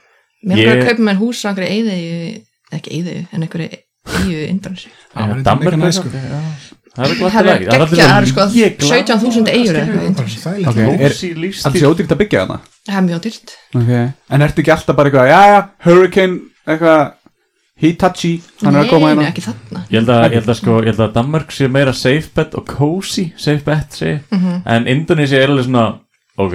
Speaker 2: mér
Speaker 3: Ég-
Speaker 2: er bara að kaupa mér hús á einhverju eyðieyju, ekki eyðiðju, en einhverju eyðiðju Indonesia.
Speaker 5: Það var
Speaker 3: Já,
Speaker 5: reyndar
Speaker 3: Danmörk
Speaker 5: mega
Speaker 3: Eh, er
Speaker 5: næs, sko.
Speaker 3: eitthvað, já. Það er eitthvað
Speaker 2: Það
Speaker 3: alltaf
Speaker 2: eru
Speaker 3: lagi.
Speaker 2: geggja, það eru sko
Speaker 3: mjög glatt.
Speaker 2: 17.000 eyjur eða eitthvað í Indonesia.
Speaker 5: Sælir
Speaker 4: Ok. Er-
Speaker 3: Lósi
Speaker 4: Alls
Speaker 3: lífstíl
Speaker 4: ég ódýrt að byggja þarna
Speaker 2: Það er mjög dyrt.
Speaker 4: Ok En ertu ekki alltaf bara eitthvað, já, já, Hurricane, eitthvað Hitachi, hann er að koma
Speaker 2: Nei,
Speaker 4: hérna
Speaker 2: nei, ekki þarna.
Speaker 3: Ég held, að, ég, held að, sko, ég held að Danmark sé meira safe bet og cozy safe bet sé. En Indonesia er alveg svona Ok,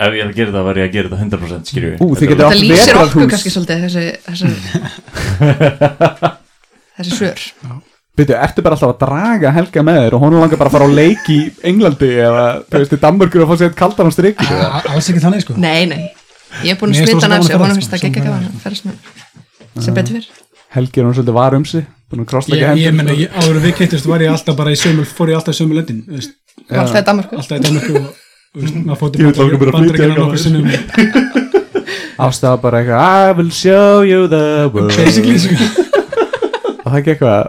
Speaker 3: ef ég er að gera það verð ég að gera það 100% skilju
Speaker 4: Ú, þið getið
Speaker 2: Það
Speaker 4: átt
Speaker 2: lýsir okkur
Speaker 4: vetrarhús
Speaker 2: kannski svolítið þessi, þessi, þessi svör.
Speaker 4: Byrju, ertu bara alltaf að draga Helga með þér og hún langar bara að fara á leik í Englandi eða, þú veist, í Danmörkur og fá sér eitt kaldan á strikki
Speaker 5: A- a- Alls ekki þannig sko
Speaker 2: Nei, nei, ég er búin
Speaker 5: Mér
Speaker 2: að
Speaker 5: finnst
Speaker 2: smita
Speaker 5: rosa
Speaker 2: hann af
Speaker 5: gaman
Speaker 2: sig
Speaker 5: að
Speaker 2: og honum
Speaker 5: ferðast,
Speaker 2: finnst það ekki ekki
Speaker 5: sko, sem
Speaker 2: hann að ferðast með sem betur fyrr.
Speaker 4: Helgi er hún svolítið var um sig búin að
Speaker 5: Ég,
Speaker 4: krossleika
Speaker 5: ég
Speaker 4: hendur
Speaker 5: menna, ég- áður en við kynntist var ég alltaf bara í sömul, fór ég alltaf í sömul löndin, þú veist,
Speaker 2: Og allt það er Danmarku.
Speaker 5: alltaf í Danmarku og, þú veist, maður fótti
Speaker 4: Ég veit langar bara að flytja
Speaker 5: bandaríkina
Speaker 4: eitthvað.
Speaker 5: nokkur sinnum.
Speaker 4: ástæða bara eitthvað I will show you the world
Speaker 5: Basically, sko.
Speaker 4: og það gekk eitthvað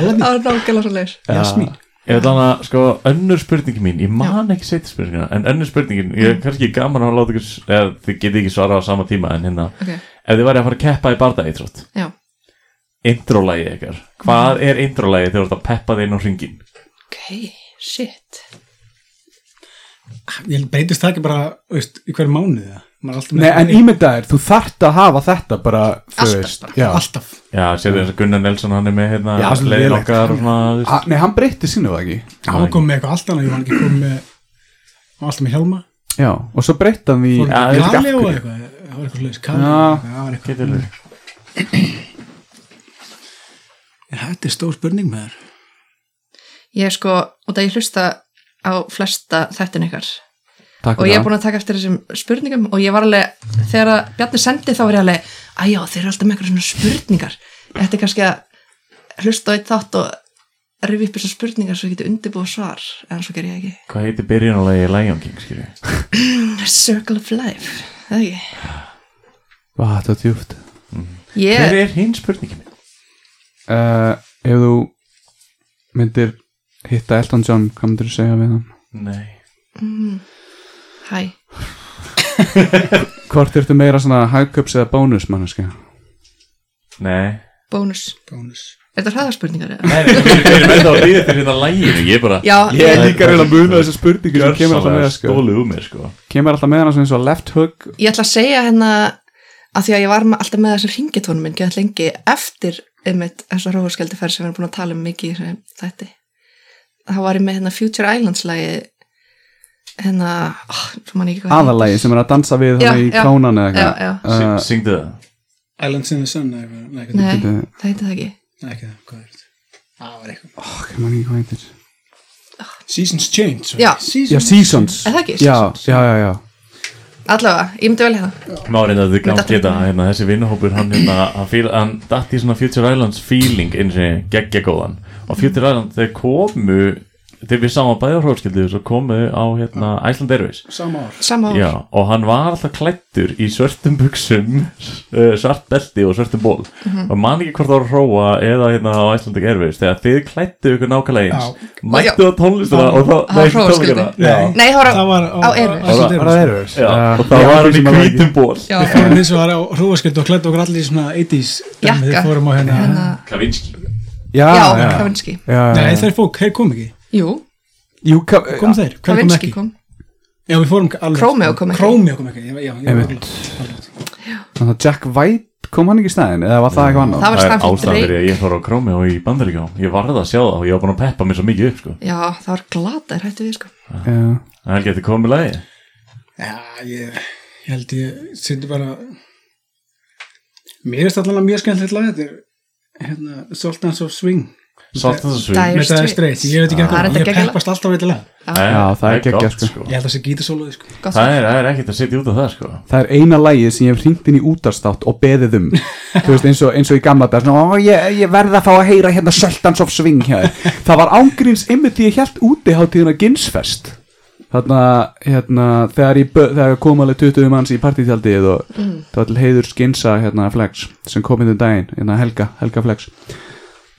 Speaker 2: Það er nákvæmlega svo leiðis.
Speaker 5: Jasmín.
Speaker 3: Ég ætla hann að, sko, önnur spurningin mín Ég man ekki setja spurningina En önnur spurningin, ég er kannski gaman að láta ykkur eða Þið getið ekki svarað á sama tíma en hérna
Speaker 2: Ok,
Speaker 3: Ef þið væri að fara að keppa í barda eitrótt
Speaker 2: já.
Speaker 3: Intro-lægið ykkar Hvað er intro-lægið þegar þú ert að peppa þið inn á hringin?
Speaker 2: Ok, shit.
Speaker 5: Ég breytist það ekki bara, þú veist, í hverju mánuði það. Maður er alltaf
Speaker 4: Nei, en ímyndaðir, þú þart að hafa þetta bara, þú
Speaker 2: Alltaf
Speaker 4: veist
Speaker 2: bara.
Speaker 4: já.
Speaker 5: alltaf.
Speaker 3: Já, sér þess að Gunnar Nelson hann er með hérna
Speaker 4: Já, svolítið
Speaker 3: leiðin
Speaker 4: lélegt.
Speaker 3: okkar og svona þú veist.
Speaker 4: Ha- Nei, hann breytti sínu það ekki
Speaker 5: Hann var komið með eitthvað allt annað, ég var ekki komið með, hann var alltaf með hjálma.
Speaker 4: Já, og svo breytti hann því
Speaker 5: Fór
Speaker 3: Já,
Speaker 5: hann
Speaker 3: ég veit
Speaker 5: í
Speaker 3: ekki af
Speaker 5: Kali og
Speaker 3: hverju.
Speaker 5: eitthvað, það var eitthvað slags, Kali
Speaker 4: Já.
Speaker 5: og eitthvað, það var eitthvað.
Speaker 3: Getur verið.
Speaker 5: En Þetta er stór spurning með þér.
Speaker 2: Ég er sko, og það ég hlusta á flesta þættin ykkar.
Speaker 4: Takk
Speaker 2: og
Speaker 4: fyrir
Speaker 2: ég er
Speaker 4: það.
Speaker 2: búin að taka eftir þessum spurningum og ég var alveg, þegar að Bjarni sendi þá var ég alveg, að já, þeir eru alltaf með eitthvað svona spurningar, þetta er kannski að hlusta á eitt þátt og rifi upp þessar spurningar svo ég geti undirbúið svar en svo ger ég ekki
Speaker 3: Hvað heitir byrjunarlagi í Lion King, skilju?
Speaker 2: Circle of Life, það ekki
Speaker 4: Vá, þetta er djúft
Speaker 3: Hver
Speaker 2: ég,
Speaker 3: er hinn spurningin?
Speaker 4: uh, Ef þú myndir hitta Elton John, hvað myndir þú segja við hann?
Speaker 3: Nei
Speaker 2: hæ,
Speaker 4: Hvort ertu meira svona hagköps eða bónus, manneska?
Speaker 3: Nei
Speaker 2: bónus
Speaker 5: Bónus.
Speaker 2: er þetta hraðarspurningar eða?
Speaker 3: Nei, nei, við erum ennþá að ríða fyrir hérna læginu Ég bara
Speaker 2: já,
Speaker 4: Ég er
Speaker 2: ég,
Speaker 4: líka reyna að muna þessa spurningu sem kemur alltaf
Speaker 3: Gjörsamlega
Speaker 4: með það, sko
Speaker 3: stólið um mér, sko
Speaker 4: Kemur alltaf með hana svona eins og left hook
Speaker 2: ég ætla að segja hérna að því að ég var með- alltaf með þessum ringitónum minn gett lengi eftir einmitt þessar rófuskeldiferð sem við erum búin að tala um mikið í þessum þætti þá var ég með hérna Future Islands lagi hérna oh,
Speaker 4: aðalagi sem er að dansa við
Speaker 2: Já,
Speaker 4: hann í
Speaker 2: já.
Speaker 4: krónan
Speaker 2: já,
Speaker 4: eða
Speaker 2: já,
Speaker 4: eitthvað Eh,
Speaker 3: Syng- Syngdu það
Speaker 5: Islands in the Sun, eða eitthvað, nei,
Speaker 2: nei,
Speaker 5: eitthvað,
Speaker 4: byrju.
Speaker 2: það heiti það ekki
Speaker 5: nei, ekki það, hvað er þetta? Það var eitthvað.
Speaker 4: Uh, ok, man ekki hvað heitir
Speaker 5: Seasons Change. sorry.
Speaker 2: Já.
Speaker 5: Seasons.
Speaker 4: Já, Seasons
Speaker 2: Er það ekki
Speaker 4: Já, já, já, já
Speaker 2: allavega, ég myndi vel hérna
Speaker 3: Má reynda að þið
Speaker 2: Mér
Speaker 3: gátt
Speaker 2: datt ekki
Speaker 3: geta
Speaker 2: það.
Speaker 3: hérna, Þessi vinahópur, hann hérna Hann, fíl- hann datt í svona Future Islands feeling eins og geggja góðan Og Future Islands, þeir komu Þegar við sáum að bæða hróskildu Svo komu á hérna Iceland Airways
Speaker 5: Sama ár.
Speaker 2: sama ár,
Speaker 3: Já, og hann var alltaf klættur í svörtum buksum, uh, svart belti og svörtum ból og man ekki hvort það var að hróa eða hérna á Icelandic Airways þegar þið klættu ykkur nákvæmlega eins
Speaker 5: Já.
Speaker 3: mættu á tónlistina og þá
Speaker 2: það var hrófuskildi
Speaker 3: tónlistina. Já.
Speaker 2: nei, það var á,
Speaker 5: Það var
Speaker 2: á Airways
Speaker 5: Iceland
Speaker 4: Var það erfurs?
Speaker 3: Já, og þá var hann í hvítum ból
Speaker 2: já,
Speaker 5: Við fórum eins og var á hrófaskjöld og klættu okkur allir í svona 80s dæmi. Við
Speaker 2: Jakka.
Speaker 5: fórum á hérna
Speaker 2: hérna,
Speaker 3: Kavinski
Speaker 4: Já,
Speaker 3: Ah,
Speaker 2: já,
Speaker 4: já
Speaker 2: Kavinski
Speaker 4: Já,
Speaker 5: Nei,
Speaker 4: já
Speaker 5: þeir fók, þeir kom ekki
Speaker 2: jú,
Speaker 4: Jú, ka-
Speaker 5: Kom þeir, hver kom
Speaker 2: Kavinski
Speaker 5: ekki?
Speaker 2: kom
Speaker 5: Já, við fórum alveg sko.
Speaker 2: Chromeo kom ekki.
Speaker 5: Chromeo kom ekki, já, já, já
Speaker 4: Einmitt.
Speaker 5: alveg.
Speaker 4: Þannig að Jack White kom hann ekki í staðin eða var það eitthvað annað
Speaker 2: Það var
Speaker 3: er
Speaker 2: Stanford
Speaker 3: ástæðan fyrir
Speaker 2: Drake.
Speaker 3: að ég fór á Krómi og í Bandaríkjá Ég varð að sjá það og ég var búin að peppa mér svo mikið upp sko.
Speaker 2: Já, það var glata, er hættu við sko
Speaker 4: Já.
Speaker 3: Það er getið komið lagi
Speaker 5: Já, ég, ég held ég sýndi bara mér er allan mjög skemmtilegt lag þetta er hérna, Sultans of Swing
Speaker 3: Salt and Sweet
Speaker 2: Dire
Speaker 5: með það er
Speaker 2: Straits.
Speaker 5: streitt, ég veit ekki
Speaker 2: Það Ah, er
Speaker 5: hvað
Speaker 2: þetta
Speaker 5: ég
Speaker 2: geggjala-
Speaker 5: peppast alltaf veit lag
Speaker 3: Nei,
Speaker 4: Já, það er geggjað,
Speaker 3: gott,
Speaker 4: sko.
Speaker 5: ég held að það sé gítasóluði sko
Speaker 2: Gott
Speaker 3: Það er, það er ekkert að setja út af það sko.
Speaker 4: Það er eina lægið sem ég hef hringt inn í útarstátt og beðið um Þú veist, eins og, eins og í gamla dag svona, "Ó, ég, ég verð að fá að heyra hérna Sultans of Swing hjá þér Það var ángríns einmitt því ég held úti hátíðuna Ginsfest Þarna, hérna, þegar, ég, bö- þegar kom alveg 20 manns í partítjaldið og það var til heiður skinsa hérna Flex sem kom inn um daginn, hérna Helga, Helga Flex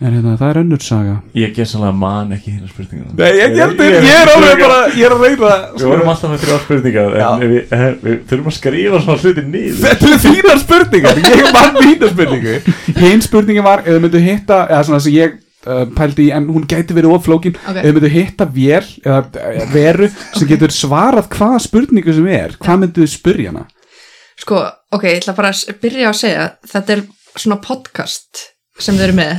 Speaker 4: En hérna, það er önnur saga
Speaker 3: Ég ger sannlega man ekki hérna spurninguna
Speaker 4: Nei, ég, ég, ég, ég er alveg bara, ég er að reyna
Speaker 3: Við vorum alltaf með þrjá spurningar en við, eh, við þurfum að skrifa svona hluti nýður
Speaker 4: Þetta eru þínar spurningar, ég var mína spurningu Hinn spurningin var, ef þau myndu hitta eða svona sem ég uh, pældi í en hún gæti verið oflókin,
Speaker 2: Ok.
Speaker 4: ef þau myndu hitta vél, eða eh, veru sem getur svarað hvaða spurningu sem er hvað myndu þau spurja hana?
Speaker 2: Sko, ok, ég ætla bara að s- byrja að segja þetta er svona podcast sem þau eru með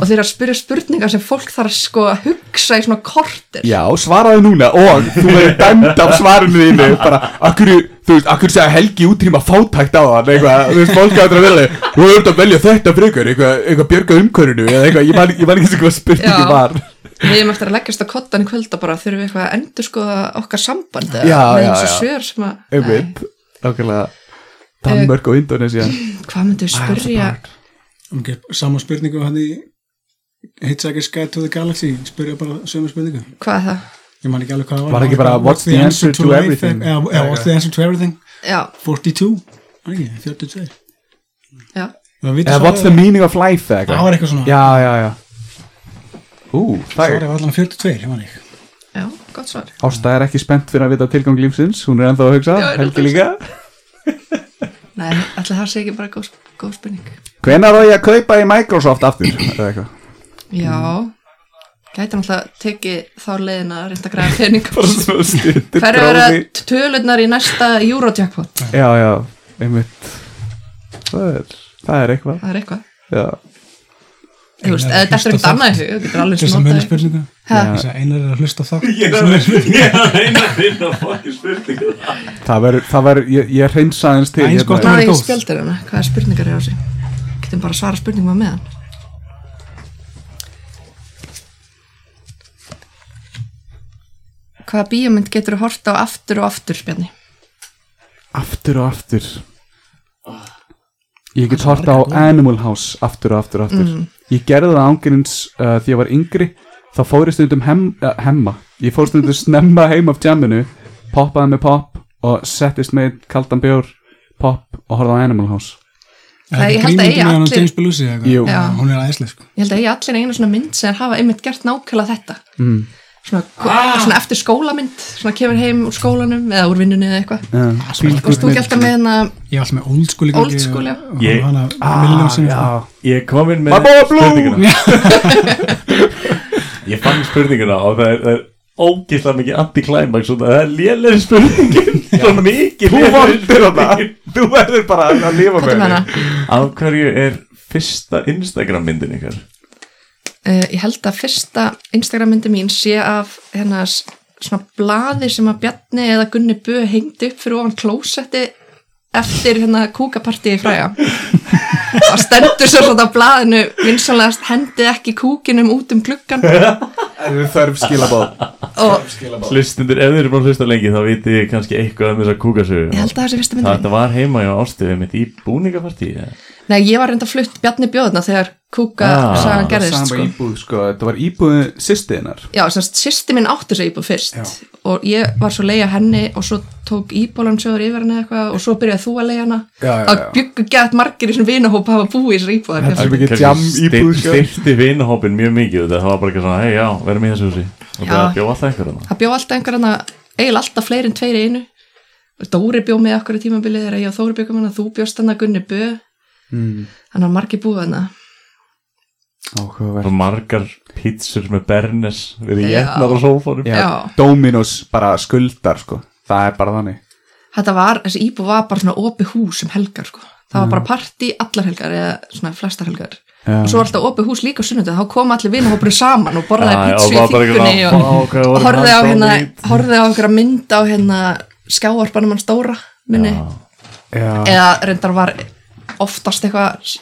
Speaker 2: og þeir eru að spyrja spurningar sem fólk þarf að sko að hugsa í svona kortir
Speaker 4: Já, svaraði núna og þú verður dæmd af svarinu þínu bara, akkur, þú veist, akkur segja Helgi útrýma fátækt á hann, eitthvað þú veist, fólk að það vilja, þú verður að velja þetta frekar, eitthvað, eitthvað björga umkörinu eða eitthvað, ég man, ég man ekki sem hvað
Speaker 2: Já.
Speaker 4: spurningi var
Speaker 2: Við erum eftir að leggjast á kottan í kvöld og bara þurfum við eitthvað að endur sko okkar sambandi
Speaker 4: Já,
Speaker 2: með
Speaker 4: já,
Speaker 2: eins og
Speaker 4: já.
Speaker 2: svör sem að
Speaker 4: Einmitt, okkarlega Danmörk og Indonesia
Speaker 2: Nei, Hvað myndu spyrja
Speaker 5: okay, saman spurningu hann í Hitchhiker's Guide to the Galaxy spurja bara sömu spurningu
Speaker 2: hvað er það?
Speaker 5: ég man ekki alveg hvað það
Speaker 4: Var ekki bara,
Speaker 5: Eitthvað,
Speaker 4: what's the answer to
Speaker 5: life?
Speaker 4: everything?
Speaker 5: Já, já, what's the answer to everything
Speaker 2: Já,
Speaker 5: 42 var ekki, 42
Speaker 2: já
Speaker 5: Það vita
Speaker 4: Eða what's the
Speaker 5: svarið-
Speaker 4: meaning of life eða
Speaker 5: Það var
Speaker 4: eitthvað
Speaker 5: eitthvað svona
Speaker 4: Já, já, já Ú, það
Speaker 5: Svarið
Speaker 4: er
Speaker 5: var allan 42, ég man ekki
Speaker 2: Já, gott svar
Speaker 4: Ásta er ekki spennt fyrir að vita tilgang lífsins Hún er ennþá að hugsa,
Speaker 2: Já, ég er
Speaker 4: Helgi
Speaker 2: að
Speaker 4: líka
Speaker 2: Nei, ætli það sé ekki bara góð, góð spurning
Speaker 4: Hvenær á ég að kaupa í Microsoft aftur? Eða (laughs) eitthvað
Speaker 2: Já Gæti náttúrulega tekið þá leiðina að reynda að græða pening
Speaker 4: (laughs) Svona stuttur
Speaker 2: Hverju vera
Speaker 4: prófi.
Speaker 2: tölurnar í næsta Eurojackpot?
Speaker 4: Já, já, einmitt Það er, það er eitthvað
Speaker 2: Það er eitthvað
Speaker 4: Já,
Speaker 2: Þú veist, ef þetta er ekkert annað í hug, þú getur alveg
Speaker 5: Fyrst að muni
Speaker 2: smátað
Speaker 5: spurningu
Speaker 2: Ha?
Speaker 5: Ég sagði, Einar er að hlusta þátt
Speaker 3: Ég er að reyna að finna fokkin spurningar
Speaker 4: það verður, það verður, ég, ég reynsa aðeins til
Speaker 5: Það er eins gott
Speaker 4: hérna.
Speaker 5: að-
Speaker 2: Náði ég
Speaker 5: góð.
Speaker 2: spjaldir hana, hvaða spurningar er á sig Getum bara að svara spurningum á meðan Hvaða bíómynd getur þú hort á aftur og aftur, Bjarni?
Speaker 4: aftur og aftur
Speaker 2: Ah.
Speaker 4: ég get hort á Animal House aftur og aftur og aftur
Speaker 2: Mm.
Speaker 4: ég gerði það ángurins uh, því ég var yngri þá fór ég stundum hem, uh, hemma ég fór stundum snemma heim af jamminu poppaði með pop og settist með kaldan bjór pop og horfði á Animal House
Speaker 2: Það- ég held að eigi
Speaker 5: allir
Speaker 2: allir-
Speaker 5: hérna James Belushi eða
Speaker 4: Jú.
Speaker 5: eitthvað
Speaker 2: Já.
Speaker 5: Hún er aðeinslega sko
Speaker 2: Ég held að ég allir einu svona mynd sem hafa einmitt gert nákvæmlega þetta mm. svona, ah. svona eftir skólamynd svona kemur heim úr skólanum eða úr vinnunni eða eitthvað
Speaker 4: uh,
Speaker 2: Þú veist, þú ekki alltaf með hérna
Speaker 5: Ég er alltaf með old school í gangi
Speaker 2: Old school, já.
Speaker 5: og-
Speaker 3: Ég-
Speaker 5: og Hana, sko. Million sem
Speaker 4: Ah, já,
Speaker 3: Ég kom inn
Speaker 4: My
Speaker 3: með
Speaker 4: boy blue!
Speaker 3: (laughs) Ég fann spurninguna og það er, það er ógeðslega mikið anti-climax og það er lélegri (laughs) spurningin Svo mikið
Speaker 4: þú
Speaker 3: lélegri
Speaker 4: vandir þetta þú verður bara að
Speaker 2: Hvað
Speaker 4: lifa
Speaker 2: er
Speaker 4: með
Speaker 2: með hana?
Speaker 4: henni.
Speaker 3: Af hverju er fyrsta Instagram myndin ykkar?
Speaker 2: Uh, ég held að fyrsta Instagram myndi mín sé af hérna s- svona blaði sem að Bjarni eða Gunni Bö hengdi upp fyrir ofan klósetti eftir hérna kúkapartíi fræja það stendur svo svona á blaðinu vinsanlegast hendið ekki kúkinum út um gluggan
Speaker 4: það er þörf skilabóð
Speaker 2: og
Speaker 3: Hlustundur, ef þið eru búin að hlusta lengi þá viti ég kannski eitthvað um þessa kúkasögu
Speaker 2: ég held að það sé fyrsta myndi mín
Speaker 3: Þetta var heima hjá ástöðu mitt í búningapartíð
Speaker 2: Nei, ég var reynda flutt Bjarni bjóðna þegar kúka
Speaker 3: Ah.
Speaker 2: sagan gerðist
Speaker 4: sama
Speaker 2: sko.
Speaker 4: íbúð sko, þetta var íbúð sýstiðinar
Speaker 2: Já, semst, sýsti minn átti sér íbúð fyrst og ég var svo leiða henni og svo tók íbúlan sögur yfir henni eitthvað og svo byrjaði þú að leiða hana
Speaker 4: Já, já,
Speaker 2: Það
Speaker 4: já.
Speaker 2: byggu gett margir í svona vinahóp hafa búið í þessar íbúðar
Speaker 4: Þetta er
Speaker 2: Bjarni.
Speaker 4: mikið jam íbúð, sko.
Speaker 3: Styrti vinahópin mjög mikið þetta. Það var bara ekki svona, hei já, verðum í þessu húsi Og
Speaker 2: Já.
Speaker 3: það bjó alltaf einhver hana
Speaker 2: Það bjó alltaf einhver hana, eiginlega alltaf fleiri en tveir í einu Dóri bjó með okkur í tímabilið þegar ég og Þóri byggum hana, þú bjóst hana Gunni Bö
Speaker 4: mm.
Speaker 2: Þannig að margir búið hana
Speaker 4: áhugaverð
Speaker 3: Svo margar pizzur með bernes Verið
Speaker 2: Já.
Speaker 3: jætnar á sófónum
Speaker 4: já,
Speaker 2: Já.
Speaker 4: Dominos bara skuldar sko. það er bara þannig
Speaker 2: Þetta var, þessi íbúð var bara svona opi hús um helgar sko það var bara partí allar helgar eða svona flestar helgar
Speaker 4: Já.
Speaker 2: og svo var alltaf opið hús líka á sunnudöð þá kom allir vinahópurinn saman og borðaði
Speaker 3: Já, já,
Speaker 2: pítsu í
Speaker 3: var bara eitthvað,
Speaker 2: þýkunni og,
Speaker 3: vá, hvað
Speaker 2: og
Speaker 3: voru
Speaker 2: horfði á
Speaker 3: hann
Speaker 2: hérna
Speaker 3: dálit.
Speaker 2: horfði á einhverja mynd á hérna skjáarpanum hann stóra minni
Speaker 4: Já,
Speaker 2: eða reyndar var oftast eitthvað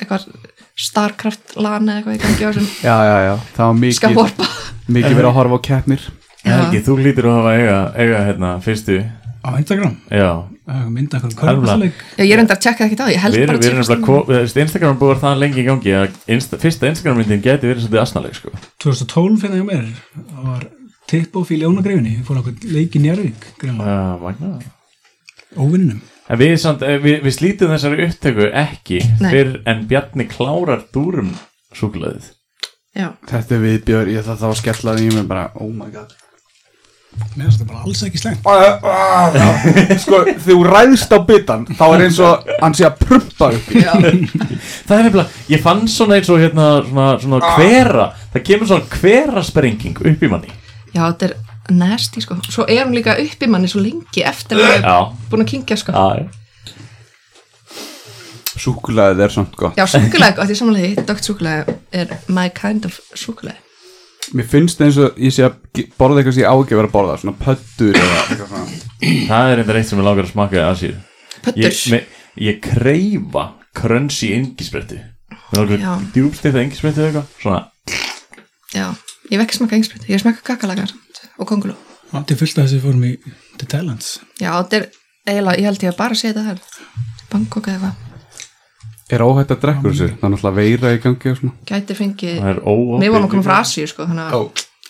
Speaker 2: eitthvað Starcraft lan eða eitthvað í gangi á þessum
Speaker 4: já, já, já. Það var mikið,
Speaker 2: skjáarpa
Speaker 4: mikið verið að horfa á keppnir
Speaker 3: Helgi, þú lítur að hafa eiga, eiga hérna, fyrstu
Speaker 5: á Instagram
Speaker 3: Já,
Speaker 5: að mynda eitthvað
Speaker 3: Karla.
Speaker 5: körfuboltaleik.
Speaker 2: Já, ég reyndar að tjekka ekkert á því, ég held
Speaker 3: við erum,
Speaker 2: bara
Speaker 3: við erum
Speaker 2: að
Speaker 3: nefnilega ko- þú veist, Instagram er búið að vera það lengi í gangi að insta, fyrsta Instagram myndin gæti verið svolítið asnaleg sko.
Speaker 5: 2012 finna ég hérna mér það var tipp-off í Ljónagreifinni við fórum okkur leik í Njárvík greinlega.
Speaker 3: uh, magnað.
Speaker 5: óvinnum
Speaker 3: En við, samt, eh, við, við slítum þessari upptöku ekki
Speaker 2: Nei.
Speaker 3: fyrr en Bjarni klárar dúrum súklaðið
Speaker 2: Já,
Speaker 4: Þetta er viðbjör, ég það þá skellaði ég mér bara Oh my god
Speaker 5: mér finnst þetta bara alls ekki slengt
Speaker 4: Sko, þú ræðst á bitan Þá er eins og hann sé að prumpa upp í.
Speaker 2: já,
Speaker 3: Það er nefnilega, ég fann svona eins og hérna svona, svona hvera, það kemur svona hvera sprenging upp í manni
Speaker 2: já, þetta er nasty sko Svo er hún líka upp í manni svo lengi eftir að við
Speaker 3: Já,
Speaker 2: erum búin að kingja sko
Speaker 3: já, já.
Speaker 4: Súkkulaðið er samt gott
Speaker 2: Já, súkulega, þetta er samanlega, dögt súkulega er my kind of súkulega
Speaker 4: Mér finnst eins og ég sé að ge- borða eitthvað sem ég á ekki að vera að borða Svona pöttur eða eitthvað svona
Speaker 3: það er eitthvað eitt sem ég langar að smaka að sér Ég,
Speaker 2: Pöttur,
Speaker 3: me- ég kreifa krönsi engisbrettu
Speaker 2: Já.
Speaker 3: Það er okkur djúbstifta engisbrettu eða eitthvað Svona,
Speaker 2: já, ég vekk smaka einsprit, ég smaka kakalagar samt og kongulú
Speaker 5: það er fullt af þessu við fórum í til Thailands
Speaker 2: Já, þetta er eiginlega, ég held ég að bara segja þetta þar Bangkok eða eitthvað,
Speaker 4: Er óhætt að drekka úr þessu? Það er náttúrulega veira í gangi og svona
Speaker 2: gæti fengið
Speaker 3: það er óopið
Speaker 2: Mér vorum að koma frá Asíu sko, þannig að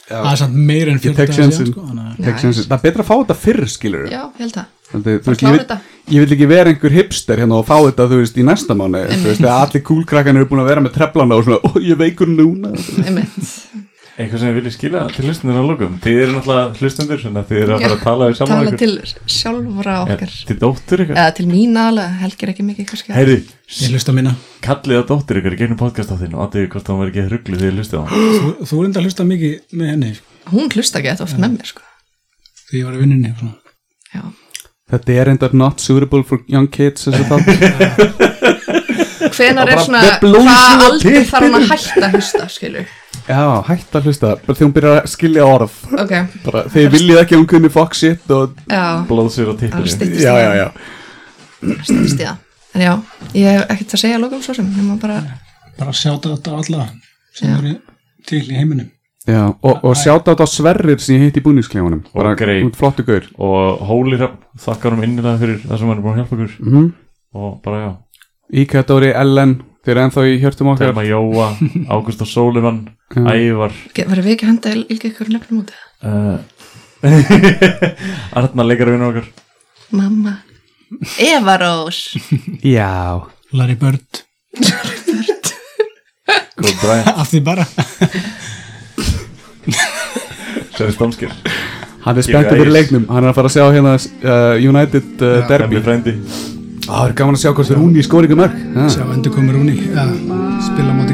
Speaker 5: það er samt meira en 40
Speaker 4: tek
Speaker 5: dagar síðan,
Speaker 4: sénsinn.
Speaker 5: sko, þannig að-
Speaker 4: Tek sem sé- Það er betra að fá þetta fyrr skilur
Speaker 2: Já, ég held það
Speaker 4: Þannig, þú
Speaker 2: Bara
Speaker 4: veist, ég,
Speaker 2: klára
Speaker 4: vil,
Speaker 2: þetta.
Speaker 4: ég vil ekki vera einhver hipster hérna og fá þetta, þú veist, í næsta mánu þú veist, þegar allir kúlkrakkan eru búin að vera með treflana og svona, ó, ég er veikur núna
Speaker 2: Einmitt.
Speaker 3: (laughs) Eitthvað sem ég vilja skila til hlustundur að lókum Þið eru náttúrulega hlustundur, svona þið eru að fara að tala við saman
Speaker 2: Tala til sjálfra okkar
Speaker 3: Til dóttur ykkar
Speaker 2: eða til mín aðlega, helgir ekki mikið kannski
Speaker 3: Heyrðu,
Speaker 5: ég hlusta minna
Speaker 3: kallið að dóttur ykkar í gegnum podcast á þinn og aðeins hvort það var ekki rugglu þegar hlustið á hann
Speaker 5: þú, þú reyndar að hlusta mikið með henni sko,
Speaker 2: hún hlusta ekki þetta oft með mér sko.
Speaker 5: þegar ég var í vinnunni og svona.
Speaker 2: já,
Speaker 4: Þetta er endar not suitable for young kids þessu (laughs) þátt
Speaker 2: hvenar er
Speaker 4: bara-
Speaker 2: svona
Speaker 4: með blóðsuga
Speaker 2: hvað aldur
Speaker 4: tippinu.
Speaker 2: þarf hún að hætta að hlusta skilur,
Speaker 4: Já, hætt að hlusta, bara þegar hún byrjar að skilja orð
Speaker 2: ok
Speaker 4: bara, þegar viljið ekki að hún kunni fuck shit og,
Speaker 2: já,
Speaker 3: Blóðsir á
Speaker 2: það
Speaker 3: tippinu
Speaker 2: styttist í
Speaker 4: já, já,
Speaker 2: það
Speaker 4: já
Speaker 2: styttist í það en já, ég hef ekkert að segja lókum svo sem nema bara,
Speaker 5: bara að sjáta þetta á alla sem
Speaker 2: Já.
Speaker 5: eru til í heiminum
Speaker 4: Já, og, og sjáta á sverrir sem ég hitt í búningskleifunum bara
Speaker 3: greip.
Speaker 4: út flottu gaur
Speaker 3: og Hóli Rapp þakkar um innilega fyrir það sem hann er búin að hjálpa okkur
Speaker 4: Mhm.
Speaker 3: og bara já,
Speaker 4: Íka Dóri, Ellen, þeir eru ennþá í hjörtum okkar
Speaker 3: Telma Jóa Ágúst og Sólivan, Ævar
Speaker 2: verður við ekki að henda il- ilgi ykkur nefnum út eða?
Speaker 3: (laughs) uh, Arna leikarvinu okkar
Speaker 2: mamma Eva Rós
Speaker 4: Já,
Speaker 5: Larry Bird
Speaker 3: Góð Brian,
Speaker 5: af því bara
Speaker 3: Sverri Stamskir
Speaker 4: hann er spennt fyrir leiknum hann er að fara að sjá hérna uh, United uh, derby
Speaker 3: Hemmi Frændi
Speaker 4: Ah, Á, Það er gaman að sjá hvort þeir hún í skóringum mörg
Speaker 5: sjá endur komur hún í að spila á móti